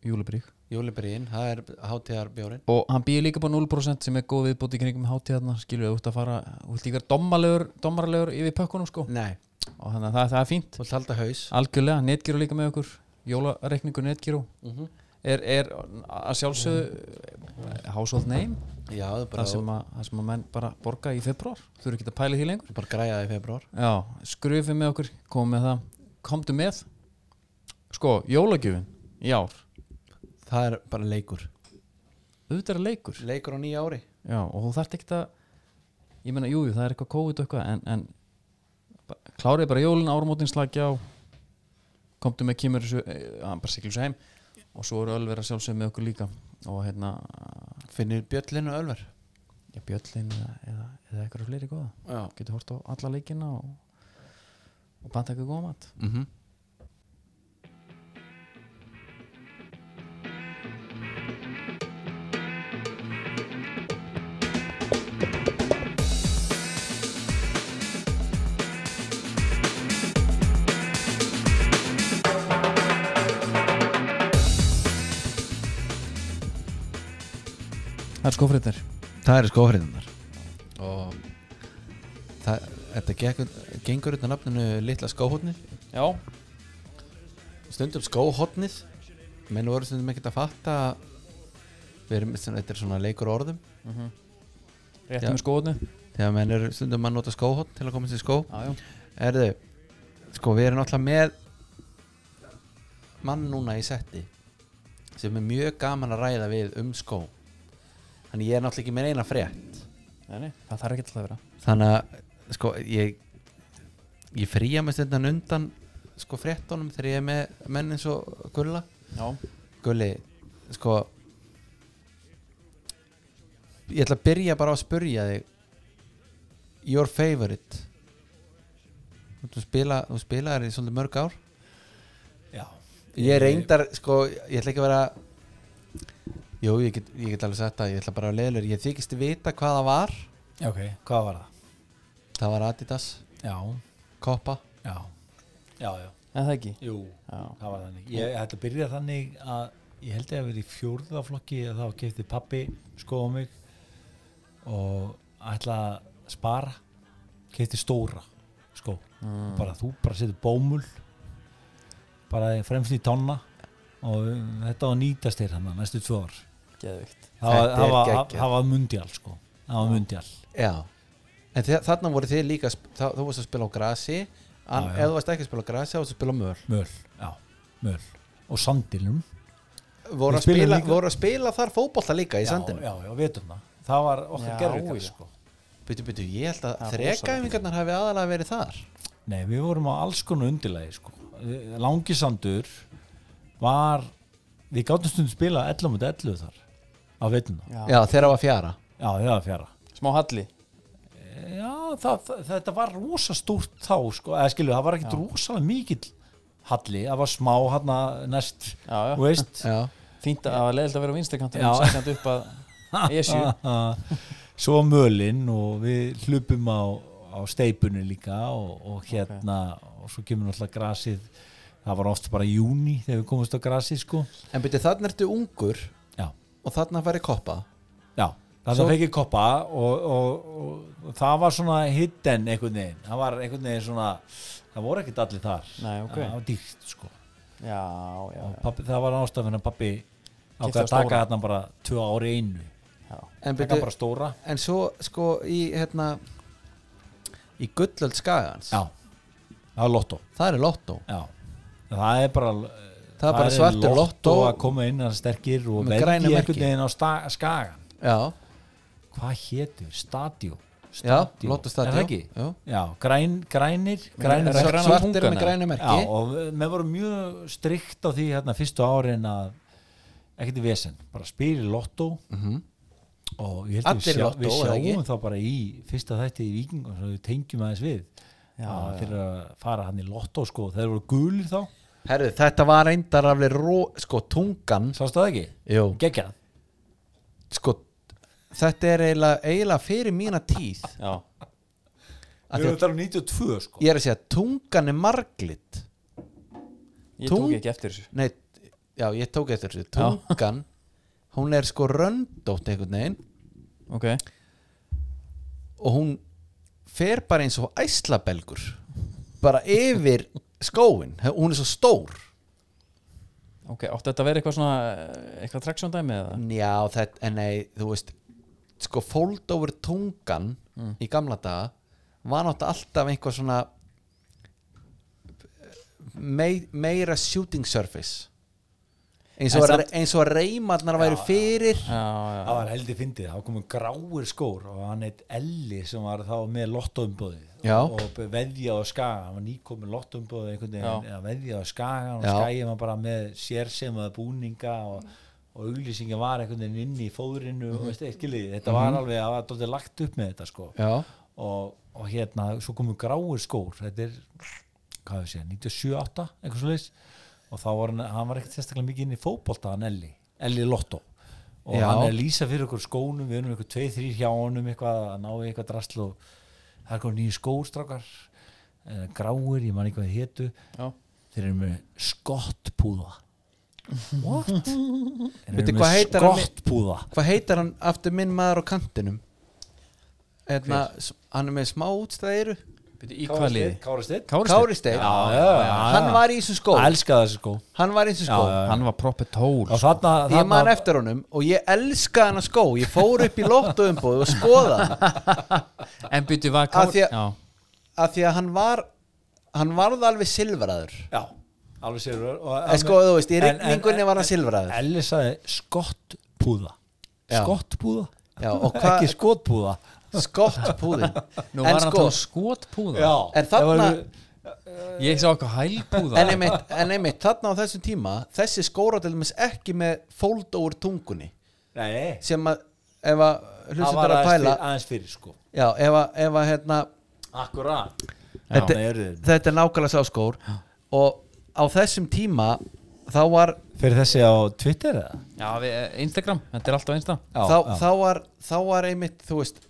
Speaker 1: Júlibrík
Speaker 2: júlibriðin, það er HTR bjórin
Speaker 1: og hann býður líka bara 0% sem er góð viðbót í kringum hátíðarna skilur við út að fara þú vilt líka domalegur, domalegur yfir pökkunum sko
Speaker 2: nei,
Speaker 1: og þannig að það, það er fínt
Speaker 2: þú vilt halda haus
Speaker 1: Algjörlega, netgíru líka með okkur Jólareikningur netgíru
Speaker 2: Mhm.
Speaker 1: er, er að sjálfsögðu eh, household name
Speaker 2: já, þú bara,
Speaker 1: það sem, að, það sem að menn bara borga í februar þú eru ekki að pæla í því lengur
Speaker 2: þú bara græja það í februar
Speaker 1: Já, skrufið með okkur, komum með það komdu með sko, jólagjöfin í ár
Speaker 2: það er bara leikur
Speaker 1: auðvitað er að leikur
Speaker 2: leikur á nýja ári
Speaker 1: Já, og þú þarft ekki að ég meina, jú, jú, það er eitthvað COVID og eitthvað en, en ba- klárið bara jólin áramótin slagja á komdu með kýmur þessu, eh, hann bara siglur svo heim og svo eru Ölver að sjálfsögum með okkur líka og hérna,
Speaker 2: finnir bjöllinu ölver
Speaker 1: já, Bjöllin eða, eða, eða eitthvað fleiri góða
Speaker 2: já,
Speaker 1: getur hort á alla leikina og og banta ekki góða mat
Speaker 2: mm -hmm.
Speaker 1: Það er skofréttir
Speaker 2: Það eru skófriðunar og það, þetta gengur, gengur utan nafninu litla skóhotnið
Speaker 1: Já,
Speaker 2: stundum skóhotnið menn voru stundum ekkert að fatta við erum, þetta er svona leikur á orðum
Speaker 1: mhm. rétt
Speaker 2: Já.
Speaker 1: með skóðinu
Speaker 2: þegar menn eru stundum að nota skóhotn til að koma sér í skó
Speaker 1: Já, já,
Speaker 2: Erðu, sko við erum alltaf með mann núna í setti sem er mjög gaman að ræða við um skó þannig ég er náttúrulega ekki með eina frétt
Speaker 1: nei, nei. það þarf ekki alltaf að vera
Speaker 2: þannig að sko ég ég fría mig stundan undan sko fréttunum þegar ég er með menn eins og Gulla
Speaker 1: Já,
Speaker 2: Gulli, sko ég ætla að byrja bara á að spyrja þig your favorite þú, spila, þú spilaðir í svolítið mörg ár
Speaker 3: Já,
Speaker 2: ég reyndar, sko, ég ætla ekki að vera jú, ég get, ég get alveg sagt það ég ætla bara að leiðlur, ég þykist vita hvað það var
Speaker 3: já, ok, hvað var það?
Speaker 2: það var Adidas,
Speaker 3: Já,
Speaker 2: Koppa
Speaker 3: já, já, já,
Speaker 1: en það ekki
Speaker 3: jú,
Speaker 1: Já,
Speaker 3: það var þannig. Ég ætla að byrja þannig að ég held ég að vera í fjórðaflokki að þá kefti pappi sko á mig og ætla að spara, kefti stóra sko.
Speaker 1: mm.
Speaker 3: bara þú bara setur bómull bara fremst í tonna og um, þetta á að nýtast þér hann næstu tvö ár
Speaker 1: geðvikt
Speaker 3: það var-
Speaker 2: Þetta
Speaker 3: það
Speaker 2: er
Speaker 3: var-
Speaker 2: geggjað.
Speaker 3: það var mundial sko það var mundial
Speaker 2: já, en þið, þarna voru þið líka að sp- þá- þú varst að spila á grasi en
Speaker 3: Já, já.
Speaker 2: ef þú varst ekki að spila á grasi, þá varst að spila á möl
Speaker 3: möl, já, möl og sandilum
Speaker 2: voru
Speaker 3: Við
Speaker 2: að,
Speaker 3: spilum
Speaker 2: spila,
Speaker 3: líka-
Speaker 2: voru að spila þar fótbolta líka í
Speaker 3: já,
Speaker 2: sandinu
Speaker 3: já, já, vetum það það var okkar
Speaker 1: Já,
Speaker 3: gerðvíkar
Speaker 1: já.
Speaker 3: sko
Speaker 2: Býtu, býtu, ég held að
Speaker 1: Það er
Speaker 2: þrekæfingarnar hafi aðalega verið þar
Speaker 3: nei, við vorum á alls konar undirlagi sko langisandur var við gáttum stundum spila 11 mot 11 þar á vetum það,
Speaker 1: Já.
Speaker 2: Já, þeirra var fjara
Speaker 3: já, það var fjara
Speaker 1: Smá halli
Speaker 3: Já, það, það, þetta var rosa stórt þá sko, eða skilju, það var ekkit rosalega mikill halli, það var smá hann næst,
Speaker 1: Já, já.
Speaker 3: þú veist
Speaker 2: Já,
Speaker 1: Fínt að það var leiðilt að vera á vinstakantinum
Speaker 3: Já.
Speaker 1: sækjandi upp að Esju
Speaker 3: svo mölin og við hlupum á, á steipunni líka og, og hérna og svo kemur náttúrulega grasið það var oft bara í júni þegar við komumst á grasið sko,
Speaker 2: en býtu, þarna ertu ungur
Speaker 3: já
Speaker 2: og þarna færi koppa
Speaker 3: Já, þannig að fekk ég koppa og, og, og, og það var svona hidden einhvern veginn, það var einhvern veginn svona það voru ekkert allir þar
Speaker 1: Nei, ok.
Speaker 3: það var dýrt sko
Speaker 1: Já, já,
Speaker 3: og pappi, það var ástafinn að pappi ákveð
Speaker 1: Keypti á
Speaker 3: að taka
Speaker 1: stóra.
Speaker 3: þarna bara tvö ári í einu,
Speaker 1: já
Speaker 2: En,
Speaker 3: taka
Speaker 2: býtu,
Speaker 3: bara stóra
Speaker 2: en svo, sko, í hérna í gullöld skagans
Speaker 3: Já, það var lottó
Speaker 2: það er lottó
Speaker 3: Já, það er bara
Speaker 2: Það er bara svartur lottó.
Speaker 3: að koma inn að sterkir og
Speaker 2: Með
Speaker 3: velja
Speaker 2: grænu merki.
Speaker 3: einhvern veginn á sta, skagan
Speaker 2: Já,
Speaker 3: Hvað hétur? Stadjó
Speaker 2: já,
Speaker 3: Stadjó.
Speaker 2: lottó stadió
Speaker 3: Er það ekki?
Speaker 2: Já.
Speaker 3: Já, græn, grænir, grænir
Speaker 1: græna-
Speaker 3: merki.
Speaker 2: svartir
Speaker 1: tungana.
Speaker 2: með græna merki
Speaker 3: Já, og við- við vorum mjög strikt á því hérna fyrstu árin að ekkert í vesen, bara spyrir lottó
Speaker 2: Mhm.
Speaker 3: og ég held
Speaker 2: Allir
Speaker 3: við, sjá,
Speaker 2: lottó,
Speaker 3: við
Speaker 2: eða
Speaker 3: sjáum
Speaker 2: ekki?
Speaker 3: þá bara í fyrsta þætti í Víking og svo við tengjum aðeins við
Speaker 1: Já,
Speaker 3: að
Speaker 1: já.
Speaker 3: þeir eru að fara hann í lottó sko, þeir voru gulir þá,
Speaker 2: Herðu, þetta var reyndar alveg ró, sko, tungan
Speaker 3: sástu það ekki?
Speaker 2: Jú,
Speaker 3: Geggjað,
Speaker 2: sko, þetta er eiginlega, eiginlega fyrir mína tíð
Speaker 1: Já,
Speaker 2: Af því
Speaker 3: við vorum
Speaker 2: að
Speaker 3: þetta á 92 sko
Speaker 2: Ég er að segja, tungan er marglitt
Speaker 1: ég
Speaker 2: Tung-
Speaker 1: tók ekki eftir þessu
Speaker 2: Nei, já, ég tók eftir þessu Tungan, hún er sko röndótt einhvern veginn
Speaker 1: Ok,
Speaker 2: og hún fer bara eins og æslabelgur bara yfir skóin hún er svo stór
Speaker 1: ok, áttu þetta að vera eitthvað svona eitthvað traction dæmi eða?
Speaker 2: Já, þetta, en nei, þú veist sko fold over tungan í gamla daga var náttúrulega alltaf einhver svona mei, meira shooting surface eins og,
Speaker 1: En
Speaker 2: samt, eins og reymarnar væri fyrir
Speaker 1: Já, já,
Speaker 3: það var heldur fyndið, þá komum gráir skór og hann eitt Elli sem var þá með lottóumbóðið
Speaker 2: Já.
Speaker 3: og, og veðja á skagan, hann var nýkominn lottóumbóðið einhvern veginn
Speaker 1: Já.
Speaker 3: að veðja á skagan og
Speaker 2: Já.
Speaker 3: skæði var bara með sérsemaða búninga og, og auglýsingi var einhvern veginn inn í fóðrinu og veist, skiljiði, þetta
Speaker 2: Mhm.
Speaker 3: var alveg það var dóttir lagt upp með þetta sko
Speaker 2: Já,
Speaker 3: og, og hérna, svo komum gráir skór þetta er hvað við séð, 97-8 eitthvað svo og þá var hann, hann var ekkert sérstaklega mikið inn í fótbolta hann Elli, Elli Lotto og
Speaker 2: Já.
Speaker 3: hann er að lýsa fyrir okkur skónum við erum eitthvað tveið þrýr hjá honum eitthvað að ná í eitthvað drasl og það er eitthvað nýju skóstrákar eh, gráir, ég man ekki hvað þið hétu
Speaker 2: Já.
Speaker 3: þeir eru með skottpúða What? Þeir eru
Speaker 2: Veitu,
Speaker 3: með
Speaker 2: hvað heitar hann-
Speaker 3: skottpúða
Speaker 2: Hvað heitar hann aftur minn maður á kantinum? Hérna, s- hann er með smá útstæðiru
Speaker 1: Byrju, í hvað liði?
Speaker 3: Kárasteinn
Speaker 1: Kári
Speaker 2: Kári Steinn
Speaker 3: Já, já, já, já.
Speaker 2: Hann var í þessu skó
Speaker 3: Elskar þessi skó
Speaker 2: Hann var í þessu skó
Speaker 3: Já, já, já.
Speaker 1: Hann var proppið tól
Speaker 3: Og þarna,
Speaker 2: Ég
Speaker 3: þarna
Speaker 2: man eftir honum og ég elska hann að skó Ég fór upp í lottuumbóð og skoða hann
Speaker 1: En byrju var
Speaker 2: Af því
Speaker 1: Kári
Speaker 2: að-
Speaker 1: Já,
Speaker 2: Af því að hann var Hann varð alveg silfraður
Speaker 3: Já, alveg silfraður og-
Speaker 2: En sko, þú veist, í
Speaker 3: En- en-
Speaker 2: rigningunni var hann
Speaker 3: en-
Speaker 2: silfraður.
Speaker 3: Elli sagði skottpúða
Speaker 2: Já.
Speaker 3: Skottpúða?
Speaker 2: Já, og hvað-
Speaker 3: Ekki skottpúða
Speaker 2: Skottpúðin
Speaker 1: nú var
Speaker 2: En
Speaker 1: hann
Speaker 2: sko,
Speaker 1: tól skotpúða
Speaker 2: En þarna-
Speaker 1: Ég sá eitthvað hælpúða
Speaker 2: en einmitt, en einmitt, þarna á þessum tíma Þessi skóra til dæmis ekki með fóld úr tungunni
Speaker 3: Nei,
Speaker 2: Sem að, ef að
Speaker 3: það
Speaker 2: hlustum
Speaker 3: var
Speaker 2: bara að
Speaker 3: aðeins fyrir,
Speaker 2: pæla
Speaker 3: aðeins fyrir sko
Speaker 2: Já, ef að, ef að hérna
Speaker 3: Akkurat
Speaker 2: þetta,
Speaker 3: nei, eru þeir.
Speaker 2: þetta er nákvæmlega sá skór og á þessum tíma þá var,
Speaker 3: Fyrir þessi á Twitter eða?
Speaker 1: Já, við, eh, Instagram, þetta er alltaf Insta
Speaker 2: þá, þá var þá var einmitt, þú veist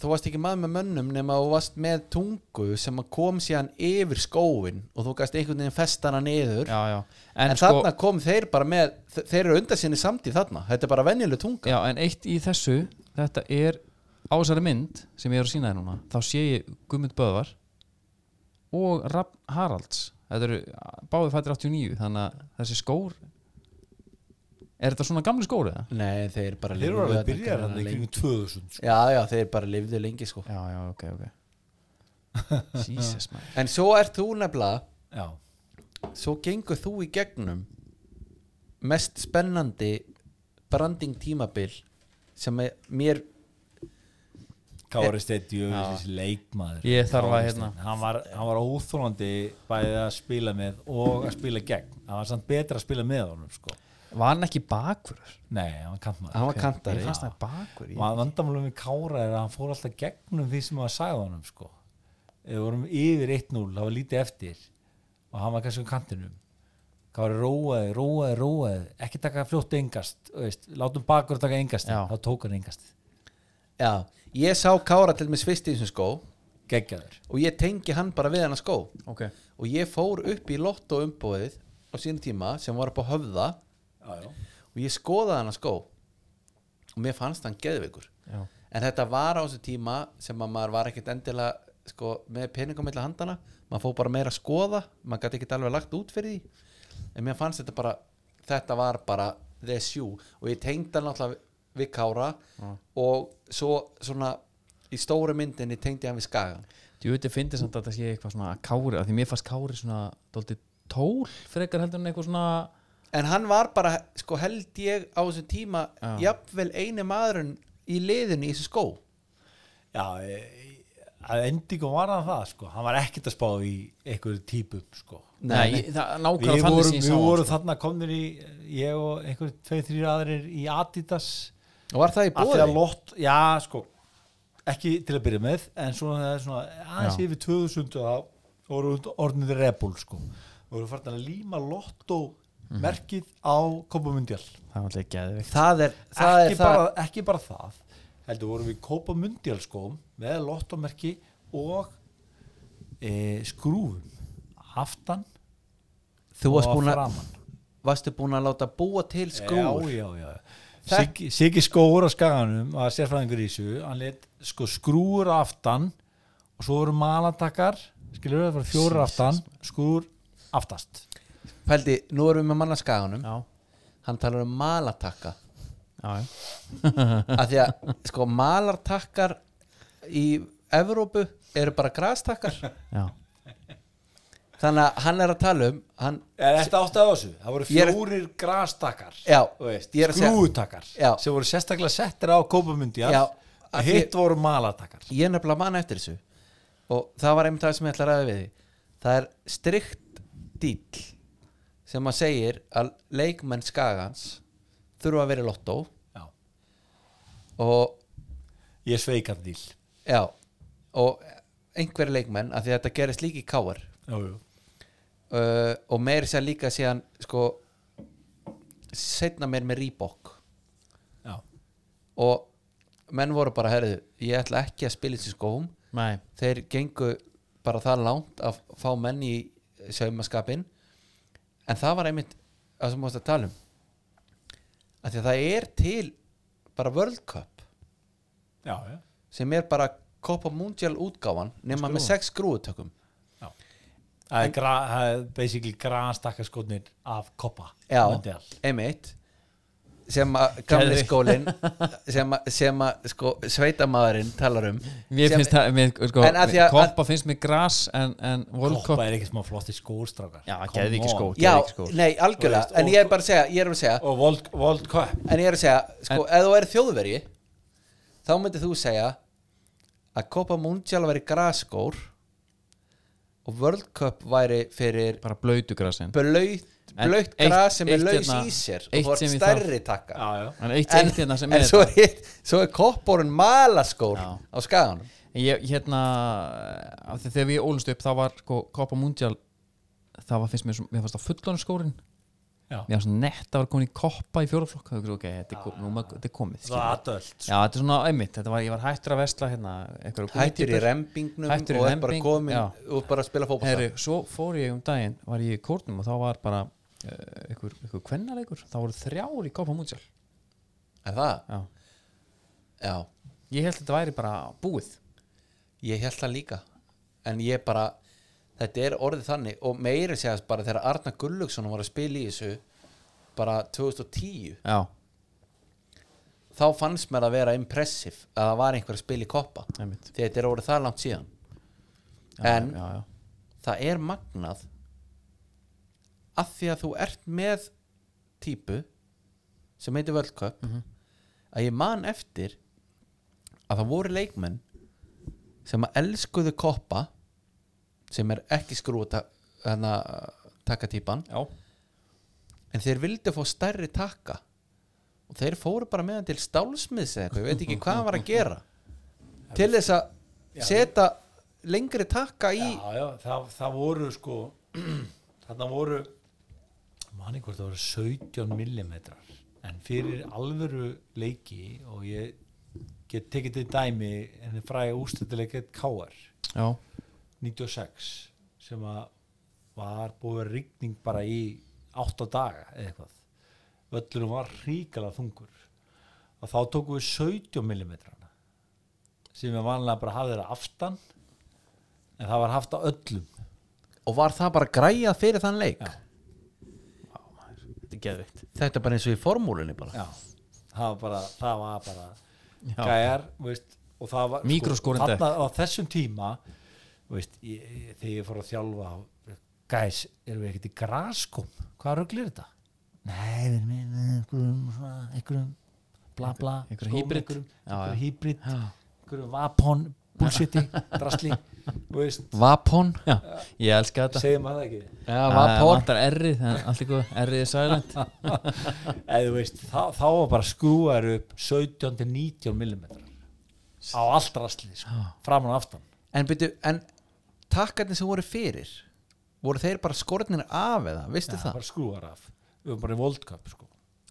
Speaker 2: þú varst ekki maður með mönnum nema þú varst með tungu sem að kom síðan yfir skóin og þú gæst einhvern veginn festana niður
Speaker 1: Já, sko- já
Speaker 2: en, þarna kom þeir bara með þe- þeir eru undan sinni samtíð þarna, þetta er bara venjuleg tunga
Speaker 1: Já, en eitt í þessu, þetta er á þessari mynd sem ég er að sína þér núna þá sé ég Guðmund Böðvar og Rapp Haralds þetta eru báði fættir 89 þannig að þessi skór er þetta svona gamli skór eða?
Speaker 2: nei, þeir bara
Speaker 3: Þeir eru alveg
Speaker 2: þarna
Speaker 3: byrjar hann í
Speaker 2: lengi.
Speaker 3: kringum 2000 sko.
Speaker 2: já, já, þeir bara lifðu lengi sko
Speaker 1: Já, já, ok, ok Jesus, man
Speaker 2: en svo ert þú nefnilega
Speaker 3: Já,
Speaker 2: svo gengur þú í gegnum mest spennandi branding tímabil sem er- mér
Speaker 3: Kári Steinn Jöfis leikmaður
Speaker 1: Ég þarf að,
Speaker 3: Kári
Speaker 1: hérna-
Speaker 3: Steinn, hann var, hann var óþólandi bæðið að spila með og að spila gegn hann var samt betra að spila með honum sko.
Speaker 1: Var hann ekki bakvörður?
Speaker 3: Nei, hann var kantmaður
Speaker 2: hann var kantari
Speaker 1: Ég fannst hann bakvörður ég...
Speaker 3: og að vandamálum við Kára er að hann fór alltaf gegnum því sem að sagði honum sko. ef við vorum yfir 1-0 það var lítið eftir og hann var kannski á kantinum Kári róaði, róaði, róaði ekki taka fljótt engast þú veist, látum bakur taka engast
Speaker 1: Já.
Speaker 3: þá tók hann engast
Speaker 2: já, ég sá Kára til með svist í þessum skó
Speaker 3: geggjaður
Speaker 2: og ég tengi hann bara við hann að skó
Speaker 1: Ok
Speaker 2: og ég fór upp í lotto umbóðið á sín tíma sem var upp á höfða
Speaker 3: já, já.
Speaker 2: og ég skoðaði hann að skó og mér fannst hann geðveikur
Speaker 1: Já.
Speaker 2: en þetta var á þessu tíma sem að maður var ekkert endilega sko, með peningum milli handana maður fór bara meira að skoða maður gæti ekkert alveg lagt út fyrir því en mér fannst þetta bara þetta var bara the shoe og ég tengd hann alltaf við Kára og svo svona í stóru myndinni tengdi ég hann við Skagan
Speaker 1: Þú veit, ég fyndi samt að þetta sé eitthvað svona kári af því mér fannst kári svona dóltið tól frekar heldur en eitthvað svona
Speaker 2: en hann var bara sko held ég á þessum tíma jafnvel eini maðurinn í liðinu í þessu skó
Speaker 3: Já, e- að endingu var hann það sko. hann var ekkert að spá í einhverju típum sko.
Speaker 2: Nei,
Speaker 1: Nei, það
Speaker 3: við
Speaker 1: nákvæmlega þannig
Speaker 3: vorum,
Speaker 1: sem ég sá
Speaker 3: við
Speaker 1: hann,
Speaker 3: vorum
Speaker 1: sko.
Speaker 3: þarna komnir í ég og einhverju tveið þrýr aðrir í Adidas
Speaker 2: og var það í
Speaker 3: af því að
Speaker 2: bóði
Speaker 3: lott, já sko ekki til að byrja með en svona það er svona aðeins
Speaker 1: Já.
Speaker 3: yfir 2000 og þá voru orðinni rebul sko og voru farin að líma lottó
Speaker 2: Mhm.
Speaker 3: merkið á Kópamundjál
Speaker 1: Það var alltaf geðvikt
Speaker 2: það er, það
Speaker 3: ekki,
Speaker 2: er það
Speaker 3: bara, ekki bara það heldur vorum við kópa mundjálskóm sko, með lottomerki og e, skrúfum aftan
Speaker 2: þú varst
Speaker 3: og
Speaker 2: búin að,
Speaker 3: framan
Speaker 2: varstu búin að láta búa til skrúur
Speaker 3: já, já, já.
Speaker 2: Þek-
Speaker 3: Siggi, Siggi skóur á skaganum að sérfræðingur í þessu hann let sko, skrúur aftan og svo voru malatakar skilur það var fjórar aftan skrúur aftast
Speaker 2: Pældi, nú erum við með manna skaganum
Speaker 1: Já,
Speaker 2: hann talar um malatakka
Speaker 1: já, já.
Speaker 2: af því að sko malartakkar í Evrópu eru bara grastakkar
Speaker 1: já.
Speaker 2: þannig að hann er að tala um hann,
Speaker 3: Er þetta átt að þessu? Það voru
Speaker 2: Ég er-
Speaker 3: fjórir grastakar
Speaker 2: Já,
Speaker 3: þú veist,
Speaker 2: ég er að segja-
Speaker 3: skrúutakar
Speaker 2: Já.
Speaker 3: sem voru sérstaklega settir á kópamundi
Speaker 2: Já,
Speaker 3: að
Speaker 2: að
Speaker 3: hitt voru malatakar
Speaker 2: ég er nefnilega manna eftir þessu og það var einmitt það sem ég ætla að ræða við því það er strikt dýll sem að segir að leikmenn skagans þurfa að vera í lottó
Speaker 3: Já.
Speaker 2: og
Speaker 3: Ég sveikar dýl
Speaker 2: já og einhverja leikmenn að því að þetta gerist líki káar
Speaker 3: Já, já
Speaker 2: uh, og meir sér líka síðan sko setna meir með Reebok
Speaker 3: já,
Speaker 2: og menn voru bara, herðu, ég ætla ekki að spila þessi skóum
Speaker 5: Nei,
Speaker 2: þeir gengu bara það langt að fá menn í saumaskapin en það var einmitt það sem mást að tala um að því að það er til bara World Cup
Speaker 3: já, já.
Speaker 2: sem er bara Copa Mundial útgáfan nema með sex skrúutökum
Speaker 3: Það er, gra, það er basically grastakkaskotnir af koppa
Speaker 2: já,
Speaker 3: Mundial.
Speaker 2: einmitt sem að gamli
Speaker 5: Geðveikt.
Speaker 2: skólin sem að, sem að sko, sveitamaðurinn talar um
Speaker 1: Mér
Speaker 2: sem-
Speaker 1: finnst það, mér, sko,
Speaker 2: En að því að-
Speaker 1: koppa finnst mér gras en, en World
Speaker 3: Koppa
Speaker 1: Cup
Speaker 3: er ekki smá flotti skórstrákar
Speaker 5: já, geði ekki skó
Speaker 2: já,
Speaker 5: geðveikir skór.
Speaker 2: nei, algjörlega,
Speaker 3: Þú veist,
Speaker 2: en
Speaker 3: og-
Speaker 2: ég er bara að segja ég er að segja,
Speaker 3: Og World, World Cup
Speaker 2: en ég er að segja sko, ef þú er þjóðverji þá myndir þú segja að Copa Mundial væri graskór og World Cup væri fyrir
Speaker 1: bara blöytu grasin
Speaker 2: blöyt,
Speaker 1: En
Speaker 2: blöyt
Speaker 1: eitt-
Speaker 2: gras sem
Speaker 1: eitt
Speaker 2: er laus
Speaker 1: hérna-
Speaker 2: í sér
Speaker 1: eitt
Speaker 2: og þú
Speaker 1: sem
Speaker 2: er
Speaker 1: ég
Speaker 2: stærri takka
Speaker 3: Já, já
Speaker 1: En eitt
Speaker 2: en,
Speaker 1: eitt hérna sem
Speaker 2: en
Speaker 1: er
Speaker 2: svo,
Speaker 1: þetta.
Speaker 2: er, hitt- svo er kopporun malaskór
Speaker 1: Já.
Speaker 2: á skaganum
Speaker 1: ég, hérna, af því þegar við ólumst upp þá var sko, koppa mundial það var finnst mér, svo- mér fannst á fullonu skórin
Speaker 3: Já.
Speaker 1: mér fannst nett að vera komin í koppa í fjóraflokk ok, þetta er, kom, núma, þetta er komið
Speaker 3: Það
Speaker 1: skilur.
Speaker 3: er adult sko.
Speaker 1: já, þetta er svona einmitt, þetta var, ég var hættur að vesla hérna, einhverju
Speaker 2: hættur í
Speaker 1: gúmmítípur.
Speaker 2: rembingnum
Speaker 1: Hættur í
Speaker 2: og er bara
Speaker 1: rembing,
Speaker 2: komin
Speaker 1: já.
Speaker 2: og bara að spila fótbolta
Speaker 1: Heri, svo fór ég um daginn, var ég í kórnum og þá var bara uh, einhver, einhver kvennaleikur þá voru þrjár í Copa Mundial
Speaker 2: er það?
Speaker 1: Já.
Speaker 2: já,
Speaker 1: ég held að þetta væri bara búið
Speaker 2: ég held það líka en ég bara, þetta er orðið þannig og meiri segjast bara þegar Arna Gulluksson var að spila í þessu bara 2010
Speaker 1: já,
Speaker 2: þá fannst mér að vera impressiv að það var einhver að spila í koppa
Speaker 1: einmitt
Speaker 2: því þetta er orðið það langt síðan
Speaker 1: já,
Speaker 2: En-
Speaker 1: já, já.
Speaker 2: það er magnað að því að þú ert með típu sem heitir World Cup að ég man eftir að það voru leikmenn sem að elskuðu koppa sem er ekki skrúa hana, hérna, taka típan
Speaker 1: Já.
Speaker 2: en þeir vildu fá stærri takka og þeir fóru bara meðan til stálsmiðs eða eitthvað, ég veit ekki hvað hann var að gera til þess að setja lengri takka í
Speaker 3: Já, já, það, það voru sko þarna voru manni hvort það voru 17 millimetrar en fyrir alvöru leiki og ég get tekið til dæmi en það fræði ústættilega KR
Speaker 1: já,
Speaker 3: 96 sem að var búið að rigning bara í 8 daga eða eitthvað völlunum var ríkala þungur og þá tókum við 17 millimetrana sem við vanlega bara hafði þeirra aftan en það var haft á öllum
Speaker 2: og var það bara græjað fyrir þann leik
Speaker 3: Já.
Speaker 5: Þetta er geðvikt
Speaker 2: þetta er bara eins og í formúlunni bara
Speaker 3: Já, það var bara, það var bara
Speaker 1: Já.
Speaker 3: gæjar, veist og það var, sko,
Speaker 1: Míkróskorinn dekk.
Speaker 3: þarna á þessum tíma veist, ég, ég, þegar ég fór að þjálfa gæs, erum við ekkert í graskum hvað ruglir þetta? Nei, við erum með einhverjum svona, einhverjum bla bla,
Speaker 1: Einhverjum
Speaker 3: skóm,
Speaker 1: hybrid.
Speaker 3: einhverjum,
Speaker 1: Já, já.
Speaker 3: einhverjum hýbrit einhverjum vapon, bullshiti drasli, veist
Speaker 2: Vapon
Speaker 1: já, ég elska þetta Eh,
Speaker 3: segir maður það ekki?
Speaker 2: Já,
Speaker 1: það vantar errið, en allt í góð errið er silent
Speaker 3: eða þú veist, þá, þá var bara skrúar upp 17-19 mm á allt rastlið sko, fram og aftan
Speaker 2: en, byrju, en takkarnir sem voru fyrir voru þeir bara skornir af eða, veistu
Speaker 3: Já,
Speaker 2: það?
Speaker 3: bara skrúar af, við varum bara í World Cup sko.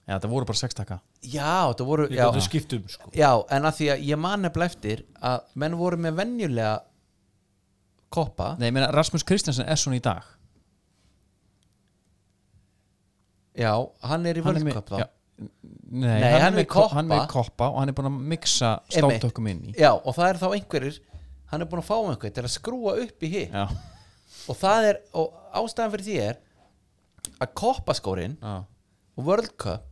Speaker 1: já, það voru bara sextaka
Speaker 2: Já, það voru
Speaker 3: við
Speaker 2: já,
Speaker 3: gotum skiptum sko.
Speaker 2: já, en að því að ég man nefnilega eftir að menn voru með venjulega koppa
Speaker 1: nei, ég meina Rasmus Kristjansen er svona í dag
Speaker 2: já, hann er í
Speaker 1: er með-
Speaker 2: völdköp þá
Speaker 1: já, nei,
Speaker 2: Nei,
Speaker 1: hann, er
Speaker 2: hann er
Speaker 1: með
Speaker 2: í
Speaker 1: ko-
Speaker 2: koppa.
Speaker 1: hann er með koppa og hann er búin að mixa
Speaker 2: Einmitt.
Speaker 1: stáltökum inn í
Speaker 2: já, og það er þá einhverjir hann er búin að fá einhver til að skrúa upp í hitt
Speaker 1: já,
Speaker 2: og það er, og ástæðan fyrir því er að koppaskórin
Speaker 1: já,
Speaker 2: og World Cup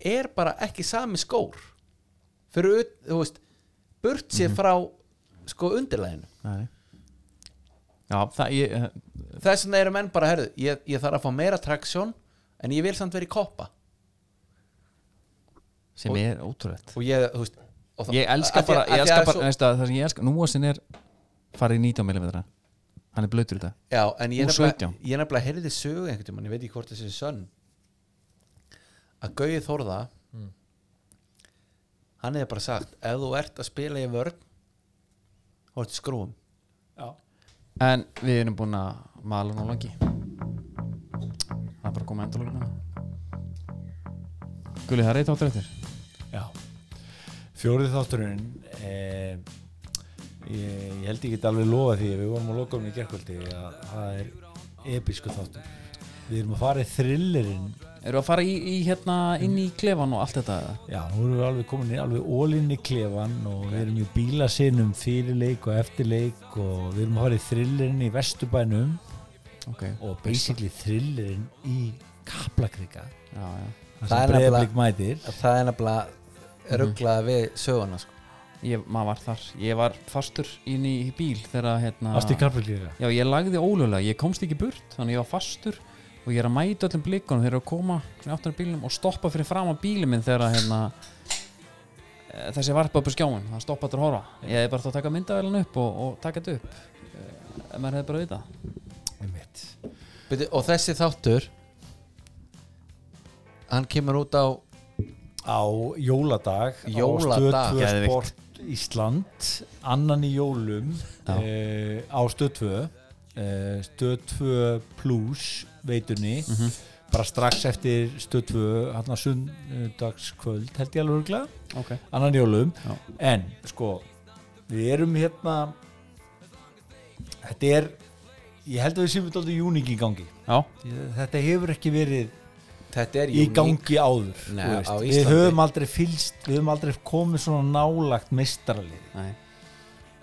Speaker 2: er bara ekki sami skór fyrir, ut- þú veist burt sér
Speaker 1: Mhm.
Speaker 2: frá sko undirleginu
Speaker 1: nei já, það, ég eh,
Speaker 2: þess vegna eru menn bara, herðu, ég, ég þarf að fá meira traksjón en ég vil samt vera í koppa
Speaker 1: sem
Speaker 2: Og-
Speaker 1: er ótrúlegt
Speaker 2: og ég, þú veist og það-
Speaker 1: ég elska
Speaker 2: af því að-
Speaker 1: bara,
Speaker 2: af
Speaker 1: ég
Speaker 2: því
Speaker 1: elska
Speaker 2: að
Speaker 1: bara
Speaker 2: svo-
Speaker 1: veistu það, það sem ég elska, núasin er farið í 19 mm hann er blöytur í dag
Speaker 2: Já, en ég
Speaker 1: Úr
Speaker 2: nefnilega,
Speaker 1: 17.
Speaker 2: ég nefnilega heyrði sögu einhvern tímann, ég veit ekki hvort þessi er sönn að Gauði Þórða
Speaker 1: Mm.
Speaker 2: hann hefði bara sagt ef þú ert að spila í vörn þá ertu skrúum
Speaker 3: Já.
Speaker 1: en við erum búin að Malun og langi Það er bara að koma endalókum með Gulli, það er eitt áttur eftir
Speaker 3: Já Fjórið þátturinn eh, ég, ég held ég get alveg lofa því við vorum að loka um í gerkvöldi að það er episku þáttur Við erum að fara í thrillerinn
Speaker 1: Eru að fara í, í hérna inn í klefan og allt þetta eða?
Speaker 3: Já, nú erum við alveg komin í alveg ólinni klefan og við erum í bílasinum fyrir leik og eftir leik og við erum að fara í thrillerinn í vesturbænum
Speaker 1: Ok,
Speaker 3: og basically thrillerinn í Kaplakrika
Speaker 1: já, já
Speaker 3: þar
Speaker 2: Það
Speaker 3: sem
Speaker 2: er nefnilega-
Speaker 3: breyðablik mætir
Speaker 2: það er nefnilega rugglað við söguna sko.
Speaker 1: Ég, maður var þar, ég var fastur inn í bíl þegar að, hérna
Speaker 3: Ástu í Kaplakrika
Speaker 1: Já, ég lagði ólöglega, ég komst ekki burt þannig ég var fastur og ég er að mæta öllum blikunum þeir eru að koma svona aftan á bílnum og stoppa fyrir fram á bílum minn þegar að hérna eh, þessi varpa upp á skjáin, það stoppa þetta að horfa ég hefði bara þá að taka myndavelin upp og, og taka þetta upp eh, ef maður hefði bara vita
Speaker 2: Byrju, og þessi þáttur hann kemur út á
Speaker 3: á jóladag,
Speaker 2: Jóladag.
Speaker 3: á Stöð 2
Speaker 5: Geðveikt.
Speaker 3: Sport Ísland annan í jólum uh, á Stöð 2 uh, Stöð 2 Plus veitunni
Speaker 1: Mhm.
Speaker 3: bara strax eftir Stöð 2 hann að sundagskvöld held ég alveg örgulega
Speaker 1: ok,
Speaker 3: annan í jólum
Speaker 1: Já.
Speaker 3: en sko við erum hérna þetta er ég held að við séum þetta aldrei júning í gangi
Speaker 1: já,
Speaker 3: Ég- þetta hefur ekki verið
Speaker 2: þetta er
Speaker 3: í
Speaker 2: unique.
Speaker 3: gangi áður
Speaker 2: Nei,
Speaker 3: þú veist.
Speaker 2: á
Speaker 3: við
Speaker 2: Íslandi.
Speaker 3: höfum aldrei fylst við höfum aldrei komið svona nálagt meistaralið
Speaker 1: nei,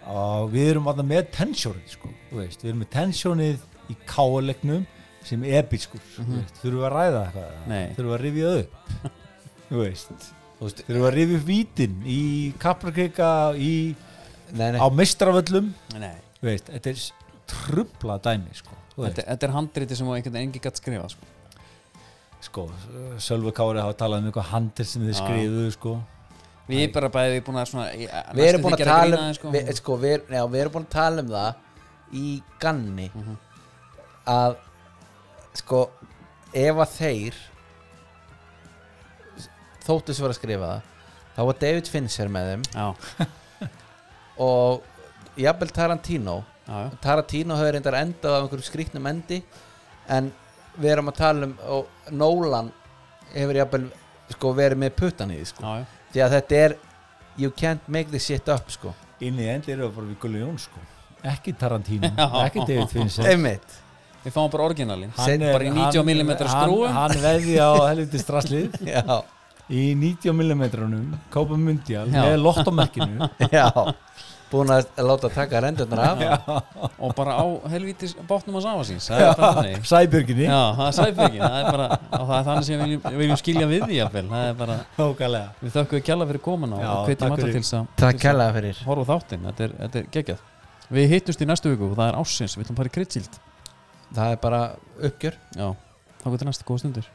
Speaker 3: og við erum alltaf með tensjónið sko, þú veist. við erum með tensjónið í káalegnum sem episkur mm -hmm. þurfum við að ræða eitthvað
Speaker 1: Mhm. Nei.
Speaker 3: þurfum við að rifja upp þú veist
Speaker 2: Þú veist,
Speaker 3: þurfum við að rifja upp vítin í kaprakrika í,
Speaker 2: nei, nei,
Speaker 3: á meistaravöllum
Speaker 1: nei.
Speaker 3: Þú veist, þetta er trubla dæmi sko, Þú veist.
Speaker 1: Þetta, þetta er handriti sem á einhvern veginn engi gætt skrifa sko.
Speaker 3: sko Sölvi Kári hafa talað um eitthvað handil sem þið
Speaker 1: Já.
Speaker 3: skrifuðu sko.
Speaker 1: við erum bara bæði búin að svona, ég-
Speaker 2: við
Speaker 1: næstum
Speaker 2: erum búin
Speaker 1: því
Speaker 2: að
Speaker 1: gera
Speaker 2: tala
Speaker 1: grín
Speaker 2: um
Speaker 1: aðeins, sko.
Speaker 2: við, sko, við, já, við erum búin að tala um það í ganni að sko ef að þeir þóttu sem var að skrifa það þá var David Fincher með þeim
Speaker 1: já,
Speaker 2: og jafnvel Tarantino
Speaker 1: já, já,
Speaker 2: Tarantino hefur reyndar endað á einhverjum skrýtnum endi en við erum að tala um og Nolan hefur jafnvel sko verið með puttan í því sko
Speaker 1: já, já.
Speaker 2: því að þetta er you can't make this shit up sko
Speaker 3: inn í endi eru það bara við Gulli Jón sko. ekki Tarantino,
Speaker 1: Já.
Speaker 3: ekki David Fincher
Speaker 2: einmitt
Speaker 1: við fáum bara orginalin
Speaker 3: Hann er-
Speaker 1: bara í 90
Speaker 3: hann-
Speaker 1: mm skrúum
Speaker 3: hann, hann veði á helviti strasslið
Speaker 2: já,
Speaker 3: í 90 mm Kópa Mundial
Speaker 1: Já.
Speaker 3: með lottomerkinu
Speaker 2: já búin að láta taka rendurnar af
Speaker 1: og bara á helvítis bátnum að safa síns það er bara þannig
Speaker 3: Sæbjörginni
Speaker 1: Já, það er sæfengið, það er bara og það er þannig sem við viljum, við viljum skilja við því jafnvel, það er bara,
Speaker 3: Nákvæmlega
Speaker 1: við þökkum við kjalla fyrir komuna
Speaker 3: Já,
Speaker 1: og
Speaker 3: takk
Speaker 1: hvetjum alla
Speaker 3: fyrir.
Speaker 1: til þess að
Speaker 2: takk kærlega fyrir
Speaker 1: horfa á þáttinn, þetta er, þetta er geggjað Við hittumst í næstu viku og það er ásins, við ætlum bara í kryddsíld
Speaker 2: það er bara uppgjör
Speaker 1: Já, þá getur næstu góða stundir